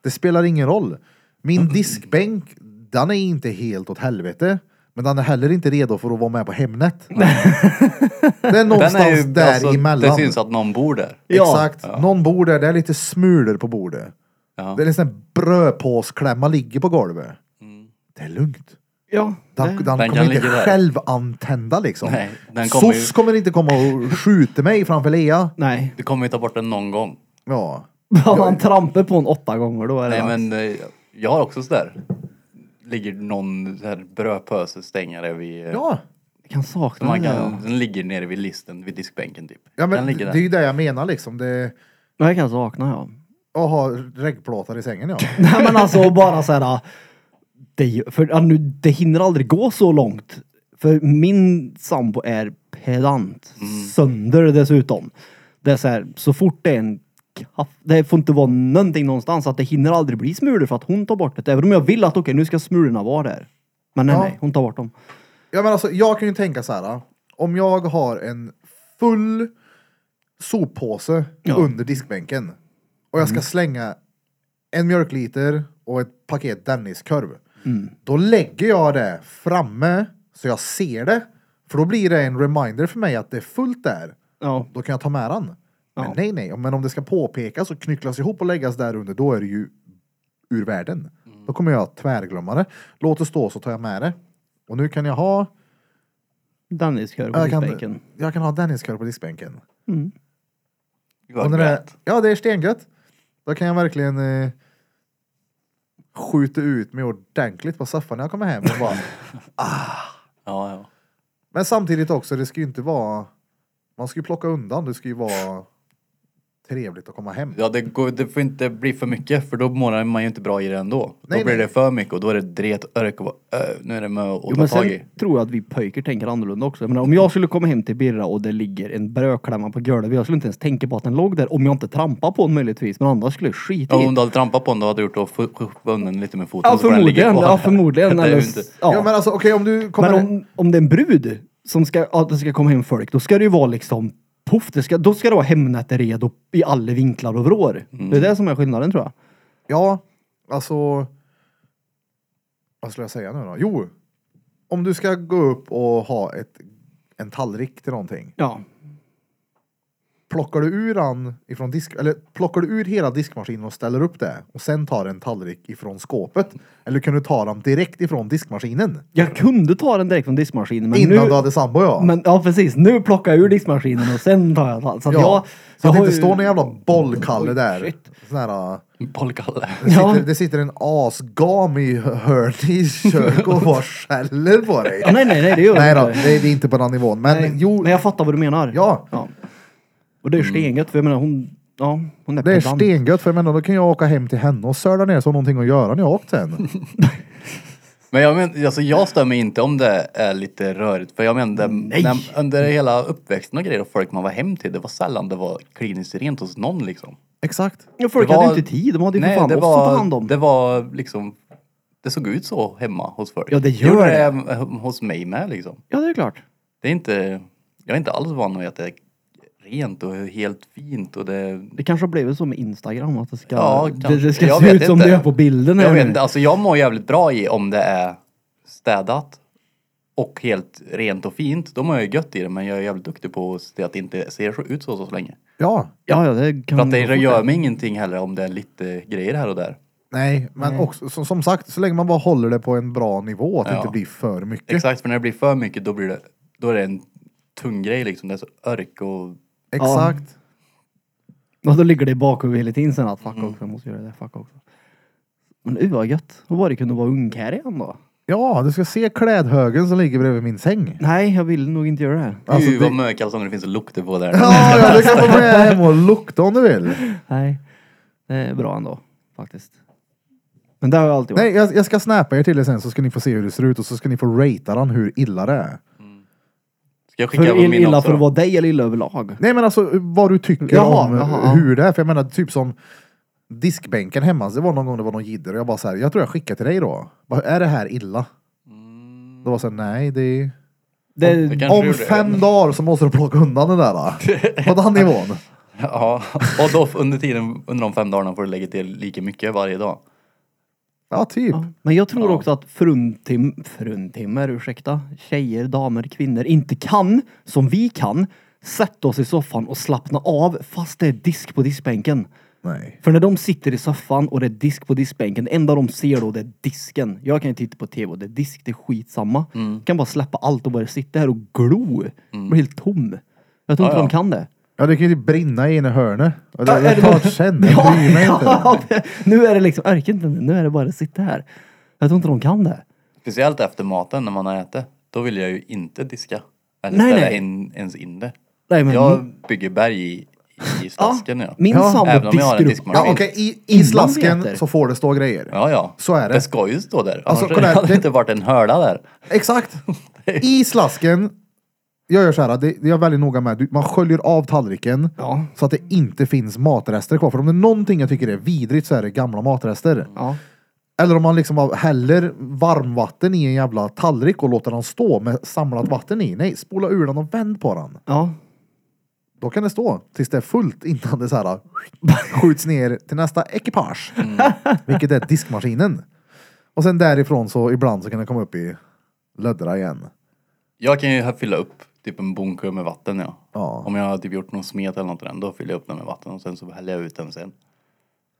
S1: Det spelar ingen roll.
S3: Mm.
S1: Min diskbänk, den är inte helt åt helvete. Men den är heller inte redo för att vara med på Hemnet. det är någonstans
S3: den är ju,
S1: där
S3: alltså,
S1: emellan.
S3: det syns att någon bor där.
S2: Ja.
S1: Exakt. Någon bor där, det är lite smulor på bordet.
S3: Ja.
S1: Det är liksom en sån här brödpåsklämma ligger på golvet. Det är lugnt.
S2: Ja.
S1: Den,
S2: det-
S1: den, kommer
S3: Mm. kan
S1: inte
S3: ligga där.
S1: självantända liksom.
S3: Nej, den kommer
S1: SOS
S3: ju-
S1: kommer inte komma och skjuta mig framför Lea.
S2: Nej.
S3: Du kommer ju ta bort den någon gång.
S1: Ja.
S2: Om man trampar på en åtta gånger då är det
S3: Nej
S2: dags.
S3: men eh, jag har också sådär. Ligger någon så här brödpöse stängare vid... eh,
S1: Ja.
S2: Jag kan sakna
S3: Man
S2: det.
S3: kan,
S2: ja.
S3: Den ligger nere vid listen, vid diskbänken typ.
S1: ja men
S3: den
S1: det,
S3: ligger där.
S1: det är ju det jag menar liksom. Det,
S2: Ja, Jag kan sakna ja.
S1: att ha reggplåtar i sängen ja.
S2: Nej men alltså bara så här. Det, är ju- för, ja, nu, det hinner aldrig gå så långt. För min sambo är pedant.
S1: Mm.
S2: Sönder dessutom. Det är så här, så fort det är en kaff, det får inte vara någonting någonstans. Att det hinner aldrig bli smulor för att hon tar bort det. Även om jag vill att okej, nu ska smulorna vara där. Men nej,
S1: Ja.
S2: nej, hon tar bort dem.
S1: Ja men alltså jag kan ju tänka så här. Om jag har en full soppåse under diskbänken och jag ska slänga en mjölkliter och ett paket Denniskorv. Då lägger jag det framme så jag ser det. För då blir det en reminder för mig att det är fullt där.
S2: Ja.
S1: Då kan jag ta med den. Men
S2: Ja.
S1: nej, nej. Men om det ska påpekas och knycklas ihop och läggas där under, då är det ju ur världen.
S2: Mm.
S1: Då kommer jag tvärglömma det. Låt det stå så tar jag med det. Och nu kan jag ha
S2: Dennis kör på
S1: jag kan,
S2: diskbänken.
S1: Jag kan ha Denniskör på diskbänken.
S3: Vad
S1: Och när det är,
S3: gött.
S1: ja, det är stengött. Då kan jag verkligen eh, skjuta ut mig ordentligt på soffan när jag kommer hem. Och bara.
S3: Ja, ja.
S1: Men samtidigt också, det ska ju inte vara... Man ska ju plocka undan, det ska ju vara trevligt att komma hem.
S3: ja det, går, det får inte bli för mycket för då mår man ju inte bra i det ändå.
S1: Nej,
S3: då blir
S1: nej.
S3: det för mycket och då är det dret, örk och bara, "Ö, nu är det med att
S2: Jo,
S3: ta
S2: men
S3: tag
S2: sen
S3: i.
S2: tror jag att vi pojkar tänker annorlunda också. Jag menar, om jag skulle komma hem till Birra och det ligger en brödklämma på golvet. Jag skulle inte ens tänka på att den låg där om jag inte trampar på den möjligtvis. Men annars skulle jag skita
S3: Ja,
S2: i
S3: om
S2: det.
S3: du hade trampat på den då hade du gjort och fu- fu- vunnit den lite med foten.
S2: Ja,
S3: så får den
S2: förmodligen.
S3: ligga kvar.
S2: Ja, förmodligen.
S3: Det är ju
S2: Eller,
S3: inte-
S2: ja.
S1: Ja men
S2: men
S1: alltså okej om du kommer...
S2: om, om det är en brud som ska, att det ska komma hem folk, då ska det ju vara liksom poff. Det ska, då ska det vara Hemnet är redo i alla vinklar och vrår.
S1: Mm.
S2: Det är det som är skillnaden tror jag.
S1: Ja, alltså... Vad skulle jag säga nu då? Jo! Om du ska gå upp och ha ett, en tallrik till någonting.
S2: Ja.
S1: Plockar du ur han ifrån disk, eller plockar du ur hela diskmaskinen och ställer upp det och sen tar en tallrik ifrån skåpet? Eller kan du ta dem direkt ifrån diskmaskinen?
S2: Jag kunde ta den direkt från diskmaskinen men
S1: Innan
S2: nu...
S1: du hade sambo ja.
S2: Men ja precis, nu plockar jag ur diskmaskinen och sen tar jag tall- Så att
S1: ja.
S2: jag...
S1: så
S2: jag
S1: att det
S2: har
S1: inte
S2: ju-
S1: står någon jävla bollkalle
S2: Oj,
S1: där.
S2: shit.
S1: Sån här, äh,
S3: Bollkalle.
S1: det,
S2: Ja.
S1: sitter, det sitter en asgam i hörnet i köket och bara skäller på dig.
S2: Ja, nej, nej, nej, det gör
S1: Nej
S2: jag
S1: då,
S2: inte.
S1: det är det är inte på den nivån. Men
S2: Nej,
S1: jo,
S2: men jag fattar vad du menar.
S1: Ja.
S2: Och
S3: Mm.
S2: det är stengött, för jag menar hon... Ja, hon är
S1: det är
S2: pedant.
S1: stengött för jag menar, då kan jag åka hem till henne och söla ner så har någonting att göra när jag har åkt sen.
S3: Men jag, men, alltså, jag stör mig inte om det är lite rörigt. För jag menar,
S2: Nej.
S3: när, under hela uppväxten och grejer och folk man var hem till, det var sällan det var kliniskt rent hos någon liksom.
S1: Exakt.
S2: Ja, folk
S3: Det var-
S2: hade ju inte tid. De hade ju för fan
S3: det
S2: oss
S3: var,
S2: att ta hand om.
S3: Det var liksom, det såg ut så hemma hos folk.
S2: Ja, det gör
S3: gjorde
S2: det.
S3: även hos mig med liksom.
S2: Ja, det är klart.
S3: Det är inte, jag är inte alls van vid att det är rent och helt fint och det
S2: Det kanske har blivit så med Instagram, att det ska,
S3: Ja,
S2: det,
S3: kanske.
S2: det ska
S3: Jag
S2: se
S3: vet
S2: ut som
S3: inte.
S2: det är på bilden.
S3: Jag
S2: här
S3: vet
S2: nu.
S3: inte, alltså jag mår jävligt bra i om det är städat och helt rent och fint. Då mår jag ju gött i det men jag är jävligt duktig på att se till att det inte ser så ut så, så, så länge.
S1: Ja,
S2: Ja, ja, det kan
S3: För att det
S2: jag
S3: gör
S2: fatta.
S3: mig ingenting heller om det är lite grejer här och där.
S1: nej, men också som, som sagt, så länge man bara håller det på en bra nivå, att det
S3: Ja.
S1: inte blir för mycket.
S3: Exakt, för när det blir för mycket då blir det, då är det en tung grej liksom. Det är så örk och...
S1: Exakt.
S2: Ja, då ligger det i bakhuvudet hela tiden sen att fuck
S3: Mm.
S2: också, jag måste göra det, fuck också. Men uh, vad gött. Och var det kunde vara ungkarl igen då?
S1: Ja, du ska se klädhögen som ligger bredvid min säng.
S2: Nej, jag vill nog inte göra det.
S1: Alltså,
S3: Gud vad
S1: det-
S3: mökal som det finns lukter på där.
S1: Ja, ja, du kan få med hem och lukta om du vill.
S2: Nej, det är bra ändå faktiskt. Men det har jag alltid
S1: Nej,
S2: varit.
S1: jag, jag ska snappa er till det sen så ska ni få se hur det ser ut och så ska ni få ratea den hur illa det är.
S3: Ska jag skicka
S2: För
S3: över min
S2: illa
S3: också?
S2: för att
S3: då?
S2: vara dig eller illa överlag?
S1: Nej men alltså vad du tycker
S2: Jaha,
S1: om
S2: jaha, ja.
S1: hur det är. För jag menar typ som diskbänken hemma. Det var någon gång det var någon jidder och jag bara så här, jag tror jag skickar till dig då. Bara, är det här illa? Då var så här, nej det är...
S2: Det,
S3: Det Mm. kanske
S1: Om
S3: gjorde det.
S1: fem dagar så måste du plocka undan den där. Då. På den nivån.
S3: Ja, och då under tiden, under de fem dagarna får du lägga till lika mycket varje dag.
S1: Ja typ.
S2: Ja. Men jag tror också att fruntim, fruntimmer, ursäkta, tjejer, damer, kvinnor inte kan, som vi kan, sätta oss i soffan och slappna av fast det är disk på diskbänken.
S1: Nej.
S2: För när de sitter i soffan och det är disk på diskbänken, det enda de ser då det är disken. Jag kan ju titta på tv och det är disk, det är skitsamma.
S3: Mm.
S2: Kan bara släppa allt och bara sitta här och glo. Blir helt tom. Jag tror
S3: Ja,
S2: inte
S3: ja.
S2: de kan det.
S1: Ja det kan ju typ brinna i ena hörnet. Och det
S2: Ja, är
S1: är
S2: det
S1: klart
S2: något-
S1: sen. Jag bryr mig inte.
S2: ja, det- nu är det liksom, orkar inte nu, nu är det bara att sitta här. Jag tror inte de kan det.
S3: Speciellt efter maten när man har ätit. Då vill jag ju inte diska. Eller
S2: Nej,
S3: ställa
S2: nej.
S3: In, ens in det.
S2: Nej, men-
S3: Jag bygger berg i, i slasken. ja.
S2: Min
S1: Ja.
S2: sambo
S3: Även om jag har
S2: diskar
S3: en
S2: upp.
S3: diskmaskin.
S1: Ja okej, i, i
S2: Innan
S1: slasken
S2: meter.
S1: så får det stå grejer.
S3: ja, ja.
S1: Så är det.
S3: Det ska ju stå där.
S1: Alltså,
S3: Annars
S1: kolla här,
S3: hade
S1: det-
S3: det inte varit en hörla där.
S1: Exakt. I slasken. Jag gör så här, det, det är jag väldigt noga med. Du, man sköljer av tallriken
S2: Ja.
S1: så att det inte finns matrester kvar. För om det är någonting jag tycker är vidrigt så är det gamla matrester.
S2: Ja.
S1: Eller om man liksom av- häller varmvatten i en jävla tallrik och låter den stå med samlat vatten i. Nej, spola ur den och vänd på den.
S2: ja.
S1: Då kan det stå tills det är fullt innan det så här skjuts ner till nästa ekipage. Vilket är diskmaskinen. Och sen därifrån så ibland så kan det komma upp i löddra igen.
S3: Jag kan ju här fylla upp typ en bunker med vatten ja.
S1: Ja.
S3: Om jag har typ gjort någon smet eller något i den, då fyller jag upp den med vatten och sen så häller jag ut den sen.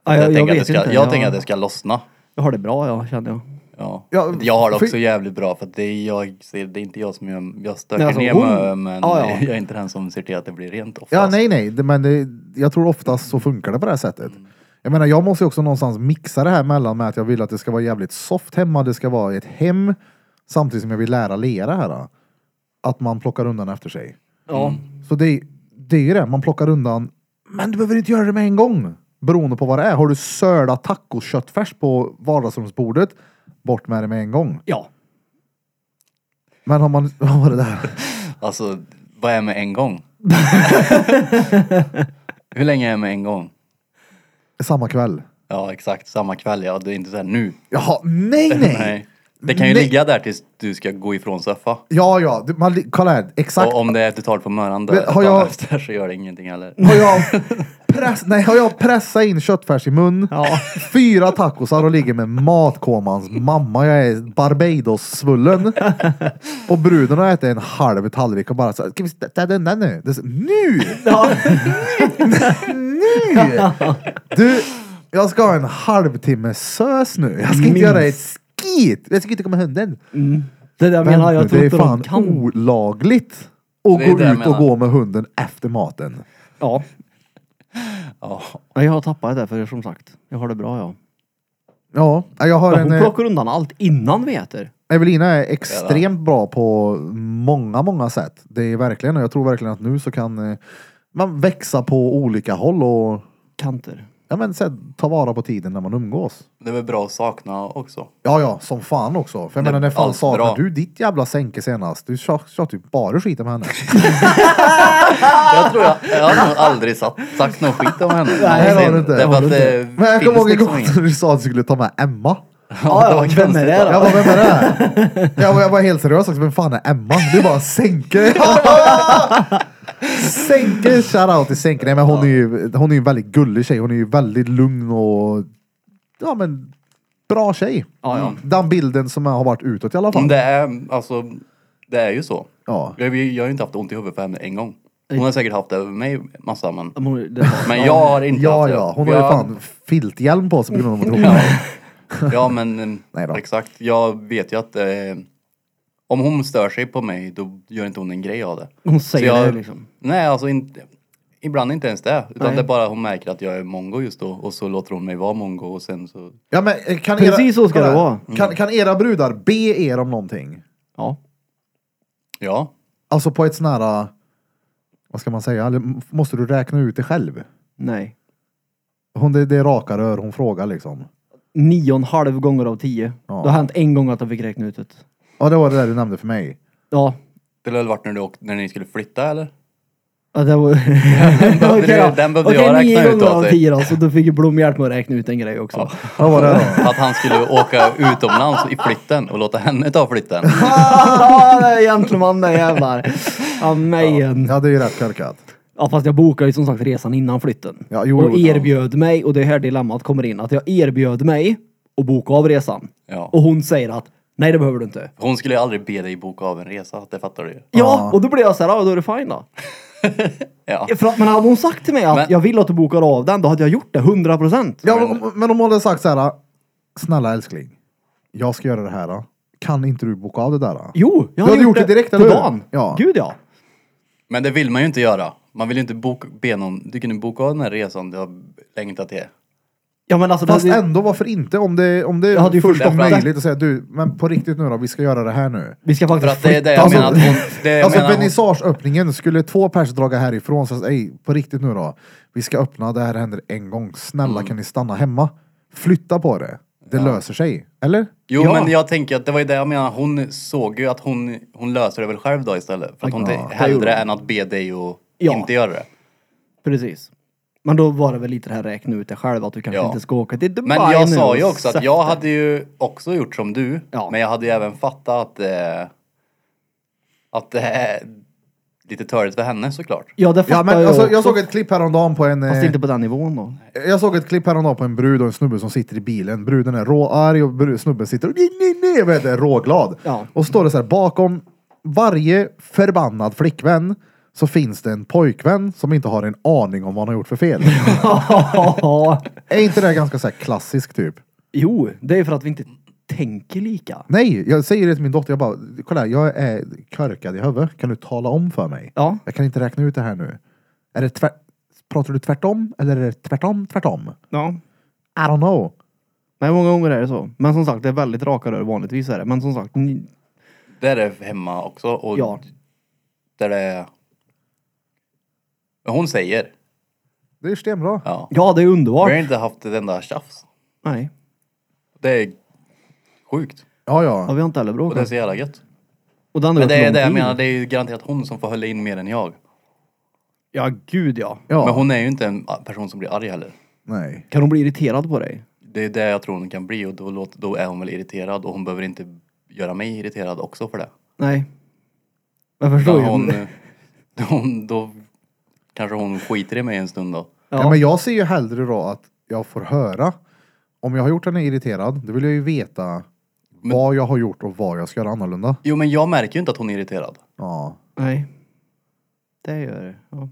S2: Ja,
S3: jag tänker, att, det ska, jag
S2: ja.
S3: tänker att det ska lossna.
S2: Jag har det bra jag, känner jag.
S3: Ja.
S1: Ja,
S3: jag har det
S1: för-
S3: också jävligt bra för att det är, jag, ser- det är inte jag som gör, jag stöker
S2: Nej, alltså,
S3: ner
S2: hon-
S3: mig men
S2: Ja, ja.
S3: jag är inte den som ser till att det blir rent oftast.
S1: Ja, nej, nej, det- men det, jag tror oftast så funkar det på det här sättet. Jag menar, jag måste ju också någonstans mixa det här mellan med att jag vill att det ska vara jävligt soft hemma, det ska vara ett hem, samtidigt som jag vill lära lera här. då. Att man plockar undan efter sig.
S2: Ja.
S3: Mm.
S1: Så det, det är ju det, man plockar undan, men du behöver inte göra det med en gång. Beroende på vad det är. Har du sölat tacoköttfärs på vardagsrumsbordet, bort med det med en gång.
S2: Ja.
S1: Men har man, vad var det där?
S3: Alltså, vad är med en gång? Hur länge är med en gång?
S1: Samma kväll.
S3: Ja, exakt. Samma kväll ja. Det är inte såhär nu.
S1: Jaha, nej, nej!
S3: Nej. Det kan ju
S1: Nej.
S3: ligga där tills du ska gå ifrån soffa.
S1: Ja, ja. Du- Man, li- kolla här. Exakt.
S3: Och om det är du tar det på morgonen
S1: Men
S3: där-
S1: har jag-
S3: dagen efter så gör det ingenting heller.
S1: Har jag, press, nej, har jag pressat in köttfärs i mun, fyra tacosar och ligger med matkomans mamma. Jag är Barbados-svullen. Och bruden har ätit en halv tallrik och bara så här, ska vi ta den där nu? Det är så, nu! nu! Du, jag ska ha en halvtimme sös nu. Jag ska inte
S5: Minst.
S1: göra ett skit. Jag ska inte komma med hunden.
S5: Det där menar jag, jag
S1: det
S5: tror
S1: är
S5: inte de
S1: fan
S5: kan.
S1: olagligt. Och
S3: Det är
S1: gå
S3: det jag
S1: ut och
S3: menar.
S1: gå med hunden efter maten.
S5: Ja.
S3: Ja.
S2: Nej, Jag har tappat det för som sagt, jag har det bra jag.
S1: Ja, jag har en...
S2: Hon
S1: eh,
S2: plockar undan allt innan vi äter.
S1: Evelina är extremt bra på många, många sätt. Det är verkligen, och jag tror verkligen att nu så kan eh, man växa på olika håll och
S2: Kanter.
S1: ja, men, så här, ta vara på tiden när man umgås.
S3: Det är väl bra att sakna också.
S1: Ja, ja, som fan också. För jag
S3: Det-
S1: menar, när fan
S3: allt
S1: saknar
S3: bra.
S1: du ditt jävla sänke senast? Du sa sa typ bara skit om henne.
S3: Jag tror jag, jag har nog aldrig satt, sagt någon skit om henne.
S1: Nej, det har du inte.
S3: Det är bara att det
S1: Men jag kommer ihåg
S3: finns
S1: en
S3: liksom
S1: gång
S3: ingen-
S1: när du sa att du skulle ta med Emma.
S3: Ja, det var
S5: vem
S3: konstigt.
S5: är det då?
S1: Jag bara, vem är det här? Jag var, jag var helt seriös också, vem fan är Emma? Du bara sänker. Ja, ja, ja. Sänker, shoutout till sänker. Nej men hon är ju, hon är ju en väldigt gullig tjej. Hon är ju väldigt lugn och, ja men, bra tjej.
S2: Ja, ja.
S1: Den bilden som har varit utåt i alla fall.
S3: Det är, alltså, det är ju så.
S1: Ja.
S3: Jag, jag har ju inte haft ont i huvudet för henne en gång. Hon har säkert haft det över mig massa men,
S2: Men hon- det-
S3: men jag har inte
S1: Ja,
S3: haft det.
S1: ja. Hon har ju
S3: Jag-
S1: fan filthjälm på sig på grund av att hon
S3: Ja, ja men eh,
S1: Nej då.
S3: exakt. Jag vet ju att eh, om hon stör sig på mig då gör inte hon en grej av det.
S2: Hon
S3: Så
S2: säger
S3: jag-
S2: det liksom.
S3: Nej, alltså inte, ibland inte ens det. Utan
S2: Nej.
S3: det är bara hon märker att jag är mongo just då och så låter hon mig vara mongo och sen så...
S1: Ja, men eh, kan era,
S2: Precis så ska
S1: kolla
S2: det
S1: här.
S2: vara.
S1: Kan, kan era brudar be er om någonting?
S2: Ja.
S3: Ja.
S1: Alltså på ett sån här, eh, vad ska man säga, Eller m- måste du räkna ut det själv?
S2: Nej.
S1: Hon, det, det är raka rör hon frågar liksom.
S2: Nio och en halv gånger av tio.
S1: Ja.
S2: Det har hänt en gång att de fick räkna ut det.
S1: Ja, det var det där du nämnde för mig.
S2: Ja.
S3: Det lär väl varit när, du åkte, när ni skulle flytta eller?
S2: Ja, det var...
S3: behövde
S2: Okej då.
S3: du- den behövde
S2: Okej,
S3: jag
S2: nio
S3: räkna ut
S2: gånger
S3: åt
S2: av
S3: dig.
S2: tio då, så då fick ju Blom hjälp med att räkna ut en grej också.
S1: Vad var det då?
S3: Att han skulle åka utomlands i flytten och låta henne ta flytten.
S2: Ah, det är gentleman det jävlar. Amen.
S1: Ja, det är ju rätt korkat.
S2: Ja fast jag bokade ju som sagt resan innan flytten.
S1: Ja, jo,
S2: och
S1: jo, ja.
S2: erbjöd mig, och det är här dilemmat kommer in, att jag erbjöd mig att boka av resan.
S3: Ja.
S2: Och hon säger att nej det behöver du inte.
S3: Hon skulle ju aldrig be dig boka av en resa, det fattar du ju.
S2: Ja,
S1: Ja.
S2: och då blev jag såhär, ja då är det fine då.
S3: Ja.
S2: För att, men hade hon sagt till mig att
S3: Men-
S2: jag vill att du bokar av den, då hade jag gjort det, 100 procent.
S1: Ja, men, om- men om hon hade sagt så här. Snälla älskling, jag ska göra det här. då. Kan inte du boka av det där? då?"
S2: Jo, jag
S1: hade gjort det direkt,
S2: på
S1: eller hur?
S2: dagen.
S1: Ja.
S2: Gud ja.
S3: Men det vill man ju inte göra. Man vill ju inte boka, be någon, du kunde boka av den här resan du har längtat till.
S2: Ja men alltså,
S1: Fast
S2: det,
S1: ändå, varför inte? Om det, om det
S2: Jag hade
S1: är
S2: ju
S1: fullt
S3: förstått det.
S1: möjligt att säga du, men på riktigt nu då, vi ska göra det här nu.
S2: vi ska
S3: För
S2: faktiskt
S3: att det är det jag
S1: Alltså-
S3: menar att hon... Det jag
S1: Alltså
S3: menar hon,
S1: vernissageöppningen, skulle två pers draga härifrån så ej, på riktigt nu då. Vi ska öppna, det här händer en gång. Snälla
S3: Mm.
S1: kan ni stanna hemma? Flytta på det. Det löser sig. Eller?
S3: jo
S2: Ja.
S3: men jag tänker att det var ju det jag menar. Hon såg ju att hon, hon löser det väl själv då istället. För att hon
S1: Ja,
S3: ja,
S1: det
S3: hellre än att be dig och
S2: Ja.
S3: inte göra det.
S2: Precis. Men då var det väl lite det här räkna ut det själv, att du kanske
S3: Ja.
S2: inte ska åka till Dubai
S3: Men jag
S2: nu
S3: sa
S2: och
S3: ju också
S2: sätta-
S3: att jag hade ju också gjort som du.
S2: Ja.
S3: Men jag hade ju även fattat att, eh, att det är lite törligt för henne såklart.
S2: Ja det
S1: Ja,
S2: fattar
S1: men,
S2: jag
S1: alltså,
S2: också.
S1: jag såg ett klipp häromdagen på en...
S2: Fast
S1: eh,
S2: inte på den nivån då.
S1: Jag såg ett klipp häromdagen på en brud och en snubbe som sitter i bilen. Bruden är råarg och bru- snubben sitter och nej, nej, nej, vad heter det, råglad.
S2: Ja.
S1: Och står det så här, bakom varje förbannad flickvän så finns det en pojkvän som inte har en aning om vad han har gjort för fel.
S2: Ja.
S1: är inte det här ganska så här klassisk typ?
S2: jo, det är för att vi inte tänker lika.
S1: Nej, jag säger det till min dotter, jag bara, kolla här, jag är körkad i huvudet. Kan du tala om för mig?
S2: Ja.
S1: Jag kan inte räkna ut det här nu. Är det tvärt... Pratar du tvärtom eller är det tvärtom, tvärtom?
S2: ja.
S1: I don't know.
S2: Nej, många gånger är det så. Men som sagt, det är väldigt raka rör vanligtvis är det. Men som sagt, ni...
S3: Det är det hemma också. Och
S2: Ja.
S3: Där det är... Hon säger.
S1: Det är stenbra.
S3: Ja.
S2: ja det är underbart.
S3: Vi har inte haft ett enda tjafs.
S2: Nej,
S3: Det är sjukt.
S1: Ja,
S2: ja,
S1: ja.
S2: vi har inte heller
S3: Och det är
S2: bråkat.
S3: så jävla gött.
S2: Och den har
S3: Men det är
S2: gått
S3: det jag
S2: lång tid.
S3: menar, det är ju garanterat hon som får hålla in mer än jag.
S2: Ja, gud ja.
S1: ja.
S3: Men hon är ju inte en person som blir arg heller.
S1: Nej.
S2: Kan hon bli irriterad på dig?
S3: Det är det jag tror hon kan bli och då, låter, då är hon väl irriterad och hon behöver inte göra mig irriterad också för det.
S2: Nej. Jag förstår
S3: Då,
S2: ju.
S3: hon, eh, då, hon, då kanske hon skiter i mig en stund då.
S1: Ja. men jag ser ju hellre då att jag får höra. Om jag har gjort henne irriterad, då vill jag ju veta vad jag har gjort och vad jag ska göra annorlunda.
S3: Jo men jag märker ju inte att hon är irriterad.
S1: Ja.
S2: Nej. Det gör det. Ja.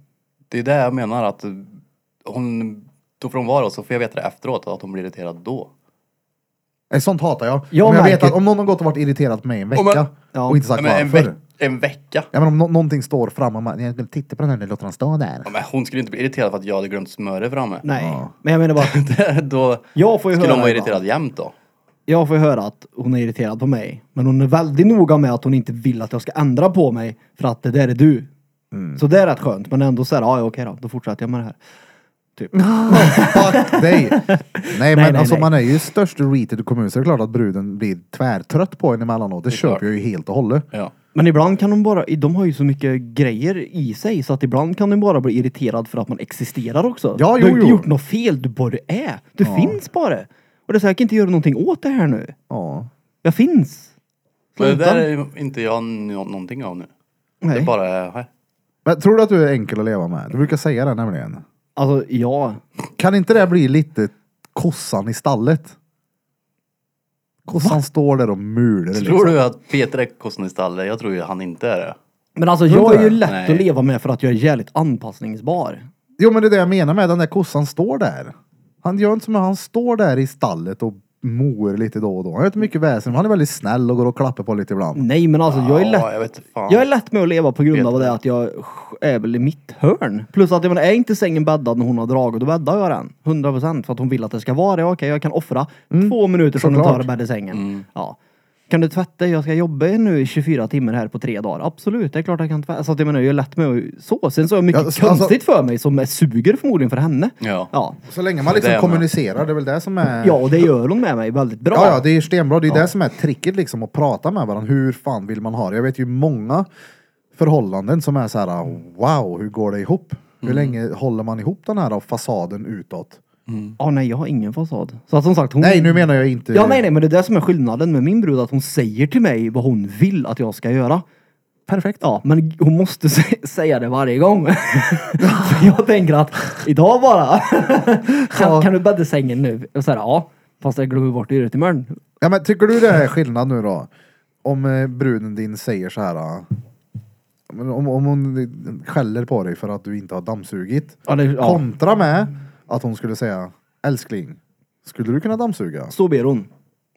S3: Det är det jag menar att eh, hon, då får hon vara och så får jag veta det efteråt att hon blir irriterad då.
S1: Nej, Eh, sånt hatar jag.
S2: Jag
S1: om, jag vet
S2: märker-
S1: att om någon har gått och varit irriterad på mig en vecka
S3: Om jag-
S2: Ja.
S1: och inte sagt
S3: Nej, men en,
S1: varför.
S3: veck, en vecka.
S1: Ja, men om no- någonting står framme, man, jag vill titta på den här, nu låter den stå där.
S3: Ja, men hon skulle inte bli irriterad för att jag hade glömt smöret framme.
S2: Nej. Men jag menar bara att
S3: då
S2: jag får ju
S3: skulle
S2: höra
S3: hon vara
S2: ibland.
S3: irriterad jämt då.
S2: Jag får höra att hon är irriterad på mig. Men hon är väldigt noga med att hon inte vill att jag ska ändra på mig. För att det där är du.
S3: Mm.
S2: Så det är rätt skönt. Men ändå så här, "Ah, ja ja, okej då. Då fortsätter jag med det här.
S1: Fuck dig! Nej, men
S2: nej,
S1: alltså
S2: nej.
S1: man är ju störst rated i kommunen så det är klart att bruden blir tvärtrött på en emellanåt. Det, köper
S3: klart.
S1: jag ju helt och hållet.
S3: Ja.
S2: Men ibland kan de bara, de har ju så mycket grejer i sig så att ibland kan de bara bli irriterad för att man existerar också.
S1: Ja,
S2: du
S1: jo,
S2: har inte
S1: jo.
S2: gjort något fel, du bara är. Du finns bara. Och det är så här, jag kan inte göra någonting åt det här nu.
S1: Ja.
S2: Jag finns.
S3: Men det
S2: Sluta.
S3: där är ju inte jag nå- någonting av nu. Det
S2: Nej.
S3: är bara här.
S1: Men tror du att du är enkel att leva med? Du brukar säga det nämligen.
S2: Alltså, ja.
S1: Kan inte det bli lite kossan i stallet? Kossan står där och mular.
S3: Tror
S1: Liksom.
S3: du att Peter är kossan i stallet? Jag tror ju han inte är det.
S2: Men alltså
S1: Tror du
S2: jag är
S1: det?
S2: ju lätt
S3: Nej.
S2: att leva med för att jag är jävligt anpassningsbar.
S1: Jo men det är det jag menar med den där kossan står där. Han gör inte som jag, han står där i stallet och mor lite då och då. Han gör inte mycket väsen, men han är väldigt snäll och går och klappar på lite ibland.
S2: Nej men alltså jag är lätt
S3: Ja, jag vet fan.
S2: Jag är lätt med att leva på grund av
S3: Vet
S2: det att jag är väl i mitt hörn. Plus att jag menar, är inte sängen bäddad när hon har dragit, då bäddar jag den. 100 procent. För att hon vill att det ska vara det. Okej, jag kan offra två minuter från att
S1: Mm. Såklart.
S2: ta det bädda i sängen.
S3: Mm.
S2: Ja. Kan du tvätta? Jag ska jobba nu i 24 timmar här på tre dagar. Absolut, det är klart jag kan tvätta. Så att jag menar, jag är lätt med att så. Sen så är jag mycket
S1: Ja, alltså-
S2: konstigt för mig som är suger förmodligen för henne.
S3: Ja.
S2: Ja.
S1: Så länge man
S3: Det är
S1: liksom
S3: det jag
S1: kommunicerar, det är väl det som är...
S2: Ja, och det gör hon med mig väldigt bra.
S1: Ja, ja, det är ju stenbra. Det är det som är tricket liksom att prata med varandra. Hur fan vill man ha det? Jag vet ju många förhållanden som är så här wow, hur går det ihop? Hur
S2: Mm.
S1: länge håller man ihop den här fasaden utåt?
S2: Ja, Ah, nej, jag har ingen fasad. Så att som sagt, hon...
S1: Nej, nu menar jag inte...
S2: Ja, nej, nej, men det är det som är skillnaden med min brud, att hon säger till mig vad hon vill att jag ska göra. Perfekt. Ja, men hon måste sä- säga det varje gång. För jag tänker att idag bara, kan, kan du bädda sängen nu? Och så här, ja, fast jag glömmer bort att göra det till imorgon.
S1: Ja, men tycker du det här är skillnad nu då? Om eh, bruden din säger så här... ah, men Om, om hon skäller på dig för att du inte har dammsugit.
S2: Ja, det- ja.
S1: Kontra med att hon skulle säga älskling, skulle du kunna dammsuga?
S2: Så ber hon.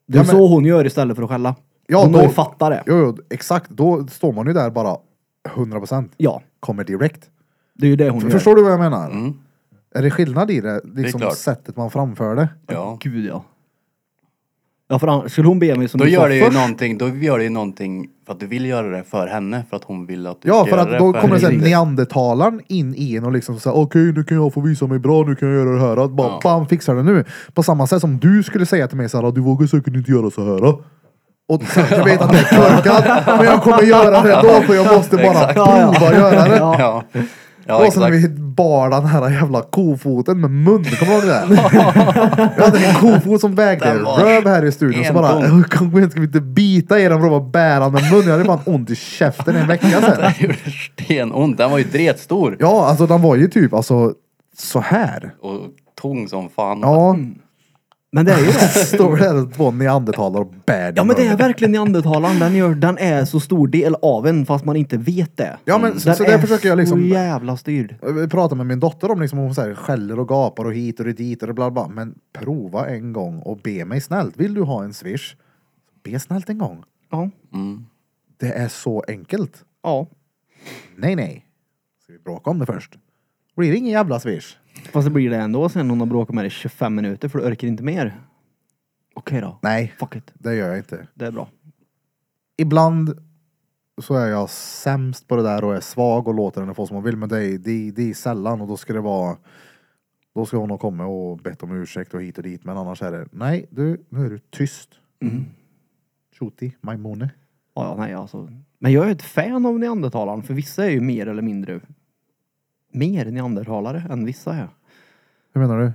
S2: Det är
S1: Ja, men-
S2: så hon gör istället för att skälla.
S1: Ja,
S2: hon
S1: då-
S2: har ju fattat det.
S1: Jo, jo, exakt. Då står man ju där bara 100 procent.
S2: Ja,
S1: kommer direkt.
S2: det är ju det hon gör.
S1: Förstår du vad jag menar?
S3: Mm.
S1: Är det skillnad i det?
S3: är
S1: Liksom
S3: klart.
S1: sättet man framför det?
S3: Ja.
S2: Gud ja. Ja, för annars skulle hon be mig som
S3: Då
S2: du sa
S3: gör det ju
S2: först.
S3: någonting, då gör det ju någonting för att du vill göra det för henne, för att hon vill att du
S1: Ja,
S3: ska
S1: för
S3: göra
S1: att då
S3: för
S1: kommer
S3: henne.
S1: sen neandertalaren in i en och liksom säger okej, nu kan jag få visa mig bra, nu kan jag göra det här. Att bara, Bam, fixar det nu. På samma sätt som du skulle säga till mig så här, du vågar säkert inte göra så här. då." Och sen, jag vet att det är korkat, men jag kommer göra det då för jag måste bara
S3: Exakt.
S1: prova att göra det.
S2: Ja.
S3: Ja, ja
S1: och sen
S3: exakt.
S1: vid bar den här jävla kofoten med mun, kommer du ihåg det? Jag hade en kofot som vägde
S3: Den var
S1: röv här i studion. Så
S3: en
S1: bara,
S3: ton.
S1: kom igen ska vi inte bita i den för att bara bära med mun. Jag hade fan ont i käften en vecka sen.
S3: Det gjorde stenont, den var ju dretstor.
S1: Ja, alltså den var ju typ alltså så här.
S3: Och tung som fan.
S1: Ja,
S2: Men det är ju det.
S1: står där två neandertalare och bär den
S2: Ja men det är
S1: munnen.
S2: verkligen neandertalaren. Den, gör, den är så stor del av en fast man inte vet det.
S1: Ja, men så-
S2: den
S1: så där
S2: är
S1: försöker jag liksom-
S2: så jävla styrd.
S1: Jag pratar med min dotter om liksom, hon så här, skäller och gapar och hit och dit och bla bla. Men prova en gång och be mig snällt. Vill du ha en swish? Be snällt en gång.
S2: Ja.
S1: Det är så enkelt.
S2: Ja.
S1: Nej, nej. Ska vi bråka om det först? Blir det ingen jävla swish?
S2: Fast det blir det ändå sen hon har bråkat med dig 25 minuter för du orkar inte mer. Okej då.
S1: Nej,
S2: Fuck it.
S1: det gör jag inte.
S2: Det är bra.
S1: Ibland så är jag sämst på det där och är svag och låter henne få som hon vill. Men det är, det, är- det är sällan och då ska det vara... Då ska hon ha kommit och bett om ursäkt och hit och dit. Men annars är det, nej du, nu är du tyst. Tjoti, majmone.
S2: Ja, ja, nej alltså. Men jag är ett fan av neandertalaren för vissa är ju mer eller mindre mer neandertalare än vissa är.
S1: Hur menar du?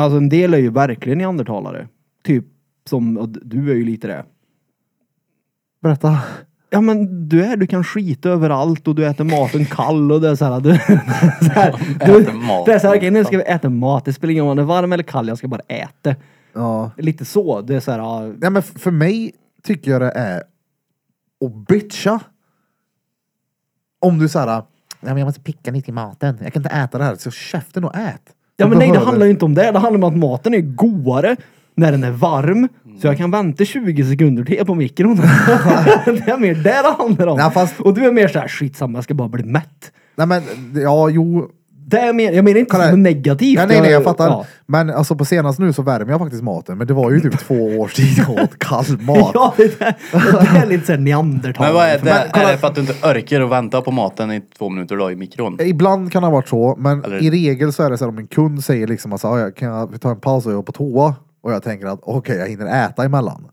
S2: Alltså en del är ju verkligen neandertalare. Typ som, och du är ju lite det.
S1: Berätta.
S2: Ja men du är, du kan skita överallt och du äter maten kall och det är såhär. Du, så här, du,
S3: Äter maten
S2: det är såhär, okej nu ska vi äta mat. Det spelar ingen roll om den är varm eller kall, jag ska bara äta.
S1: Ja.
S2: Lite så. Det är såhär, ja,
S1: Nej men f- för mig tycker jag det är att bitcha. Om du såhär, nej men jag måste picka lite i maten. Jag kan inte äta det här. Så käften och ät. Du
S2: Ja men nej, det
S1: behöver-
S2: handlar ju inte om det. Det handlar om att maten är godare när den är varm. Så jag kan vänta 20 sekunder till på mikron. det är mer det det handlar om.
S1: Ja, fast-
S2: Och du är mer såhär, skitsamma jag ska bara bli mätt.
S1: Nej men, ja jo.
S2: Det är mer, jag menar inte
S1: Kolla här.
S2: som negativt.
S1: Ja, nej nej jag fattar.
S2: Ja.
S1: Men alltså på senast nu så värmer jag faktiskt maten. Men det var ju typ två års tid jag åt kall mat.
S2: Ja, det, är- det är lite såhär neandertal.
S3: Men vad är det?
S1: Men kolla-
S3: är det för att du inte orkar att vänta på maten i två minuter då i mikron?
S1: Ibland kan det ha varit så, men
S3: Eller-
S1: i regel så är det så här om en kund säger liksom att så här, "Ja, kan jag ta en paus och gå på toa? Och jag tänker att okej, jag hinner äta emellan.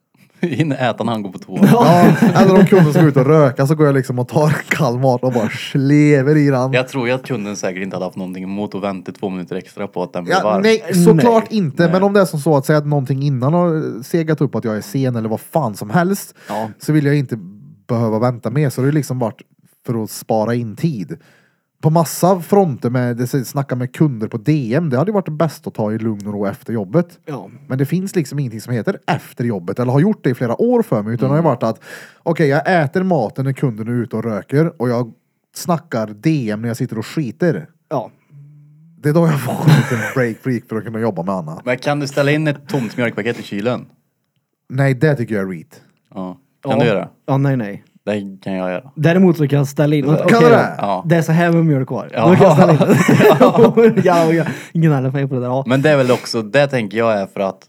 S3: Hinner äta när han går på toa.
S1: Ja, eller om kunden ska ut och röka så går jag liksom och tar en kall mat och bara slever i den.
S3: Jag tror ju att kunden säkert inte hade haft någonting emot att vänta två minuter extra på att den blir
S1: Ja,
S3: varm.
S1: nej, såklart inte.
S3: Nej.
S1: Men om det är som så att säga att någonting innan har segat upp att jag är sen eller vad fan som helst.
S3: Ja.
S1: Så vill jag inte behöva vänta mer. Så det är liksom varit för att spara in tid. På massa fronter med det sägs snacka med kunder på DM. Det hade ju varit det bästa att ta i lugn och ro efter jobbet.
S2: Ja.
S1: Men det finns liksom ingenting som heter efter jobbet eller har gjort det i flera år för mig. Utan det har ju varit att okej, jag äter maten när kunden är ute och röker och jag snackar DM när jag sitter och skiter.
S2: ja.
S1: Det är då jag får en liten break break för att kunna jobba med annat.
S3: Men kan du ställa in ett tomt mjölkpaket i kylen?
S1: Nej, det tycker jag är reat.
S3: Ja. Kan du göra?
S2: Ja, nej, nej.
S3: Det kan jag göra.
S2: Däremot så kan jag ställa in. Kan
S1: du det?
S3: Ja.
S2: Det är så här med mjölk kvar.
S3: Ja.
S2: Då kan jag ställa in. ja. ja, ja. Gnäller mig på det där. Ja.
S3: Men det är väl också, det tänker jag är för att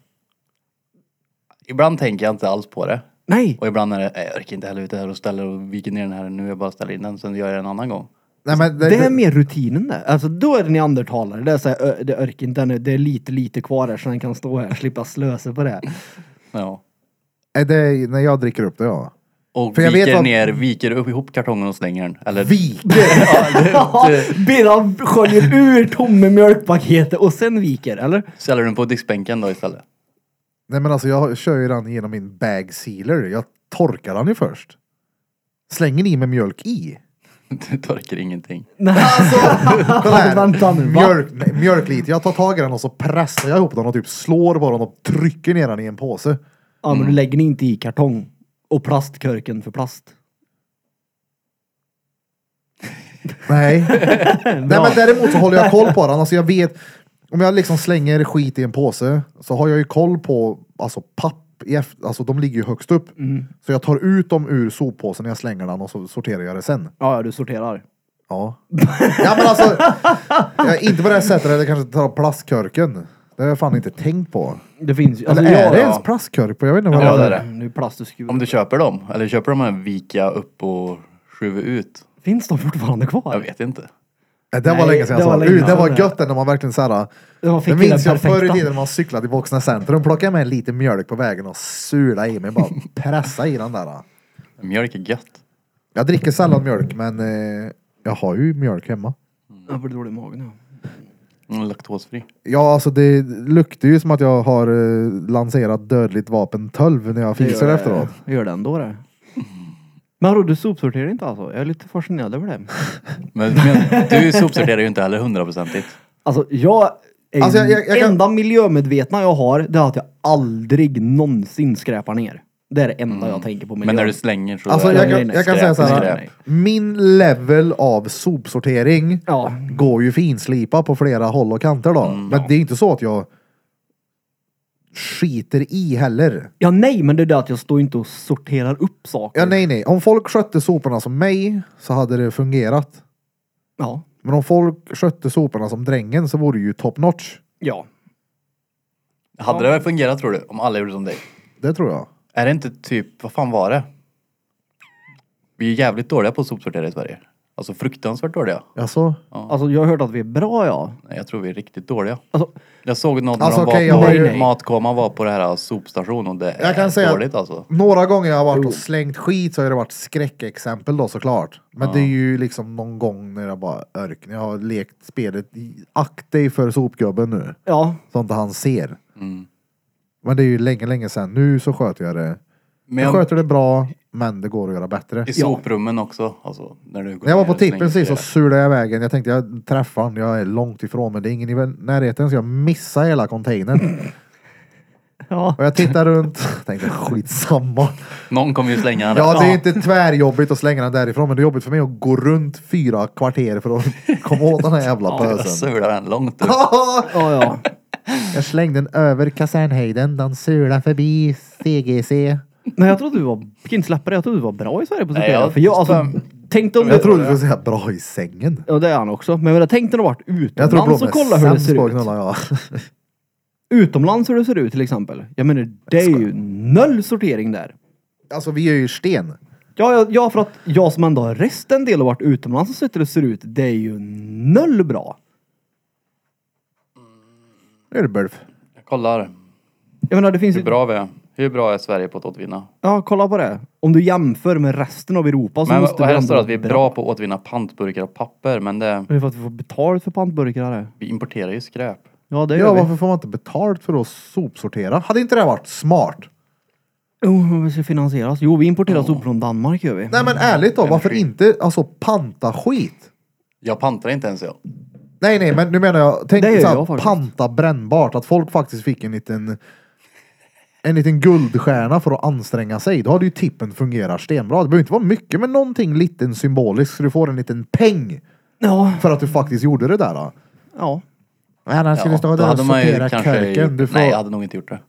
S3: ibland tänker jag inte alls på det.
S2: Nej.
S3: Och ibland är det, "Nej, jag orkar inte heller ut det här och ställer och viker ner den här nu, jag bara ställer in den, sen gör jag det en annan gång.
S1: Nej, men det,
S2: Det är mer rutinen det. Alltså då är det neandertalare. Det är såhär, ö, det örk inte den är- det är lite, lite kvar här så den kan stå här och slippa slösa på det.
S3: Ja.
S1: är det när jag dricker upp det, ja.
S3: Och
S1: För jag vet
S3: viker
S1: vad-
S3: ner, viker upp ihop kartongen och slänger den. Eller...
S1: Viker!
S3: Ja,
S2: Ja,
S3: du, du,
S2: Birra sköljer ur tomme mjölkpaketet och sen viker, eller?
S3: ställer den på diskbänken då istället.
S1: Nej, men alltså jag kör ju den genom min bag sealer. Jag torkar den ju först. Slänger i med mjölk i.
S3: Du torkar ingenting.
S2: Nej.
S1: Alltså, Kolla här.
S2: Vänta nu, va?
S1: Mjölk, nej, mjölklit. Jag tar tag i den och så pressar jag ihop den och typ slår bara den och trycker ner den i en påse.
S2: Ja,
S1: Mm.
S2: men du lägger den inte i kartong. Och plastkorken för plast.
S1: Nej. Nej men däremot så håller jag koll på den. Alltså jag vet, om jag liksom slänger skit i en påse så har jag ju koll på alltså papp, i efter, alltså de ligger ju högst upp.
S2: Mm.
S1: Så jag tar ut dem ur soppåsen när jag slänger den och så sorterar jag det sen.
S2: Ja, ja, du sorterar.
S1: Ja. ja men alltså, jag, inte på det här sättet att jag kanske tar plastkorken. Det har jag fan inte tänkt på.
S2: Det finns ju.
S1: Eller
S2: alltså,
S1: är
S2: jag-
S1: det ens plastkork på? Jag vet inte vad
S3: Ja,
S1: det
S3: det
S1: är.
S3: är det.
S2: Mm, Det är plast och skur.
S3: Om du köper dem, eller köper de här vika upp och skruva ut?
S2: Finns de fortfarande
S3: Jag
S2: kvar?
S3: vet inte.
S1: Nej, Det var
S2: Nej,
S1: länge sedan
S2: det
S1: jag
S2: var
S1: sa
S2: länge
S1: det. Det
S2: sedan.
S1: var gött det när man verkligen såhär.
S2: Jag fick
S1: Det
S2: den
S1: minns jag
S2: perfekta.
S1: förr i tiden när man cyklade i Voxna centrum. Plockade jag med lite mjölk på vägen och sula i mig. Bara pressa i den där.
S3: Mjölk är gött.
S1: Jag dricker sällan mjölk men eh, jag har ju mjölk hemma.
S2: Jag blir dålig i magen. ja.
S3: Mm, Laktosfri.
S1: Ja alltså det luktar ju som att jag har eh, lanserat dödligt vapen 12 när jag fiser
S2: gör
S1: efteråt.
S2: Jag gör det ändå det. Men hallå, du sopsorterar inte alltså? Jag är lite fascinerad över det.
S3: Men, men du sopsorterar ju inte heller hundraprocentigt.
S2: Alltså jag är
S1: Alltså, jag- jag- jag kan-
S2: enda miljömedvetna jag har, det är att jag aldrig någonsin skräpar ner. Det är det enda
S1: Mm.
S2: jag tänker på miljön.
S3: Men när du slänger så...
S1: Alltså
S3: är
S1: jag
S3: det-
S2: nej,
S1: kan,
S2: nej.
S1: jag kan säga
S3: Skräp,
S1: så här.
S3: skräp.
S1: Min level av sopsortering
S2: Ja.
S1: går ju finslipa på flera håll och kanter då.
S3: Mm.
S1: men det är inte så att jag skiter i heller.
S2: Ja, nej, men det är det att jag står inte och sorterar upp saker.
S1: Ja,
S3: Mm.
S1: nej, nej. Om folk skötte soporna som mig så hade det fungerat.
S2: Ja.
S1: Men om folk skötte soporna som drängen så vore det ju top notch.
S2: Ja.
S3: Hade det väl fungerat tror du? Om alla gjorde som dig?
S1: Det tror jag.
S3: Är det inte typ, vad fan var det? Vi är jävligt dåliga på att sopsortera i Sverige. Alltså fruktansvärt dåliga.
S1: Alltså,
S2: Alltså, jag har hört att vi är bra, ja.
S3: Nej, jag tror vi är riktigt dåliga.
S2: Alltså,
S3: Jag såg något när
S1: Alltså,
S3: de
S1: okej, jag
S3: var på,
S1: har ju-
S3: Matkoman var på det här sopstationen och det är
S1: Jag kan säga att-
S3: dåligt alltså.
S1: några gånger jag har varit och slängt skit så har det varit skräckexempel då såklart. Men det är ju liksom någon gång när jag bara örk. När jag har lekt spelet. i- Akta dig för sopgubben nu.
S2: ja.
S1: Så inte han ser.
S3: Mm.
S1: Men det är ju länge, länge sedan. Nu så sköter jag det.
S3: Men
S1: jag
S3: jag-
S1: sköter det bra. Men det går att göra bättre.
S3: I soprummen också. Alltså, när du går
S1: När jag var
S3: ner
S1: på
S3: och slänger
S1: tippen sist så
S3: flera.
S1: surade jag vägen. Jag tänkte jag träffar han. Jag är långt ifrån men det är ingen i närheten så jag missar hela containern.
S2: Ja.
S1: Och jag tittar runt. Tänkte skitsamma.
S3: Någon kommer ju slänga den
S1: Ja
S3: där.
S1: det är inte tvärjobbigt att slänga den därifrån men det är jobbigt för mig att gå runt fyra kvarter för att komma åt den här jävla
S3: Ja, alltså. Jag
S1: pösen.
S3: sular den långt upp.
S2: Ja, ja.
S1: Jag slängde den över kasernhöjden. Den sulade förbi CGC.
S2: Men jag trodde du var, fick inte släppa det, jag trodde du var bra i Sverige på
S3: Nej,
S2: cykling.
S3: jag-
S2: för jag, alltså, tänkte om
S1: Jag
S2: du...
S1: trodde du skulle säga bra i sängen.
S2: Ja det är han också, men jag tänkte nog varit
S1: Jag tror
S2: utomlands och
S1: Blom
S2: kolla
S1: är
S2: hur det
S1: sämst på att
S2: ser ut.
S1: knulla ja.
S2: Utomlands hur det ser ut till exempel. Jag menar det är ju noll sortering där.
S1: Alltså vi är ju sten.
S2: Ja, ja, ja för att jag som ändå har rest en del och varit utomlands och sett hur det ser ut, det är ju noll bra.
S1: Nu är det bulf.
S3: Jag kollar
S2: Jag menar det finns
S3: hur
S2: ju...
S3: bra vi är. Hur bra är Sverige på att återvinna?
S2: Ja kolla på det. Om du jämför med resten av Europa så
S3: Men
S2: måste
S3: och här
S2: ändå
S3: står det att vi är
S2: vara
S3: bra på att återvinna pantburkar och papper men det,
S2: Det är för att vi får betalt för pantburkar här.
S3: vi importerar ju skräp.
S2: Ja det gör
S1: Ja
S2: vi.
S1: varför får man inte betalt för att sopsortera? Hade inte det varit smart?
S2: Jo, men vi ska finansieras. Jo, vi importerar sopor från Danmark gör vi.
S1: Nej men ärligt då, varför
S3: Energi.
S1: inte alltså panta skit?
S3: Jag pantar inte ens jag.
S1: Nej nej men nu menar jag, tänk
S2: Det gör
S1: så
S2: jag
S1: här,
S2: faktiskt.
S1: panta brännbart. Att folk faktiskt fick en liten en liten guldstjärna för att anstränga sig. Då hade ju tippen fungerat stenbra. Det behöver inte vara mycket men någonting liten symboliskt så du får en liten peng
S2: Ja,
S1: för att du faktiskt gjorde det där. Då.
S2: ja.
S1: Nej, han skulle stå
S3: då
S1: där och
S3: hade man ju
S1: sortera
S3: kanske-
S1: kärken. Du får...
S3: Nej, jag hade nog inte gjort det.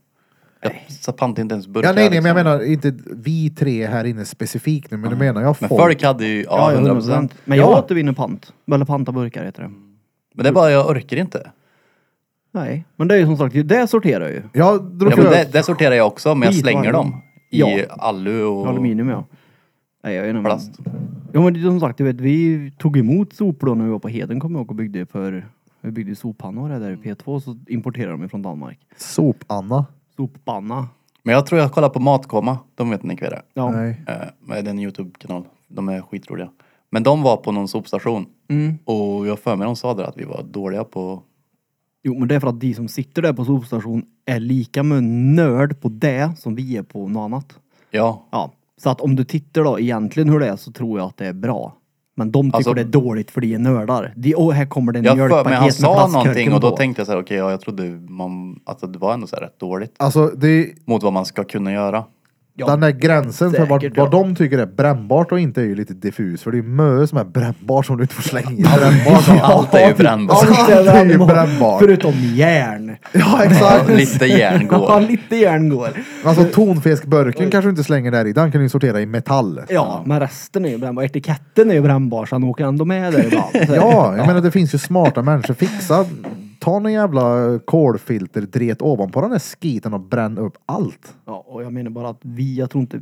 S3: Jag så pantade inte ens burkar.
S1: ja, nej, nej, men jag
S3: liksom.
S1: menar inte vi tre här inne specifikt nu, men du menar jag
S3: Men
S1: folk.
S3: folk hade ju, ja,
S2: Ja,
S3: 100
S2: 100%.
S3: procent.
S2: Men jag
S1: Ja.
S2: återvinner pant. Eller pantaburkar heter det.
S3: Men det är bara, jag orkar inte.
S2: Nej, men det är ju som sagt, det sorterar jag ju.
S1: Jag drog
S3: Ja, men
S1: över-
S3: det, det sorterar jag också, men jag
S2: Skit, vad
S3: slänger dem. I
S2: är det?
S3: alu och
S2: Aluminium ja. Nej, jag vet inte. men-
S3: plast.
S2: Ja, men det är som sagt, du vet, vi tog emot sopor då när vi var på Heden kommer jag ihåg och byggde för, vi byggde soppannor där
S3: Mm.
S2: i P2 så importerade de ju från Danmark.
S1: Sop-Anna.
S2: Soppanna.
S3: Men jag tror jag kollar på Matkoma, de vet ni vilka det är.
S2: Ja.
S1: Nej.
S3: Eh, men det är en Youtube-kanal. De är skitroliga. Men de var på någon sopstation.
S2: Mm.
S3: Och jag för mig de sa där att vi var dåliga på...
S2: Jo, men det är för att de som sitter där på sopstation är lika med nörd på det som vi är på något annat.
S3: Ja.
S2: Ja, så att om du tittar då egentligen hur det är så tror jag att det är bra. Men de tycker
S3: Alltså-
S2: det är dåligt för de är nördar. De, åh, här kommer det en
S3: Jag för
S2: mjölkpaket
S3: mig
S2: med
S3: han sa
S2: plastkorken
S3: någonting och då
S2: på."
S3: tänkte jag så här, okej, ja, jag trodde man, att det var ändå så här rätt dåligt.
S1: Alltså det,
S3: Mot vad man ska kunna göra.
S2: Ja.
S1: den där gränsen för
S2: säkert,
S1: vad,
S2: ja.
S1: vad de tycker är brännbart och inte är ju lite diffus. För det är ju mö som är brännbart som du inte får slänga i brännbart.
S3: Allt är ju brännbart.
S1: Allt är ju brännbart.
S2: Förutom järn.
S1: Ja exakt.
S3: Lite järn
S2: Ja,
S3: går.
S2: lite järn går.
S1: Alltså tonfiskburken kanske du inte slänger där i. Den kan du ju sortera i metall.
S2: Ja, men resten är ju brännbar. Etiketten är ju brännbar så han åker ändå med där ibland. Så-
S1: Ja, jag menar det finns ju smarta människor. Fixa, ta någon jävla kolfilterdret ovanpå den där skiten och bränn upp allt.
S2: ja. Och jag menar bara att vi, jag tror inte...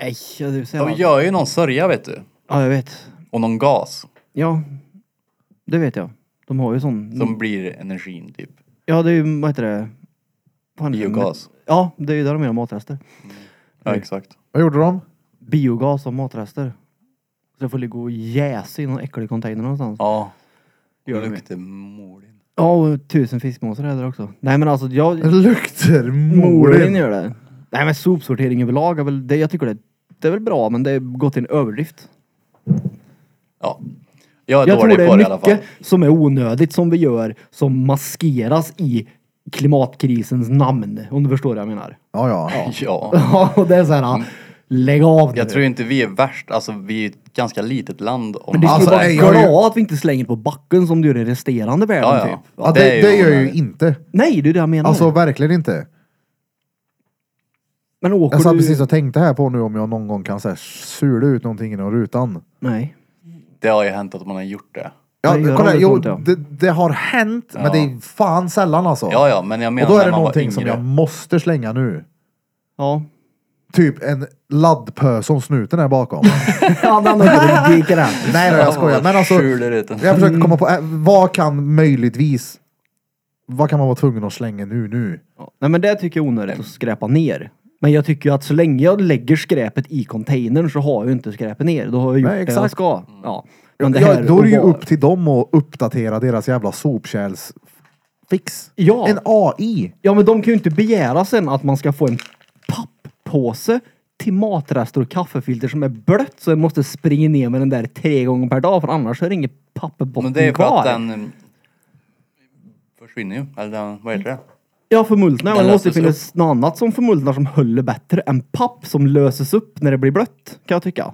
S2: Nej, jag- du säger
S3: De
S2: allt.
S3: gör ju någon sörja vet du.
S2: Ja, jag vet.
S3: Och någon gas.
S2: Ja, det vet jag. De har ju sån...
S3: Som blir energin typ.
S2: Ja, det är ju, vad heter det? Fan,
S3: Biogas.
S2: Ja, det är ju där de gör matrester.
S3: Ja exakt.
S1: Vad gjorde de?
S2: Biogas och matrester. Så det får ligga och jäsa i någon äcklig container någonstans.
S3: Ja.
S2: Gör de.
S3: Luktar molin.
S2: Ja, och tusen fiskmåsar är där också. Nej men alltså, jag...
S1: Lukter
S2: Molin
S1: molin.
S2: gör det. Nej men sopsortering överlag är väl det, jag tycker det, det är väl bra men det är gått till en överdrift.
S3: Ja. Jag är
S2: Jag tror
S3: dålig
S2: det
S3: på
S2: är
S3: det i alla fall.
S2: mycket som är onödigt som vi gör som maskeras i klimatkrisens namn. Om du förstår vad jag menar.
S1: Ja, ja.
S3: Ja.
S2: Ja, och det är såhär, lägg av nu.
S3: Mm. Jag tror inte vi är värst. Alltså vi är ett ganska litet land. Om
S2: Men det
S1: Alltså,
S2: skulle
S1: nej,
S2: vara
S1: jag-
S2: glad att vi inte slänger på backen som du gör i resterande världen
S3: Ja, ja.
S2: typ.
S1: ja det, det, gör jag ju
S3: onödigt.
S1: inte.
S2: Nej, det är det jag menar.
S3: Mm.
S1: Alltså verkligen inte.
S2: men åker
S1: Jag satt
S2: du...
S1: precis och tänkte här på nu om jag någon gång kan så här, sula ut någonting genom rutan.
S2: Nej.
S3: Det har ju hänt att man har gjort det.
S1: Ja,
S2: Nej, gör
S1: kolla,
S2: de det,
S1: jo,
S2: tror inte jag.
S1: det, det har hänt, men det är fan sällan alltså.
S3: Ja ja men jag menar
S1: och då är
S3: när
S1: det
S3: man var
S1: någonting
S3: yngre.
S1: som jag måste slänga nu.
S2: Ja.
S1: Typ en laddpö som snuten är bakom.
S2: ja, den har inte den.
S1: nej, nej, jag skojar. Men alltså,
S3: Skjuler ut den.
S1: jag försökte komma på, eh,
S2: Mm.
S1: vad kan möjligtvis, vad kan man vara tvungen att slänga nu, nu?
S2: Ja. Nej men det tycker jag är onödigt att skräpa ner. Men jag tycker ju att så länge jag lägger skräpet i containern så har jag ju inte skräpet ner. Då har jag gjort
S1: Nej,
S2: det jag
S1: exakt.
S2: ska. Ja. Men det
S1: Ja,
S2: här
S1: då är det ju
S2: och var-
S1: upp till dem att uppdatera deras jävla sopkärlsfix.
S2: Ja.
S1: En AI.
S2: Ja men de kan ju inte begära sen att man ska få en papppåse till matrester och kaffefilter som är blött så jag måste springa ner med den där tre gånger per dag för annars är det inget papperbotten
S3: Men det är för
S2: kvar.
S3: att den mm, försvinner ju. Eller den- vad heter det?
S2: Ja, förmultnar.
S3: Den
S2: Men det måste ju
S3: löses
S2: finnas något annat som förmultnar som håller bättre än papp som löses upp när det blir blött, kan jag tycka.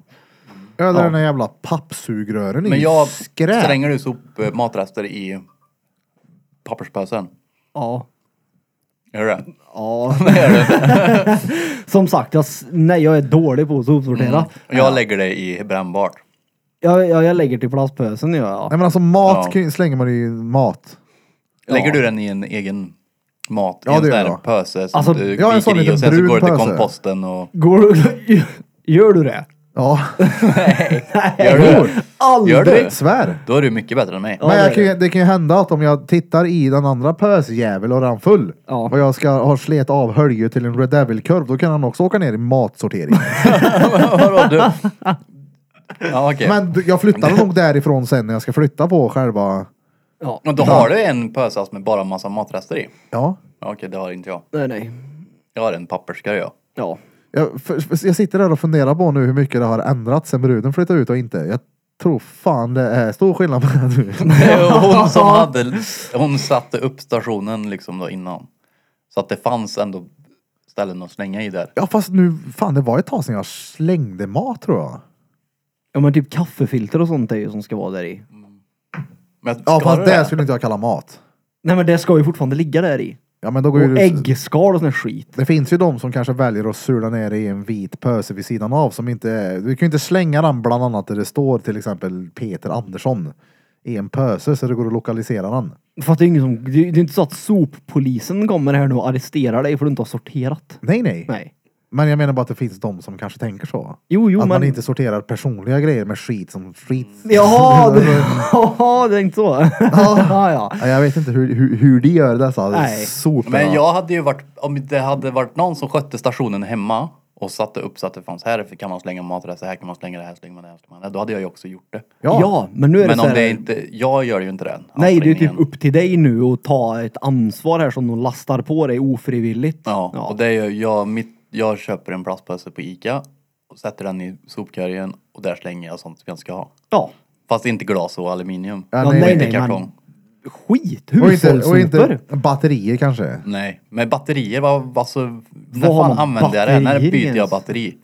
S1: Eller den här jävla pappsugrören
S3: Men
S1: i
S3: jag
S1: skräp.
S3: slänger du sop, eh, matrester i papperspösen.
S2: Ja.
S3: Gör du det?
S2: Ja. som sagt, jag, s- nej, jag är dålig på att sopsortera.
S3: Och Jag lägger det i brännbart.
S2: Jag, jag, jag lägger till plastpösen, gör jag.
S1: Nej men alltså mat
S3: Ja.
S1: kan ju- slänger man i mat.
S3: Lägger du den i en egen mat?
S1: Ja,
S3: I en
S1: det
S3: sån
S1: gör
S3: där
S1: jag.
S3: pöse som
S2: Alltså,
S3: du
S1: jag har en sån
S3: viker
S1: liten
S3: i och sen så
S1: brun
S3: går det till
S1: pöse.
S3: komposten och...
S2: Går du, gör du det?
S1: Ja,
S3: Gör du det?
S2: Aldrig!
S3: Gör du?
S1: svär.
S3: Då är du mycket bättre än mig.
S2: Ja,
S1: Men
S2: det
S1: jag
S2: är
S1: kan, ju- det kan ju hända att om jag tittar i den andra pösjäveln och den full
S2: Ja.
S1: och jag ska ha slet av höljet till en Red Devil-kurv då kan han också åka ner i matsortering.
S3: Vadå du? Ja okej.
S1: Men d- jag flyttar nog därifrån sen när jag ska flytta på själva...
S2: Ja.
S3: Men då har du en pösask med bara massa matrester i?
S1: Ja.
S3: Ja, Okej, det har inte jag.
S2: Nej, nej.
S3: Jag har en papperskorg jag.
S2: Ja.
S1: Jag, för, för- jag sitter där och funderar på nu hur mycket det har ändrats sen bruden flyttade ut och inte. Jag tror fan det är stor skillnad mellan nu.
S3: Hon som hade, hon satte upp stationen liksom då innan. Så att det fanns ändå ställen att slänga i där.
S1: Ja fast nu, fan det var ett tag sedan jag slängde mat tror jag.
S2: Ja men typ kaffefilter och sånt är ju som ska vara där i.
S3: Men ska
S1: Ja
S3: du
S1: fast det skulle inte jag kalla mat.
S2: Nej men det ska ju fortfarande ligga där i.
S1: Ja men då går ju
S2: Och
S1: det-
S2: äggskal och sån här skit.
S1: Det finns ju de som kanske väljer att sula ner det i en vit pöse vid sidan av som inte är, Du kan ju inte slänga den bland annat där det står till exempel Peter Andersson i en pöse så det går att lokalisera den.
S2: För att det är ingen som, det är det är inte så att soppolisen kommer här nu och arresterar dig för att du inte har sorterat.
S1: Nej, nej
S2: Nej.
S1: Men jag menar bara att det finns de som kanske tänker så.
S2: Jo, jo
S1: att
S2: men. Mm,
S1: man inte sorterar personliga grejer med skit som skit.
S2: Jaha, du... Jaha, det är inte så. ja, ja.
S1: Ja, Jag vet inte hur, hur, hur de gör alltså. dessa
S2: Nej.
S1: soporna.
S3: Men jag hade ju varit, om det hade varit någon som skötte stationen hemma och satte upp så att det fanns här kan man slänga matrester, här kan man slänga det här, slänger man det här, slänger man det här. Då hade jag ju också gjort det.
S1: Ja.
S2: Ja. men nu är det
S3: Men
S2: så
S3: om
S2: här,
S3: det är inte, jag gör ju inte den
S2: Nej, det är typ
S3: ansträngningen.
S2: upp till dig nu att ta ett ansvar här som de lastar på dig ofrivilligt.
S3: Ja, och det är ju, jag, mitt, jag köper en plastpåse på Ica och sätter den i sopkorgen och där slänger jag sånt som jag ska ha.
S2: ja.
S3: Fast inte glas och aluminium.
S1: Ja,
S2: Ja,
S1: nej,
S2: nej,
S1: nej.
S3: inte
S2: nej,
S3: kartong.
S2: men skit!
S1: och, inte, och
S2: Hushållssopor!
S1: inte batterier kanske.
S3: Nej, men batterier, vad, alltså, när
S2: har
S3: fan
S2: man
S3: använder jag det? När
S2: batterier
S3: byter jag
S2: ens?
S3: batteri?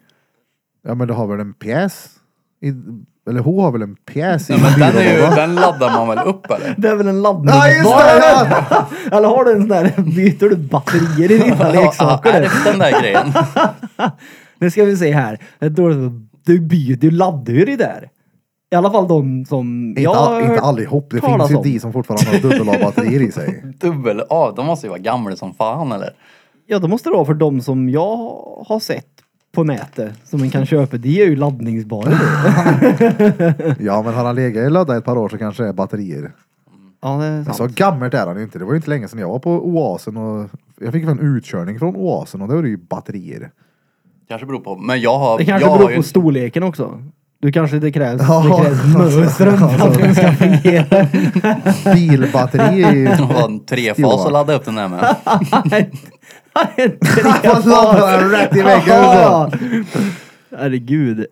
S1: Ja men du har väl en pjäs? I, eller hon har väl en pjäs i
S3: Nej, men den, är ju,
S1: byrålådan?
S3: den laddar man väl upp eller?
S2: Det är väl en
S1: Ja just
S2: laddningsbar?
S1: det! ja!
S2: Eller har du en sån där, byter du batterier i dina leksaker?
S3: är
S2: där?
S3: det den där grejen?
S2: Nu ska vi se här. Då- Du byter ju laddhur i där. I alla fall de som...
S1: Inte,
S2: jag har
S1: all, inte
S2: hört
S1: allihop, det
S2: talas
S1: finns ju
S2: om.
S1: de som fortfarande har dubbel-A-batterier i sig.
S3: Dubbel A, de måste ju vara gamla som fan eller?
S2: Ja, det måste det vara för de som jag har sett på nätet som man kan köpa. De är ju laddningsbara.
S1: Ja men har han legat i ladda ett par år så kanske det är batterier.
S2: ja, det är
S1: Men så
S2: sant.
S1: gammalt är han ju inte, det var ju inte länge sedan jag var på Oasen och jag fick väl en utkörning från Oasen och då var det ju batterier.
S3: Kanske beror på, men jag har...
S2: Det kanske
S3: jag har
S2: beror
S3: ju
S2: på
S3: en-
S2: storleken också. Du kanske det krävs,
S1: Ja.
S2: det krävs mönstren för att den ska fungera.
S1: Bilbatterier i...
S3: Det var en trefas att ladda upp den där med.
S2: Nej, en trefas.
S1: Fast laddade den rätt i väggen så.
S2: Ja, ja. Herregud.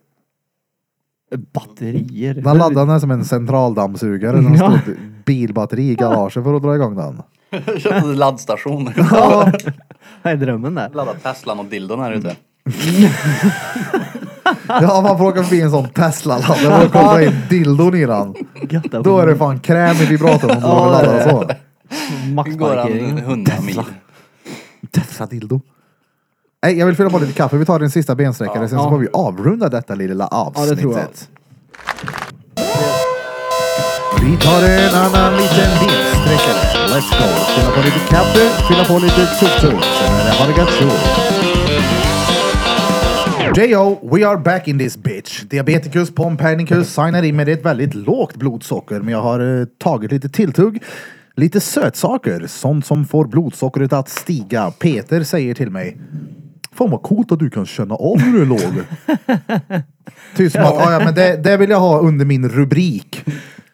S2: Batterier.
S1: Den laddade den här som en centraldammsugare när det
S2: Ja.
S1: stod bilbatteri i garaget för att dra igång den.
S3: Köpte laddstationer.
S2: Vad är drömmen där?
S3: Ladda Teslan och dildon här ute.
S1: Ja man får åka förbi en sån Tesla-laddare och koppla in dildon i den.
S2: Gatta
S1: Då är det fan kräm i vibratorn om du
S2: Ja,
S1: laddar
S2: det
S1: den
S2: är
S1: så.
S3: Nu går han
S2: Maxparkering.
S3: 100 mil.
S1: Tesla dildo. Nej, jag vill fylla på lite kaffe. Vi tar den sista bensträckare, sen så
S2: Ja.
S1: får vi avrunda detta lilla
S2: Ja, det
S1: avsnittet.
S2: tror jag.
S1: Vi tar en annan liten bensträckare. Let's go. Fylla på lite kaffe, fylla på lite tjoff-tjoff. Sen är det ha det gött tjoff. J.O. We are back in this bitch. Diabeticus pompernicus signar in med ett väldigt lågt blodsocker men jag har eh, tagit lite tilltugg. Lite sötsaker, sånt som får blodsockret att stiga. Peter säger till mig Fan vad coolt att du kan känna av hur du är låg. Typ som att, "Ah, ja men det, det vill jag ha under min rubrik.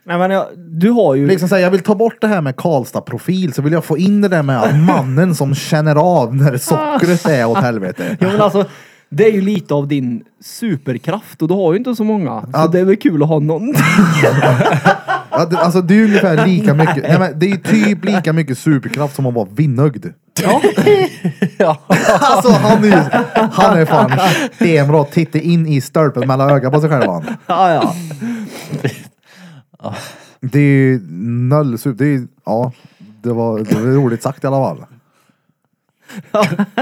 S2: Nej men jag, du har ju...
S1: Liksom såhär, jag vill ta bort det här med Karlstad-profil så vill jag få in det där med att mannen som känner av när sockret är åt helvete.
S2: Ja men alltså, Det är ju lite av din superkraft och du har ju inte så många. Så det är väl kul att ha någon.
S1: Ja, det, alltså det är ju ungefär lika mycket, nej, men det är ju typ lika mycket superkraft som att vara vinnögd.
S3: Ja.
S1: Alltså han är ju, han är fan stenbra. Titta in i stolpen mellan ögat på sig själv han.
S2: ja, ja.
S1: Det är ju noll super, det är ju- ja. Det var, det var roligt sagt i alla fall.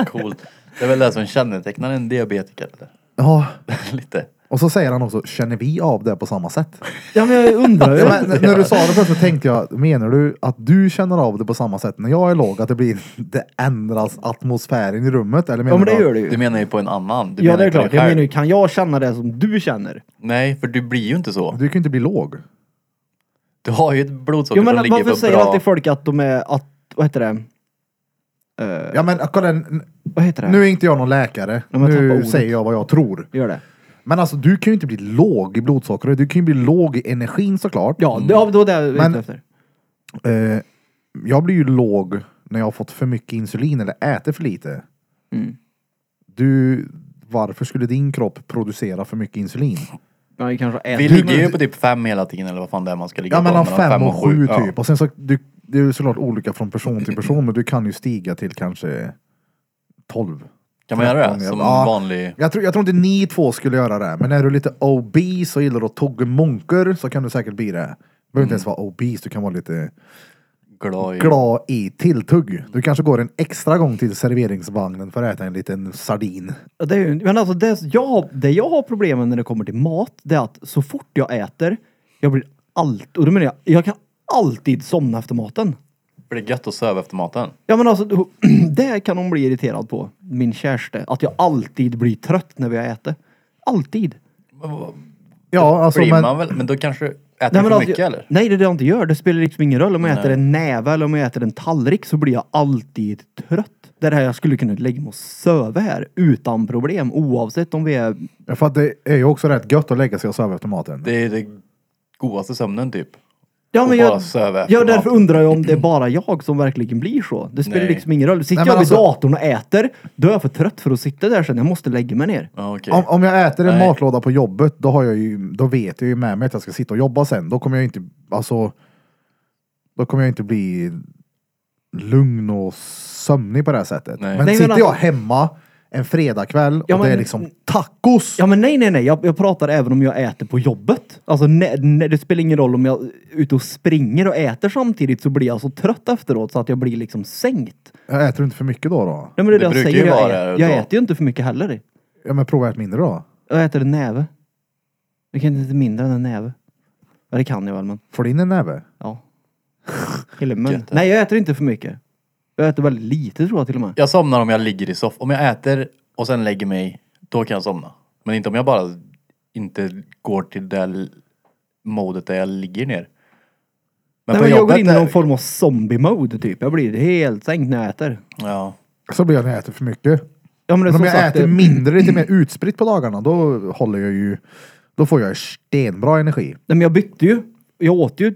S3: Coolt. Det är väl det som kännetecknar en diabetiker. Eller?
S1: Ja,
S3: Lite.
S1: och så säger han också, känner vi av det på samma sätt?
S2: ja men jag undrar ju.
S1: Ja, men, n- när du sa det först så tänkte jag, menar du att du känner av det på samma sätt när jag är låg? Att det blir, det ändras atmosfären i rummet? Eller menar
S2: Ja men det
S1: du att-
S2: gör det
S3: Du
S2: ju.
S3: menar ju på en annan. Du
S2: Ja
S3: menar
S2: det är
S3: ju på dig
S2: klart. Jag
S3: själv.
S2: menar ju, kan jag känna det som du känner?
S3: Nej, för du blir ju inte så.
S1: Du kan ju inte bli låg.
S3: Du har ju ett blodsocker
S2: Jo men
S3: som ligger
S2: varför
S3: på
S2: säger
S3: bra...
S2: alltid folk att de är, att, vad heter det? Eh,
S1: Ja men kolla, n-
S2: Vad heter det?
S1: nu är inte jag någon läkare.
S2: Ja, men tappa
S1: Nu
S2: ordet.
S1: säger jag vad jag tror.
S2: Gör det.
S1: Men alltså du kan ju inte bli låg i blodsockret. Du kan ju bli låg i energin såklart.
S2: Ja, det, ja, det var det jag var
S1: Men-
S2: ute efter.
S1: Eh, jag blir ju låg när jag har fått för mycket insulin eller äter för lite.
S2: Mm.
S1: Du, varför skulle din kropp producera för mycket insulin?
S2: Man kanske äter.
S3: Vi
S2: Du,
S3: ligger ju på typ fem hela tiden eller vad fan det är man ska ligga
S1: Ja,
S3: på.
S1: mellan fem och sju
S3: ja.
S1: typ. Och sen så, du, det är ju såklart olika från person till person, men du kan ju stiga till kanske 12.
S3: Kan man göra det?
S1: Tretton,
S3: Som
S1: ja.
S3: vanlig...
S1: Jag tror, jag tror inte ni två skulle göra det, men är du lite obese och gillar att tugga munkar så kan du säkert bli det. Du behöver inte ens
S3: Mm.
S1: vara obese, du kan vara lite
S3: Glad i...
S1: glad i tilltugg. Du kanske går en extra gång till serveringsvagnen för att äta en liten sardin.
S2: Ja, det är ju, men alltså det jag, det jag har problemen när det kommer till mat, det är att så fort jag äter, jag blir allt, och då menar jag, jag kan alltid somna efter maten.
S3: För det är gött att söva efter maten.
S2: Ja men alltså, då- det kan hon bli irriterad på, min kärste. Att jag alltid blir trött när vi har ätit. Alltid.
S1: Ja, alltså
S3: Blir
S1: men...
S3: man väl... Men då kanske... Äter
S2: Nej,
S3: du
S2: men
S3: för
S2: alltså,
S3: mycket eller?
S2: nej det är det jag inte gör. Det spelar liksom ingen roll om jag äter en näve eller om jag äter en tallrik så blir jag alltid trött. Det är det här jag skulle kunna lägga mig och söva här utan problem oavsett om vi är...
S1: För att det är ju också rätt gött att lägga sig och sova efter maten.
S3: Det är det godaste sömnen typ.
S2: Ja,
S3: Och bara
S2: jag,
S3: söva efter
S2: jag därför
S3: maten.
S2: undrar jag om det är bara jag som verkligen blir så. Det spelar
S3: Nej.
S2: liksom ingen roll. Sitter
S1: Nej, men
S2: jag vid
S1: alltså-
S2: datorn och äter, då är jag för trött för att sitta där sen. Jag måste lägga mig ner.
S3: Ja, okej.
S1: Om, om jag äter en
S3: Nej.
S1: matlåda på jobbet, då, har jag ju, då vet jag ju med mig att jag ska sitta och jobba sen. Då kommer jag inte, alltså, då kommer jag inte bli lugn och sömnig på det här sättet. Men
S3: Nej.
S2: Nej, men
S1: sitter
S2: alltså-
S1: jag hemma en fredagkväll och
S2: Ja,
S1: det är
S2: men-
S1: liksom tacos!
S2: Ja men nej nej nej, jag, jag pratar även om jag äter på jobbet. Alltså nej, nej, det spelar ingen roll om jag är ute och springer och äter samtidigt så blir jag så trött efteråt så att jag blir liksom sänkt.
S1: Jag äter inte för mycket då då?
S2: Nej men det,
S3: Det
S2: är det jag
S3: brukar
S2: säger,
S3: ju
S2: jag,
S3: vara
S2: ä-
S3: det
S2: jag
S3: då.
S2: äter ju inte för mycket heller.
S1: Ja men prova att äta mindre då.
S2: Jag äter en näve. Jag kan inte äta mindre än en näve. Ja det kan jag väl men,
S1: Får du in en näve?
S2: ja. Till och med.
S3: Gött det.
S2: Nej jag äter inte för mycket. Jag äter väldigt lite tror jag till och med.
S3: Jag somnar om jag ligger i soffan. Om jag äter och sen lägger mig, då kan jag somna. Men inte om jag bara inte går till det l- modet där jag ligger ner. Men
S2: nej, men jag går in i
S3: är-
S2: någon form av zombie-mode typ. Jag blir helt sänkt när jag äter.
S3: Ja.
S1: Så blir jag när jag äter för mycket.
S2: Ja, men det är
S1: Men om
S2: som
S1: jag
S2: sagt,
S1: äter
S2: det-
S1: mindre, lite mer utspritt på dagarna, då håller jag ju, då får jag stenbra energi.
S2: Nej men jag bytte ju. Jag åt ju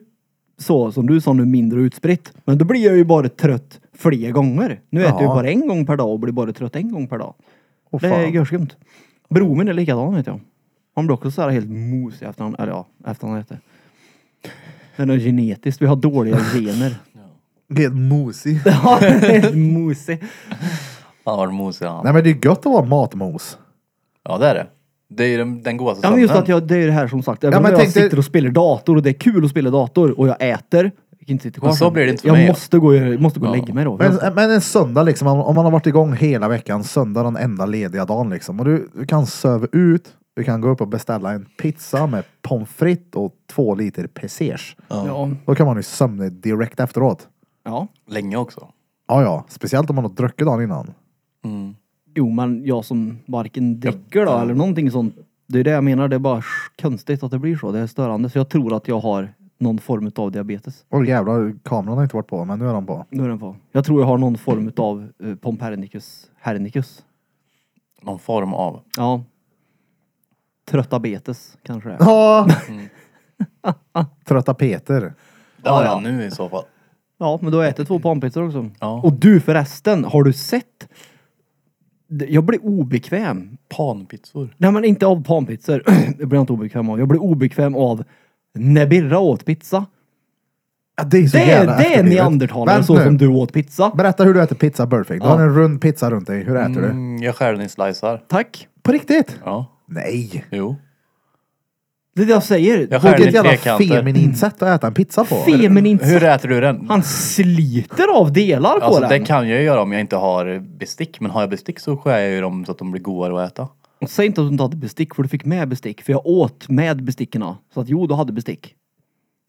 S2: så som du sa nu mindre utspritt. Men då blir jag ju bara trött fler gånger. Nu äter jag
S1: Ja.
S2: ju bara en gång per dag och blir bara trött en gång per dag.
S1: Åh,
S2: det är
S1: fan.
S2: görskumt. Bror min är likadan vet jag. Han blir också så här helt mosig efter han, eller ja, efter han äter. Det är något genetiskt, vi har dåliga gener.
S1: Helt mosig.
S2: Ja, helt mosig.
S3: Fan vad mosig han.
S1: Nej men det är gött att vara matmos.
S3: Ja det är det. Det är ju den, den godaste
S2: Ja men just
S3: sömnen.
S2: att jag, det är ju det här som sagt. Även
S1: Ja,
S2: om
S1: men
S2: jag
S1: tänk dig-
S2: sitter och spelar dator och det är kul att spela dator och jag äter. Jag kan inte sitta kvar
S3: Men så
S2: sen.
S3: blir det inte för
S2: jag
S3: mig.
S2: Måste gå, jag måste gå och lägga mig då.
S1: Men, men en söndag liksom, om om man har varit igång hela veckan, söndag är den enda lediga dagen liksom. Och du, du kan söva ut, du kan gå upp och beställa en pizza med pommes frites och två liter pesers.
S2: ja.
S1: Då kan man ju sömna direkt efteråt.
S2: ja.
S3: Länge också.
S1: Ja, ja, speciellt om man har druckit dagen innan.
S2: Jo, men jag som varken dricker då eller någonting sånt. Det är det jag menar. Det är bara sh- konstigt att det blir så. Det är störande. Så jag tror att jag har någon form av diabetes.
S1: Åh jävlar, kameran har inte varit på, men nu är den på.
S2: Nu är den på. Jag tror jag har någon form av uh, pompernicus hernicus.
S3: Någon form av.
S2: Ja. Tröttabetes kanske det är.
S1: Ja! Trötta Peter.
S3: Det har jag nu i så fall.
S2: Ja, men du har ätit två pompizzor också.
S3: Ja.
S2: Och du förresten, har du sett det- jag blir obekväm.
S3: Panpizzor.
S2: Nej men inte av panpizzor. det blir jag inte obekväm av. Jag blir obekväm av när Birra åt pizza.
S1: Ja, det är så
S2: Det är,
S1: jävla
S2: det är
S1: efterblivet.
S2: neandertalare
S1: Vänt
S2: så
S1: nu.
S2: som du åt pizza.
S1: Berätta hur du äter pizza perfect. Du har en rund pizza runt dig. Hur äter du?
S3: Mm, jag skär den i slicear.
S2: Tack.
S1: På riktigt?
S3: Ja.
S1: Nej!
S3: Jo.
S2: Det är det jag säger.
S3: Jag skär den i
S1: Vilket jävla
S3: trekanter.
S1: feminint sätt att äta en pizza på.
S2: Feminint.
S3: Hur äter du den?
S2: Han sliter av delar på
S3: Alltså
S2: den.
S3: det kan jag ju göra om jag inte har bestick. Men har jag bestick så skär jag ju dem så att de blir godare att äta.
S2: Säg inte att du inte hade bestick för du fick med bestick. För jag åt med bestickerna. Så att jo, du hade bestick.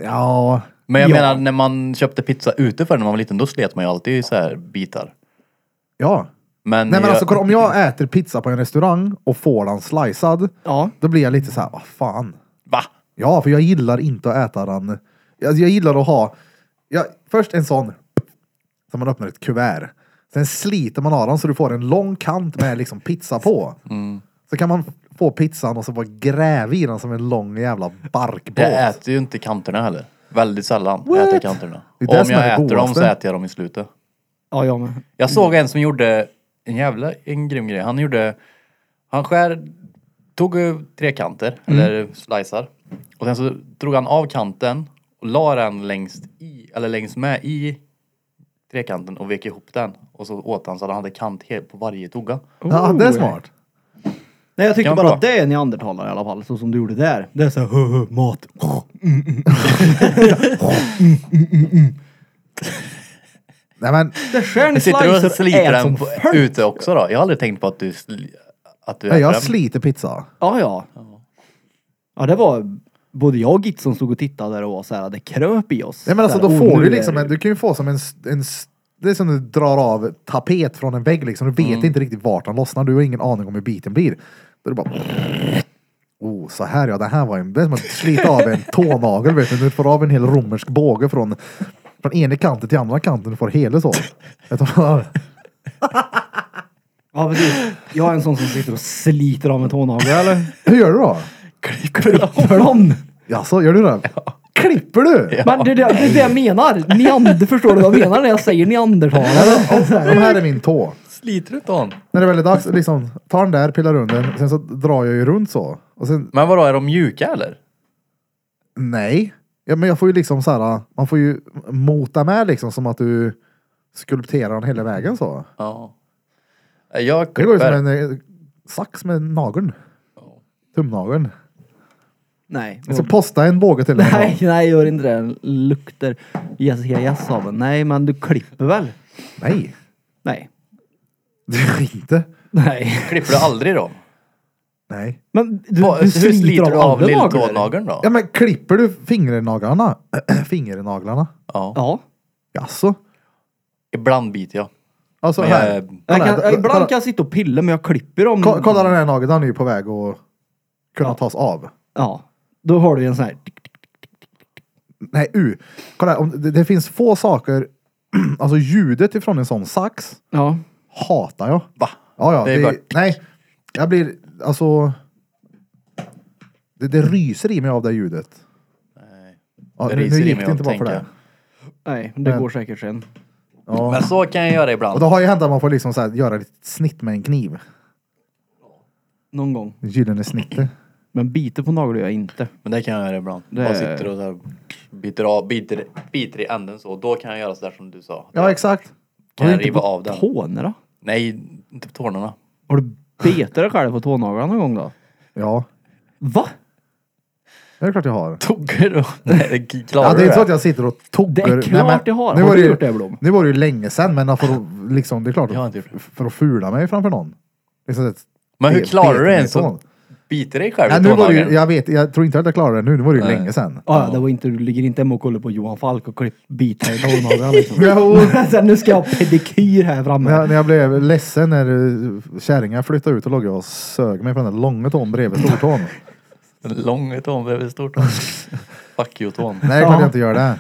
S1: Ja,
S3: Men jag
S2: Ja.
S3: menar när man köpte pizza ute förr när man var liten då slet man ju alltid i så här bitar.
S1: ja.
S3: Men,
S1: Nej men
S3: jag-
S1: alltså kolla, om jag äter pizza på en restaurang och får den slicead,
S2: Ja.
S1: då blir jag lite så här, vad fan.
S3: Va?
S1: Ja, för jag gillar inte att äta den. Alltså, jag gillar att ha, ja, först en sån, som man öppnar ett kuvert. Sen sliter man av den så du får en lång kant med liksom pizza på.
S3: Mm.
S1: Så kan man få pizzan och så bara gräva i den som en lång jävla barkbåt.
S3: Jag äter ju inte kanterna heller. Väldigt sällan jag äter jag kanterna.
S1: Det är
S3: Och
S1: det
S3: om
S1: som är det
S3: jag äter dem
S1: godaste.
S3: så äter jag dem i slutet.
S2: Ja, jag med.
S3: Jag såg en som gjorde en jävla en grym grej. Han gjorde, han skär, tog eh, trekanter
S1: Mm.
S3: eller slicear och sen så drog han av kanten och la den längst i, eller längst med i trekanten och vek ihop den och så åt han så att han hade kant helt på varje tugga.
S1: Ja, det är smart.
S2: Nej, jag tyckte
S3: Kan
S2: bara
S3: vara
S2: att det är neandertalare i alla fall. Så som du gjorde där. Det är så här, "Hö, hö, mat.
S1: Nej men,
S2: Det skär ni
S3: Du sitter och
S2: slicer
S3: sliter
S2: ät som
S3: den på,
S2: fan.
S3: ute också då? Jag har aldrig tänkt på att du, sli- att du
S1: nej, jag
S3: den.
S1: sliter pizza.
S2: Ja, ja. Ja, det var både jag och Gitson stod och tittade där och var så här, det kröp i oss.
S1: Nej men alltså
S2: Så
S1: då
S2: här, "Oh,
S1: får
S2: nu
S1: du
S2: är
S1: liksom,
S2: det-
S1: en, du kan ju få som en, s- en s- det är som du drar av tapet från en vägg liksom. Du vet inte riktigt vart den lossnar. Du har ingen aning om hur biten blir. Då är det bara... Oh, så här ja, det här var en... Det är som att slita av en tånagel vet du. Du får av en hel romersk båge från, från ena kanten till andra kanten. Du får hela så. Vet du vad?
S2: Ja, precis. Jag är en sån som sitter och sliter av en tånagel, eller?
S1: Hur gör du då?
S2: Klipper dem!
S1: Jaså, gör du det? Klipper du?
S2: Men det är det, det, är det jag menar. Neander, förstår du vad jag menar när jag säger neandertalare?
S1: Oh, de här är min tå.
S3: Sliter du inte hon?
S1: När det väl är dags, liksom, tar den där, pillar runt den. Sen så drar jag ju runt så. Och sen
S3: Men vadå, är de mjuka eller?
S1: Nej. Ja, men jag får ju liksom så här, man får ju mota med liksom som att du skulpterar den hela vägen så.
S3: Ja. Jag
S1: Det går ju
S3: klipper-
S1: som en eh, sax med nageln. Tumnageln.
S2: Nej.
S1: Jag ska posta en båge till dig.
S2: Alltså, Nej, nej gör inte det. Den Luktar Jessica Jess av den. Nej, men du klipper väl?
S1: Nej,
S2: Nej.
S1: det gör jag inte.
S2: Nej.
S3: Klipper du aldrig dem?
S1: Nej.
S2: Men du,
S3: Vad-
S2: du
S3: Hur sliter, du av
S2: alla naglar?
S3: lilltånageln då?
S1: Ja men klipper du fingernaglarna? fingernaglarna?
S3: Ja.
S2: Ja.
S1: Jaså?
S3: Ibland biter jag.
S1: Alltså
S3: Men
S1: här.
S3: jag,
S2: Jag kan, jag, ibland
S1: kolla,
S2: kan jag sitta och pilla, men jag klipper dem.
S1: kolla, kolla den här nageln, den är ju på väg att kunna tas av.
S2: Ja. Då har du en sån här...
S1: Nej, u. Kolla, om, det, det finns få saker, alltså ljudet ifrån en sån sax
S2: Ja.
S1: hatar jag.
S3: va?
S1: Ja, ja.
S3: Det är
S1: Det,
S3: bara-
S1: nej, jag blir alltså. Det, det ryser i mig av det ljudet. Ja,
S3: Det
S1: nu,
S3: ryser
S1: nu
S3: i
S1: gick
S3: mig
S1: det
S3: av
S1: inte bara för det.
S3: tänka.
S2: Nej, det går säkert sen.
S1: Ja.
S3: Men så kan jag göra
S1: Och
S3: ibland.
S1: det har ju hänt att man får liksom så här, göra ett snitt med en kniv.
S2: Någon gång.
S1: Gyllene snittet.
S2: Men biter på naglar gör jag inte.
S3: Men det kan jag göra ibland.
S2: Det-
S3: Bara sitter och så här biter av, biter, biter i änden så. Då kan jag göra sådär som du sa.
S1: Ja, exakt.
S3: Kan jag riva av den?
S2: Tårna då?
S3: Nej, inte på tårna.
S2: Har du betat dig själv på tånaglarna någon gång då?
S1: Ja,
S2: Va?
S1: det är klart jag har.
S3: Tuggar du? Nej, det k- klarar
S1: Ja, det är
S3: du
S1: inte så att jag sitter och tog.
S2: Det är
S1: Nej,
S2: klart
S1: men
S2: jag har.
S1: Nu
S2: Har
S1: var
S2: du
S1: det,
S2: gjort det, Blom?
S1: ju- nu var det ju länge sedan, men jag får, liksom, det är klart
S3: Jag har inte gjort det.
S1: för att fula mig framför någon. Liksom, ett-
S3: Men hur
S1: bet-
S3: klarar
S1: bet
S3: du
S1: mig
S3: ens
S1: ifrån.
S3: att bita dig själv
S1: Nej,
S3: i
S1: nu var det
S3: tånageln?
S1: ju, jag, vet, jag tror inte att jag klarar det nu, nu var det ju länge sedan.
S2: Ja, ja, det var inte, du ligger inte hemma och kollar på Johan Falk och klipp bitar i tånaglarna liksom.
S1: Jo,
S2: Sen nu ska jag ha pedikyr här framme.
S1: När jag, när jag blev ledsen när eh, kärringar flyttade ut och låg jag och sög mig på den där långa tån bredvid stortån.
S3: Lång tån bredvid stortån. Fuck you tån.
S1: Nej, det kan jag inte göra det.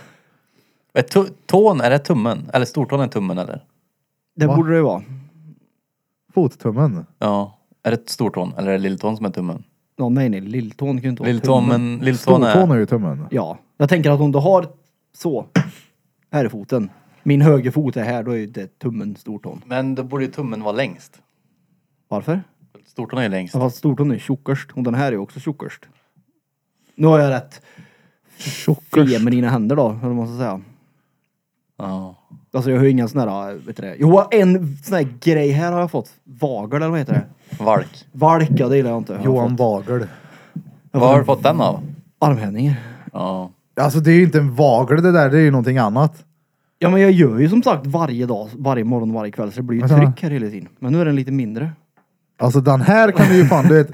S3: Är tu- Tån, är det tummen? Eller stortån är tummen eller?
S2: Det
S1: Va?
S2: borde det vara.
S1: Fottummen.
S3: Ja. Är det stortån eller är det lilltån som är tummen?
S2: Ja, nej, nej, lilltån kan ju inte vara
S3: Lilltån,
S2: tummen.
S3: men lilltån
S1: Stortån
S3: är...
S1: är ju tummen.
S2: Ja, jag tänker att om du har så. Här är foten. Min högerfot är här, då är det tummen, stortån.
S3: Men då borde ju tummen vara längst.
S2: Varför?
S3: Stortån är ju längst.
S2: Ja, Fast stortån är tjockast och den här är ju också tjockast. Nu har jag rätt feminina händer då, eller vad man ska säga.
S3: Ja.
S2: Alltså jag har ju inga såna här, vet du det? Jo, en sån här grej här har jag fått. Vagel eller vad heter det?
S3: Valk.
S2: Valka, det gillar jag inte. Jag har
S1: Johan
S2: fått
S1: Vagel.
S3: Vad har du fått den av?
S2: Armhävningar.
S3: Ja.
S1: Alltså det är ju inte en vagel det där, det är ju någonting annat.
S2: Ja men jag gör ju som sagt varje dag, varje morgon, varje kväll så det blir ju
S1: Vad sa du?
S2: tryck här hela tiden. Men nu är den lite mindre.
S1: Alltså den här kan du ju fan, du vet.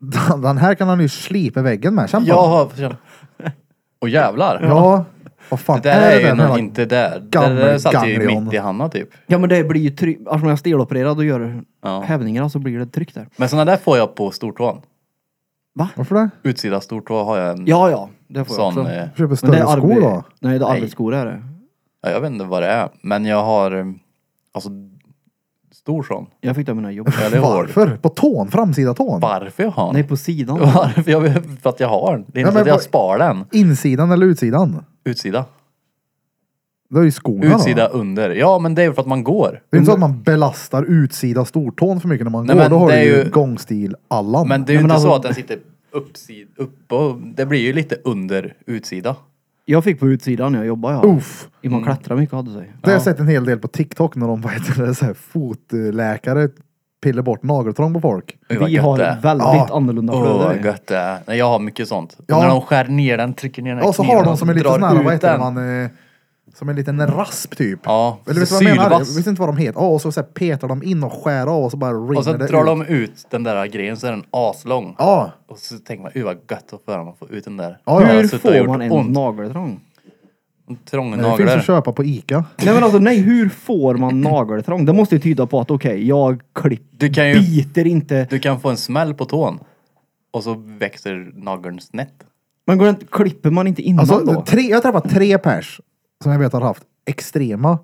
S1: Den- Den här kan han ju slipa väggen med. Känn på
S3: Jag
S1: den.
S3: har... får känna. Åh jävlar.
S1: Ja. Vad fan
S3: Det där är
S1: det
S3: ju
S1: där
S3: nog inte där. Det
S1: gamle
S3: där satt ju
S1: ganglion?
S3: mitt i Hanna typ.
S2: Ja men det blir ju tryck, eftersom jag är stelopererad och gör
S3: Ja.
S2: hävningar så blir det tryck där.
S3: Men såna där får jag på stortån.
S1: Varför det?
S3: Utsida stortå har jag en
S2: Ja ja, det får jag
S3: sån...
S2: också.
S3: eh,
S1: Köper
S2: Men det
S1: större
S2: är
S1: skor
S2: arbets...
S1: då?
S2: Nej det är
S3: Nej.
S2: arbetsskor är det.
S3: Ja, jag vet inte vad det är. Men jag har... eh, Alltså... Stor sån.
S2: Jag fick det av mina jobb.
S3: Ja, det är hård.
S1: Varför? På tån? Framsida tån?
S3: Varför jag har den?
S2: Nej på sidan.
S3: Varför? Jag vet, för att jag har den. Det är
S1: Ja, men
S3: inte för att jag
S1: vad-
S3: spar den.
S1: Insidan eller utsidan?
S3: Utsida.
S1: Det är ju skorna
S3: Utsida
S1: då.
S3: under. Ja, men det är för att man går.
S1: Det är inte så att man belastar utsida stortån för mycket när man
S3: Nej,
S1: går.
S3: men
S1: Då har
S3: det
S1: du
S3: är
S1: ju
S3: ju-
S1: gångstil-Allan.
S3: Men det är ju
S2: Nej, men
S3: inte så
S2: alltså-
S3: att den sitter uppsid, upp och Det blir ju lite under utsida.
S2: Jag fick på utsidan när jag jobbade ja.
S1: Uff!
S2: I man klättrar mycket hade sig.
S1: Det har jag sett en hel del på TikTok när de vad heter det, så här, fotläkare pillar bort nageltrång på folk.
S3: Oj, vad
S2: Vi
S3: gött
S2: har
S3: det är.
S2: ett väldigt
S1: Ja.
S2: annorlunda
S3: Åh,
S2: flöde.
S3: vad gött det är. Nej, jag har mycket sånt.
S1: Ja.
S3: När de skär ner den, trycker ner den här
S1: Ja, så
S3: kniven
S1: har de som är lite
S3: drar
S1: sån här,
S3: ut
S1: vad heter
S3: den.
S1: man? eh, Som en liten rasp typ.
S3: Ja,
S1: Eller vet du vad jag menar? Jag visste inte vad de heter. Ja, och så, så här, petar de in och skär av och så bara rinner
S3: Och så
S1: det
S3: drar
S1: ut.
S3: de ut den där grejen så är den aslång.
S1: Ja,
S3: Och så tänker man, uh vad gött att få höra man får ut den där.
S1: Ja, ja.
S3: Den har
S2: Hur
S3: suttit och
S2: får
S3: gjort
S2: man en
S3: ont.
S2: nageltrång?
S3: Trånga
S1: det finns att
S3: naglar.
S1: köpa på Ica.
S2: Nej men alltså nej, hur får man nageltrång? Det måste ju tyda på att okej, jag klipp,
S3: Du kan ju
S2: biter inte.
S3: Du kan få en smäll på tån. Och så växer nageln snett.
S2: Men går det, inte- klipper man inte innan
S1: Alltså,
S2: då?
S1: tre, jag har träffat tre pers som jag vet har haft extrema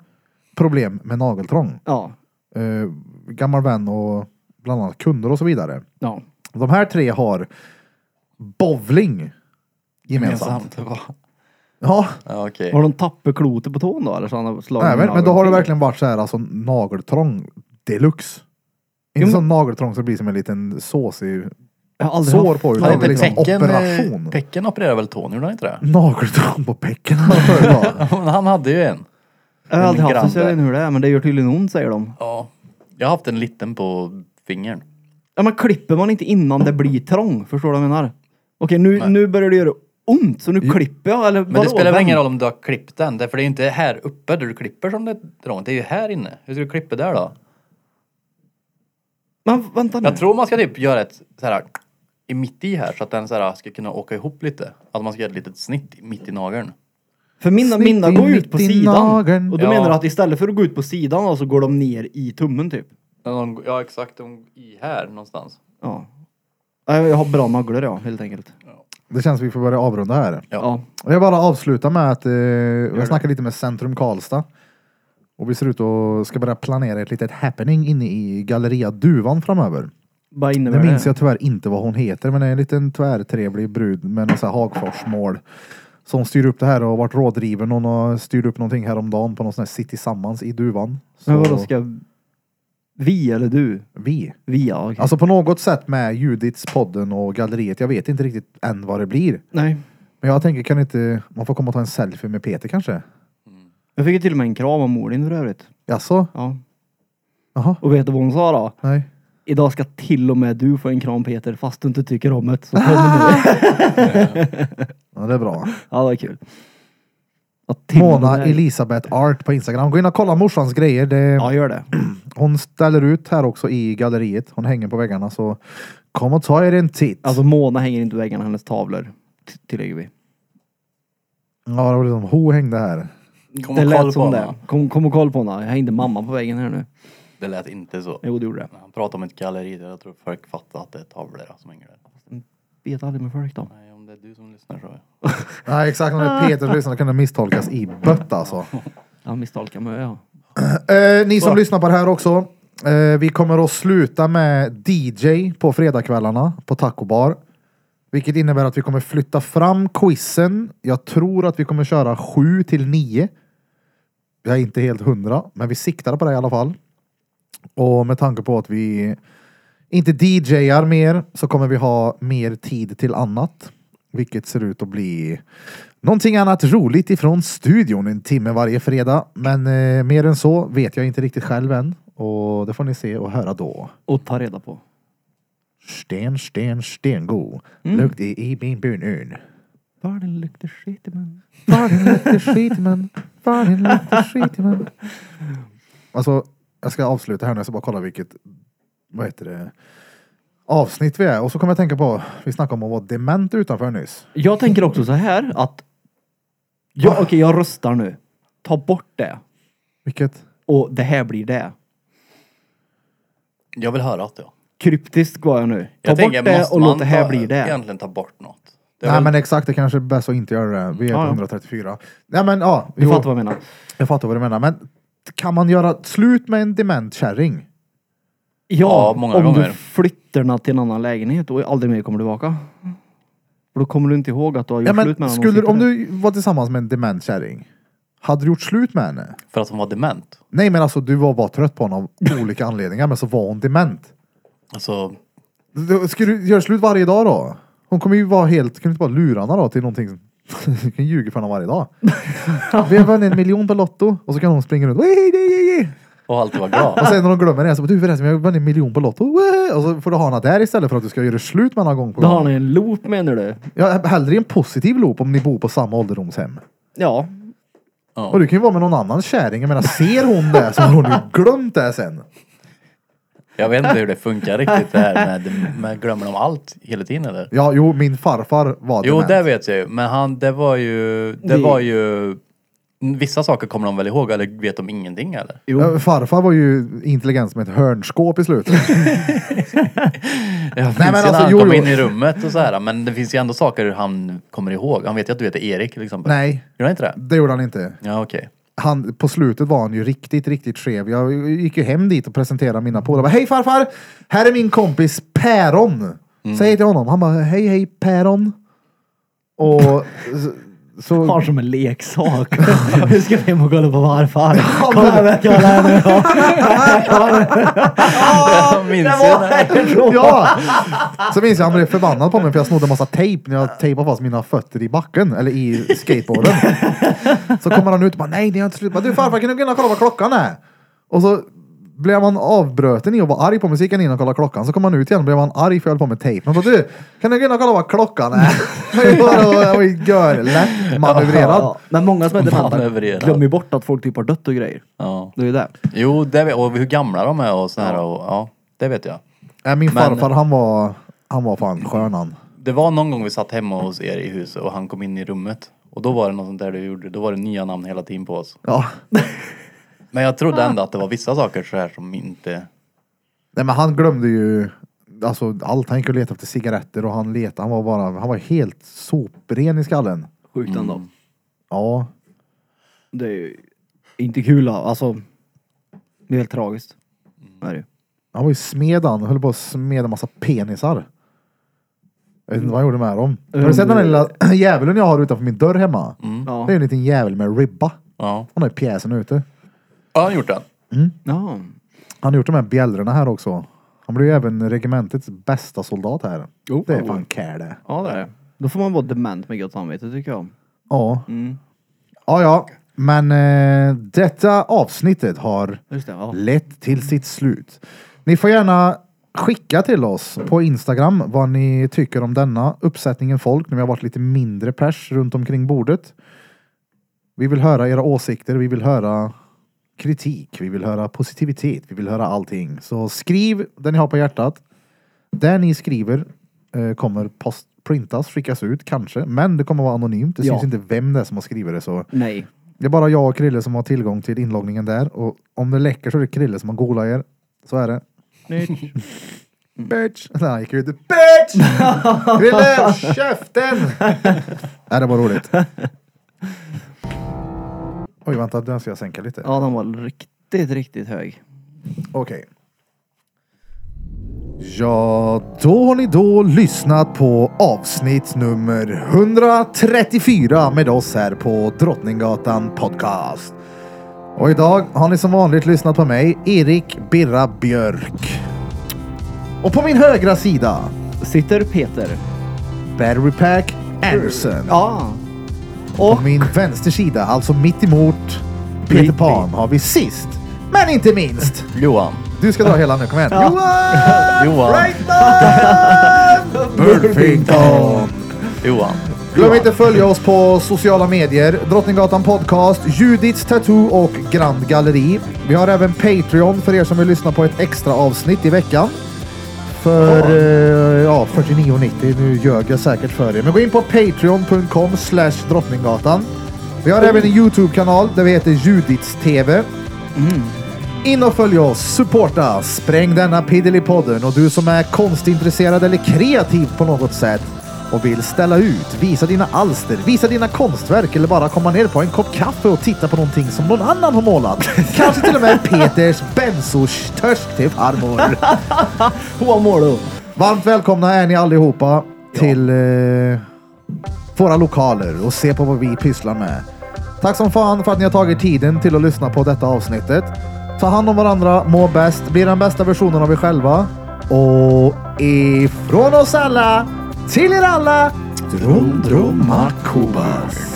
S1: problem med nageltrång.
S2: Ja,
S1: Eh, gammal vän och bland annat kunder och så vidare.
S2: ja.
S1: De här tre har bowling gemensamt.
S3: Va?
S1: Ja,
S3: Ja, okej.
S2: Har de tappat klotet på tån då eller så han har slagit
S1: nej,
S2: med
S1: men, men då har det
S2: nageln?
S1: verkligen varit så här alltså nageltrång deluxe.
S2: men-
S1: Inte sån nageltrång som blir som en liten såsig
S2: Jag har aldrig
S1: sår
S2: haft-
S1: på utan
S3: Har
S1: det är
S3: inte
S1: liksom
S3: Pecken,
S1: operation.
S3: eh, Pecken opererar väl tån, gjorde han inte det?
S1: Nageltrång på pecken har jag för mig.
S3: Ja, men han hade ju en.
S2: Jag har aldrig haft det så jag
S3: grann
S2: vet inte hur det är men det gör tydligen ont säger de.
S3: Ja. Jag har haft en liten på fingern.
S2: Ja men klipper man inte innan det blir trång? Förstår du vad jag menar? Okej nu, nu börjar det göra ont så nu klipper jag eller
S3: Men det spelar väl ingen roll om du har klippt den. Därför det är ju inte här uppe där du klipper som det är trångt. Det är ju här inne. Hur ska du klippa där då?
S2: Men vänta nu.
S3: Jag tror man ska typ göra ett så här i mitt i här så att den så här ska kunna åka ihop lite. Att man ska göra ett litet snitt mitt i nageln.
S2: För mina,
S1: Snitt
S2: mina
S1: i
S2: går ut på
S1: mitt i
S2: sidan.
S1: nageln.
S2: Och då
S3: Ja.
S2: menar du att istället för att gå ut på sidan då, så går de ner i tummen typ?
S3: Ja exakt, i här någonstans.
S2: Ja. Nej, Jag har bra naglar ja, helt enkelt.
S1: Det känns som vi får börja avrunda här.
S3: Ja.
S2: Ja.
S1: Och Jag bara avslutar med att eh, jag snackade lite med Centrum Karlstad. Och vi ser ut att ska börja planera ett litet happening inne i Galleria Duvan framöver.
S2: Vad
S1: Nu
S2: innebär
S1: minns
S2: det?
S1: jag tyvärr inte vad hon heter, men det är en liten tvärtrevlig brud med något Hagforsmål. Som styr upp det här och har varit rådriven. Hon har styrt upp någonting häromdagen på någon sån här City Sammans i Duvan. Så
S2: Men vadå ska... Vi eller du?
S1: vi.
S2: Vi ja, okej.
S1: Alltså på något sätt med Judits, podden och galleriet. Jag vet inte riktigt än vad det blir.
S2: Nej.
S1: Men jag tänker, kan inte man får komma och ta en selfie med Peter kanske?
S2: Jag fick ju till och med en kram av mor din för övrigt.
S1: Jaså?
S2: Ja.
S1: Jaha?
S2: Och vet du vad hon sa då?
S1: Nej.
S2: Idag ska till och med du få en kram Peter fast du inte tycker om det. Så kommer nu.
S1: Ja, det är bra.
S2: Ja, det var kul. Att till och med
S1: Mona
S2: den här-
S1: Elisabeth Art på Instagram. Gå in och kolla morsans grejer. Det,
S2: Ja, gör det.
S1: Hon ställer ut här också i galleriet. Hon hänger på väggarna så kom och ta er en titt.
S2: Alltså Mona hänger inte på väggarna, hennes tavlor. t- Tillägger vi.
S1: Ja, det var liksom ho hängde här.
S3: Kom
S2: Det
S3: och
S2: lät
S3: kolla på
S2: som
S3: det.
S2: det. Kom, kom och kolla på henne. Jag hängde mamma på väggen här nu.
S3: Det lät inte så.
S2: Jo, det gjorde det.
S3: Han pratar om ett galleri där jag tror folk fattar att det är tavlor som hänger där.
S2: Vet aldrig med folk då.
S3: Nej, om det är du som lyssnar så.
S1: Nej, exakt. Om det är Peter som lyssnar kan det misstolkas i bött alltså.
S2: Ja, misstolkar mig. Ja.
S1: Eh, ni som lyssnar på det här också. Eh, vi kommer att sluta med DJ på fredagskvällarna på Taco Bar. Vilket innebär att vi kommer flytta fram quizen. Jag tror att vi kommer köra 7 till 9. Jag är inte helt hundra, men vi siktar på det i alla fall. Och med tanke på att vi inte DJar mer så kommer vi ha mer tid till annat. Vilket ser ut att bli någonting annat roligt ifrån studion en timme varje fredag. Men eh, mer än så vet jag inte riktigt själv än. Och det får ni se och höra då.
S2: Och ta reda på.
S1: Sten, sten, stengo. Lukt i, i min brunun.
S2: Världen luktar skit i munnen.
S1: Världen luktar skit men. Världen luktar skit men. Alltså, jag ska avsluta här nu. Jag ska bara kolla vilket, vad heter det, avsnitt vi är. Och så kommer jag tänka på, vi snackade om att vara dement utanför nyss.
S2: Jag tänker också så här att... Ja, Okej, jag röstar nu. Ta bort det.
S1: Vilket?
S2: Och det här blir det.
S3: Jag vill höra att ja.
S2: Kryptiskt går jag nu. Ta
S3: Jag
S2: bort
S3: tänker,
S2: det
S3: måste
S2: och
S3: man
S2: låt det här
S3: ta,
S2: bli det.
S3: egentligen ta bort något? Det är
S1: Nej
S3: väl-
S1: men exakt, det kanske är bäst att inte göra det. Vi är på
S2: Ja, ja.
S1: 134. Nej men ja,
S2: Du
S1: jo,
S2: fattar vad jag menar.
S1: jag fattar vad du menar. Men kan man göra slut med en dement kärring?
S2: Ja,
S3: Ja, många
S2: om
S3: gånger.
S2: du flyttar den till en annan lägenhet och aldrig mer kommer tillbaka. För då kommer du inte ihåg att du har gjort
S1: Ja,
S2: slut
S1: men
S2: med
S1: skulle,
S2: någon
S1: om du var tillsammans med en dement kärring, hade du gjort slut med henne?
S3: För att hon var dement.
S1: Nej men alltså du var bara trött på honom av olika anledningar men så var hon dement.
S3: Alltså,
S1: Då Ska du göra slut varje dag då? Hon kommer ju vara helt, kan du inte bara lura henne då till någonting? som- Du kan ljuga för henne varje dag. Vi har vunnit en miljon på Lotto och så kan hon springa runt. "Wee, wee, wee, wee."
S3: och alltid var glad.
S1: Och sen när hon glömmer det så bara du förresten jag har vunnit en miljon på Lotto. Wee! Och så får du ha henne där istället för att du ska göra slut med henne gång på
S2: Då har
S1: gång.
S2: ni en loop menar du?
S1: Ja, hellre i en positiv loop om ni bor på samma ålderdomshem.
S2: Ja.
S1: Och du kan ju vara med någon annan kärring. Jag menar ser hon det så har hon ju glömt det sen.
S3: Jag vet inte hur det funkar riktigt det här med, med glömmer de allt hela tiden eller?
S1: Ja jo min farfar var
S3: Jo,
S1: dement.
S3: det vet jag ju. Men han, det var ju, det
S2: Det-
S3: var ju, vissa saker kommer de väl ihåg eller vet de ingenting eller?
S1: Ja, farfar var ju intelligent som ett hörnskåp i slutet.
S3: Jag minns
S1: men
S3: ju när
S1: alltså,
S3: han
S1: jo,
S3: kom
S1: jo.
S3: in i rummet och så här. Men det finns ju ändå saker han kommer ihåg. Han vet ju att du heter Erik till exempel.
S1: Nej,
S3: Gör han inte det?
S1: det gjorde han inte.
S3: Ja, okej.
S1: Han, på slutet var han ju riktigt, riktigt skev. Jag gick ju hem dit och presenterade mina polare. Jag bara, Hej farfar! Här är min kompis Päron. Säg till honom. Han bara, hej hej Päron. Och så... så
S5: Har som en leksak. Nu ska vi hem och kolla på varfar.
S1: men-
S5: Kolla här vad jag kan lära mig.
S1: Ah,
S3: Jag minns ju det.
S1: ja! Så minns jag han blev förbannad på mig för jag snodde en massa tejp när jag tejpade fast mina fötter i backen, eller i skateboarden. Så kommer han ut och bara nej, det har inte slut. Jag bara, Du farfar, kan du gå in och kolla vad klockan är? Och så blev man avbruten i att vara arg på musiken innan och kolla klockan. Så kom han ut igen och blev han arg för jag höll på med tejp. Men bara, du, kan du gå in och kolla vad klockan är? Jag var ju görlätt manövrerad.
S2: Ja, men många som är dementa
S3: Manövrerad.
S2: glömmer ju bort att folk typ har dött och grejer.
S3: Ja.
S2: Det är ju det.
S3: Jo, det vet, och hur gamla de är och så här. Och, ja, det vet jag.
S1: Nej, Min
S3: Men-
S1: farfar han var, han var fan skön han.
S3: Det var någon gång vi satt hemma hos er i huset och han kom in i rummet. Och då var det något sånt där du gjorde. Då var det nya namn hela tiden på oss.
S1: Ja.
S3: Men jag
S1: Ah.
S3: trodde ändå att det var vissa saker så här som inte...
S1: Nej men han glömde ju alltså, allt. Han gick och letade efter cigaretter och han letade. Han var, bara, han var helt sopren i skallen.
S2: Sjukt ändå.
S1: Ja.
S2: Det är ju inte kul alltså. Det är helt tragiskt. Det är det ju.
S1: Han var ju smed han. Höll på att smeda massa penisar. Jag vet inte vad han gjorde med dem. Har du sett den där lilla djävulen jag har utanför min dörr hemma?
S2: Ja.
S1: Det är en liten djävul med ribba.
S3: Ja.
S1: Han har ju pjäsen ute.
S3: Ja, han har gjort den.
S2: ja.
S1: Han har gjort de här bjällrorna här också. Han blev ju även regementets bästa soldat här.
S2: Oh.
S1: det är fan care det.
S2: Ja det är det. Då får man vara dement med gott samvete tycker jag.
S1: Ja.
S2: Mm.
S1: Ja, ja. Men eh, detta avsnittet har
S2: Just det, ja.
S1: lett till sitt slut. Ni får gärna skicka till oss på Instagram vad ni tycker om denna uppsättningen folk. Nu har vi varit lite mindre pers runt omkring bordet. Vi vill höra era åsikter, vi vill höra kritik, vi vill höra positivitet, vi vill höra allting. Så skriv det ni har på hjärtat. Där ni skriver eh, kommer post printas, skickas ut kanske, men det kommer vara anonymt. Det
S2: Ja.
S1: syns inte vem det är som har skrivit det så
S2: Nej.
S1: det är bara jag och Krille som har tillgång till inloggningen där och om det läcker så är det Krille som har golat er. Så är det. Bitch! Nej, han gick ut. Bitch! Krille, håll käften! Nej, det var roligt. Oj, vänta, den ska jag sänka lite.
S2: Ja den var riktigt, riktigt hög.
S1: Okej. Ja, då har ni då lyssnat på avsnitt nummer 134 med oss här på Drottninggatan Podcast. Och idag har ni som vanligt lyssnat på mig, Erik Birra Björk. Och på min högra sida,
S2: Sitter Peter.
S1: Battery Pack Anderson.
S2: Ja.
S1: På min vänstersida, alltså mitt emot Peter
S2: Mitt
S1: Pan, har vi sist, men inte minst.
S3: Johan.
S1: Du ska dra hela nu, kom igen. Johan!
S3: Johan.
S1: Reitman! Burfington!
S3: Johan.
S1: Glöm inte följa oss på sociala medier. Drottninggatan Podcast, Judits Tattoo och Grand Galleri. Vi har även Patreon för er som vill lyssna på ett extra avsnitt i veckan. För eh, ja, 49,90. Nu ljög jag säkert för er. Men gå in på patreon.com slash drottninggatan. Vi har även en Youtube-kanal där vi heter Judits TV. In och följ oss, supporta, spräng denna Piddelipodden och du som är konstintresserad eller kreativ på något sätt och vill ställa ut, visa dina alster, visa dina konstverk eller bara komma ner på en kopp kaffe och titta på någonting som någon annan har målat. Kanske till och med Peters Benzos törsk till farmor.
S5: Vad mår du?
S1: Varmt välkomna är ni allihopa till eh, våra lokaler och se på vad vi pysslar med. Tack som fan för att ni har tagit tiden till att lyssna på detta avsnittet. Ta hand om varandra, må bäst, bli den bästa versionen av er själva. Och ifrån oss alla, till er alla, Drum Drum Kubas.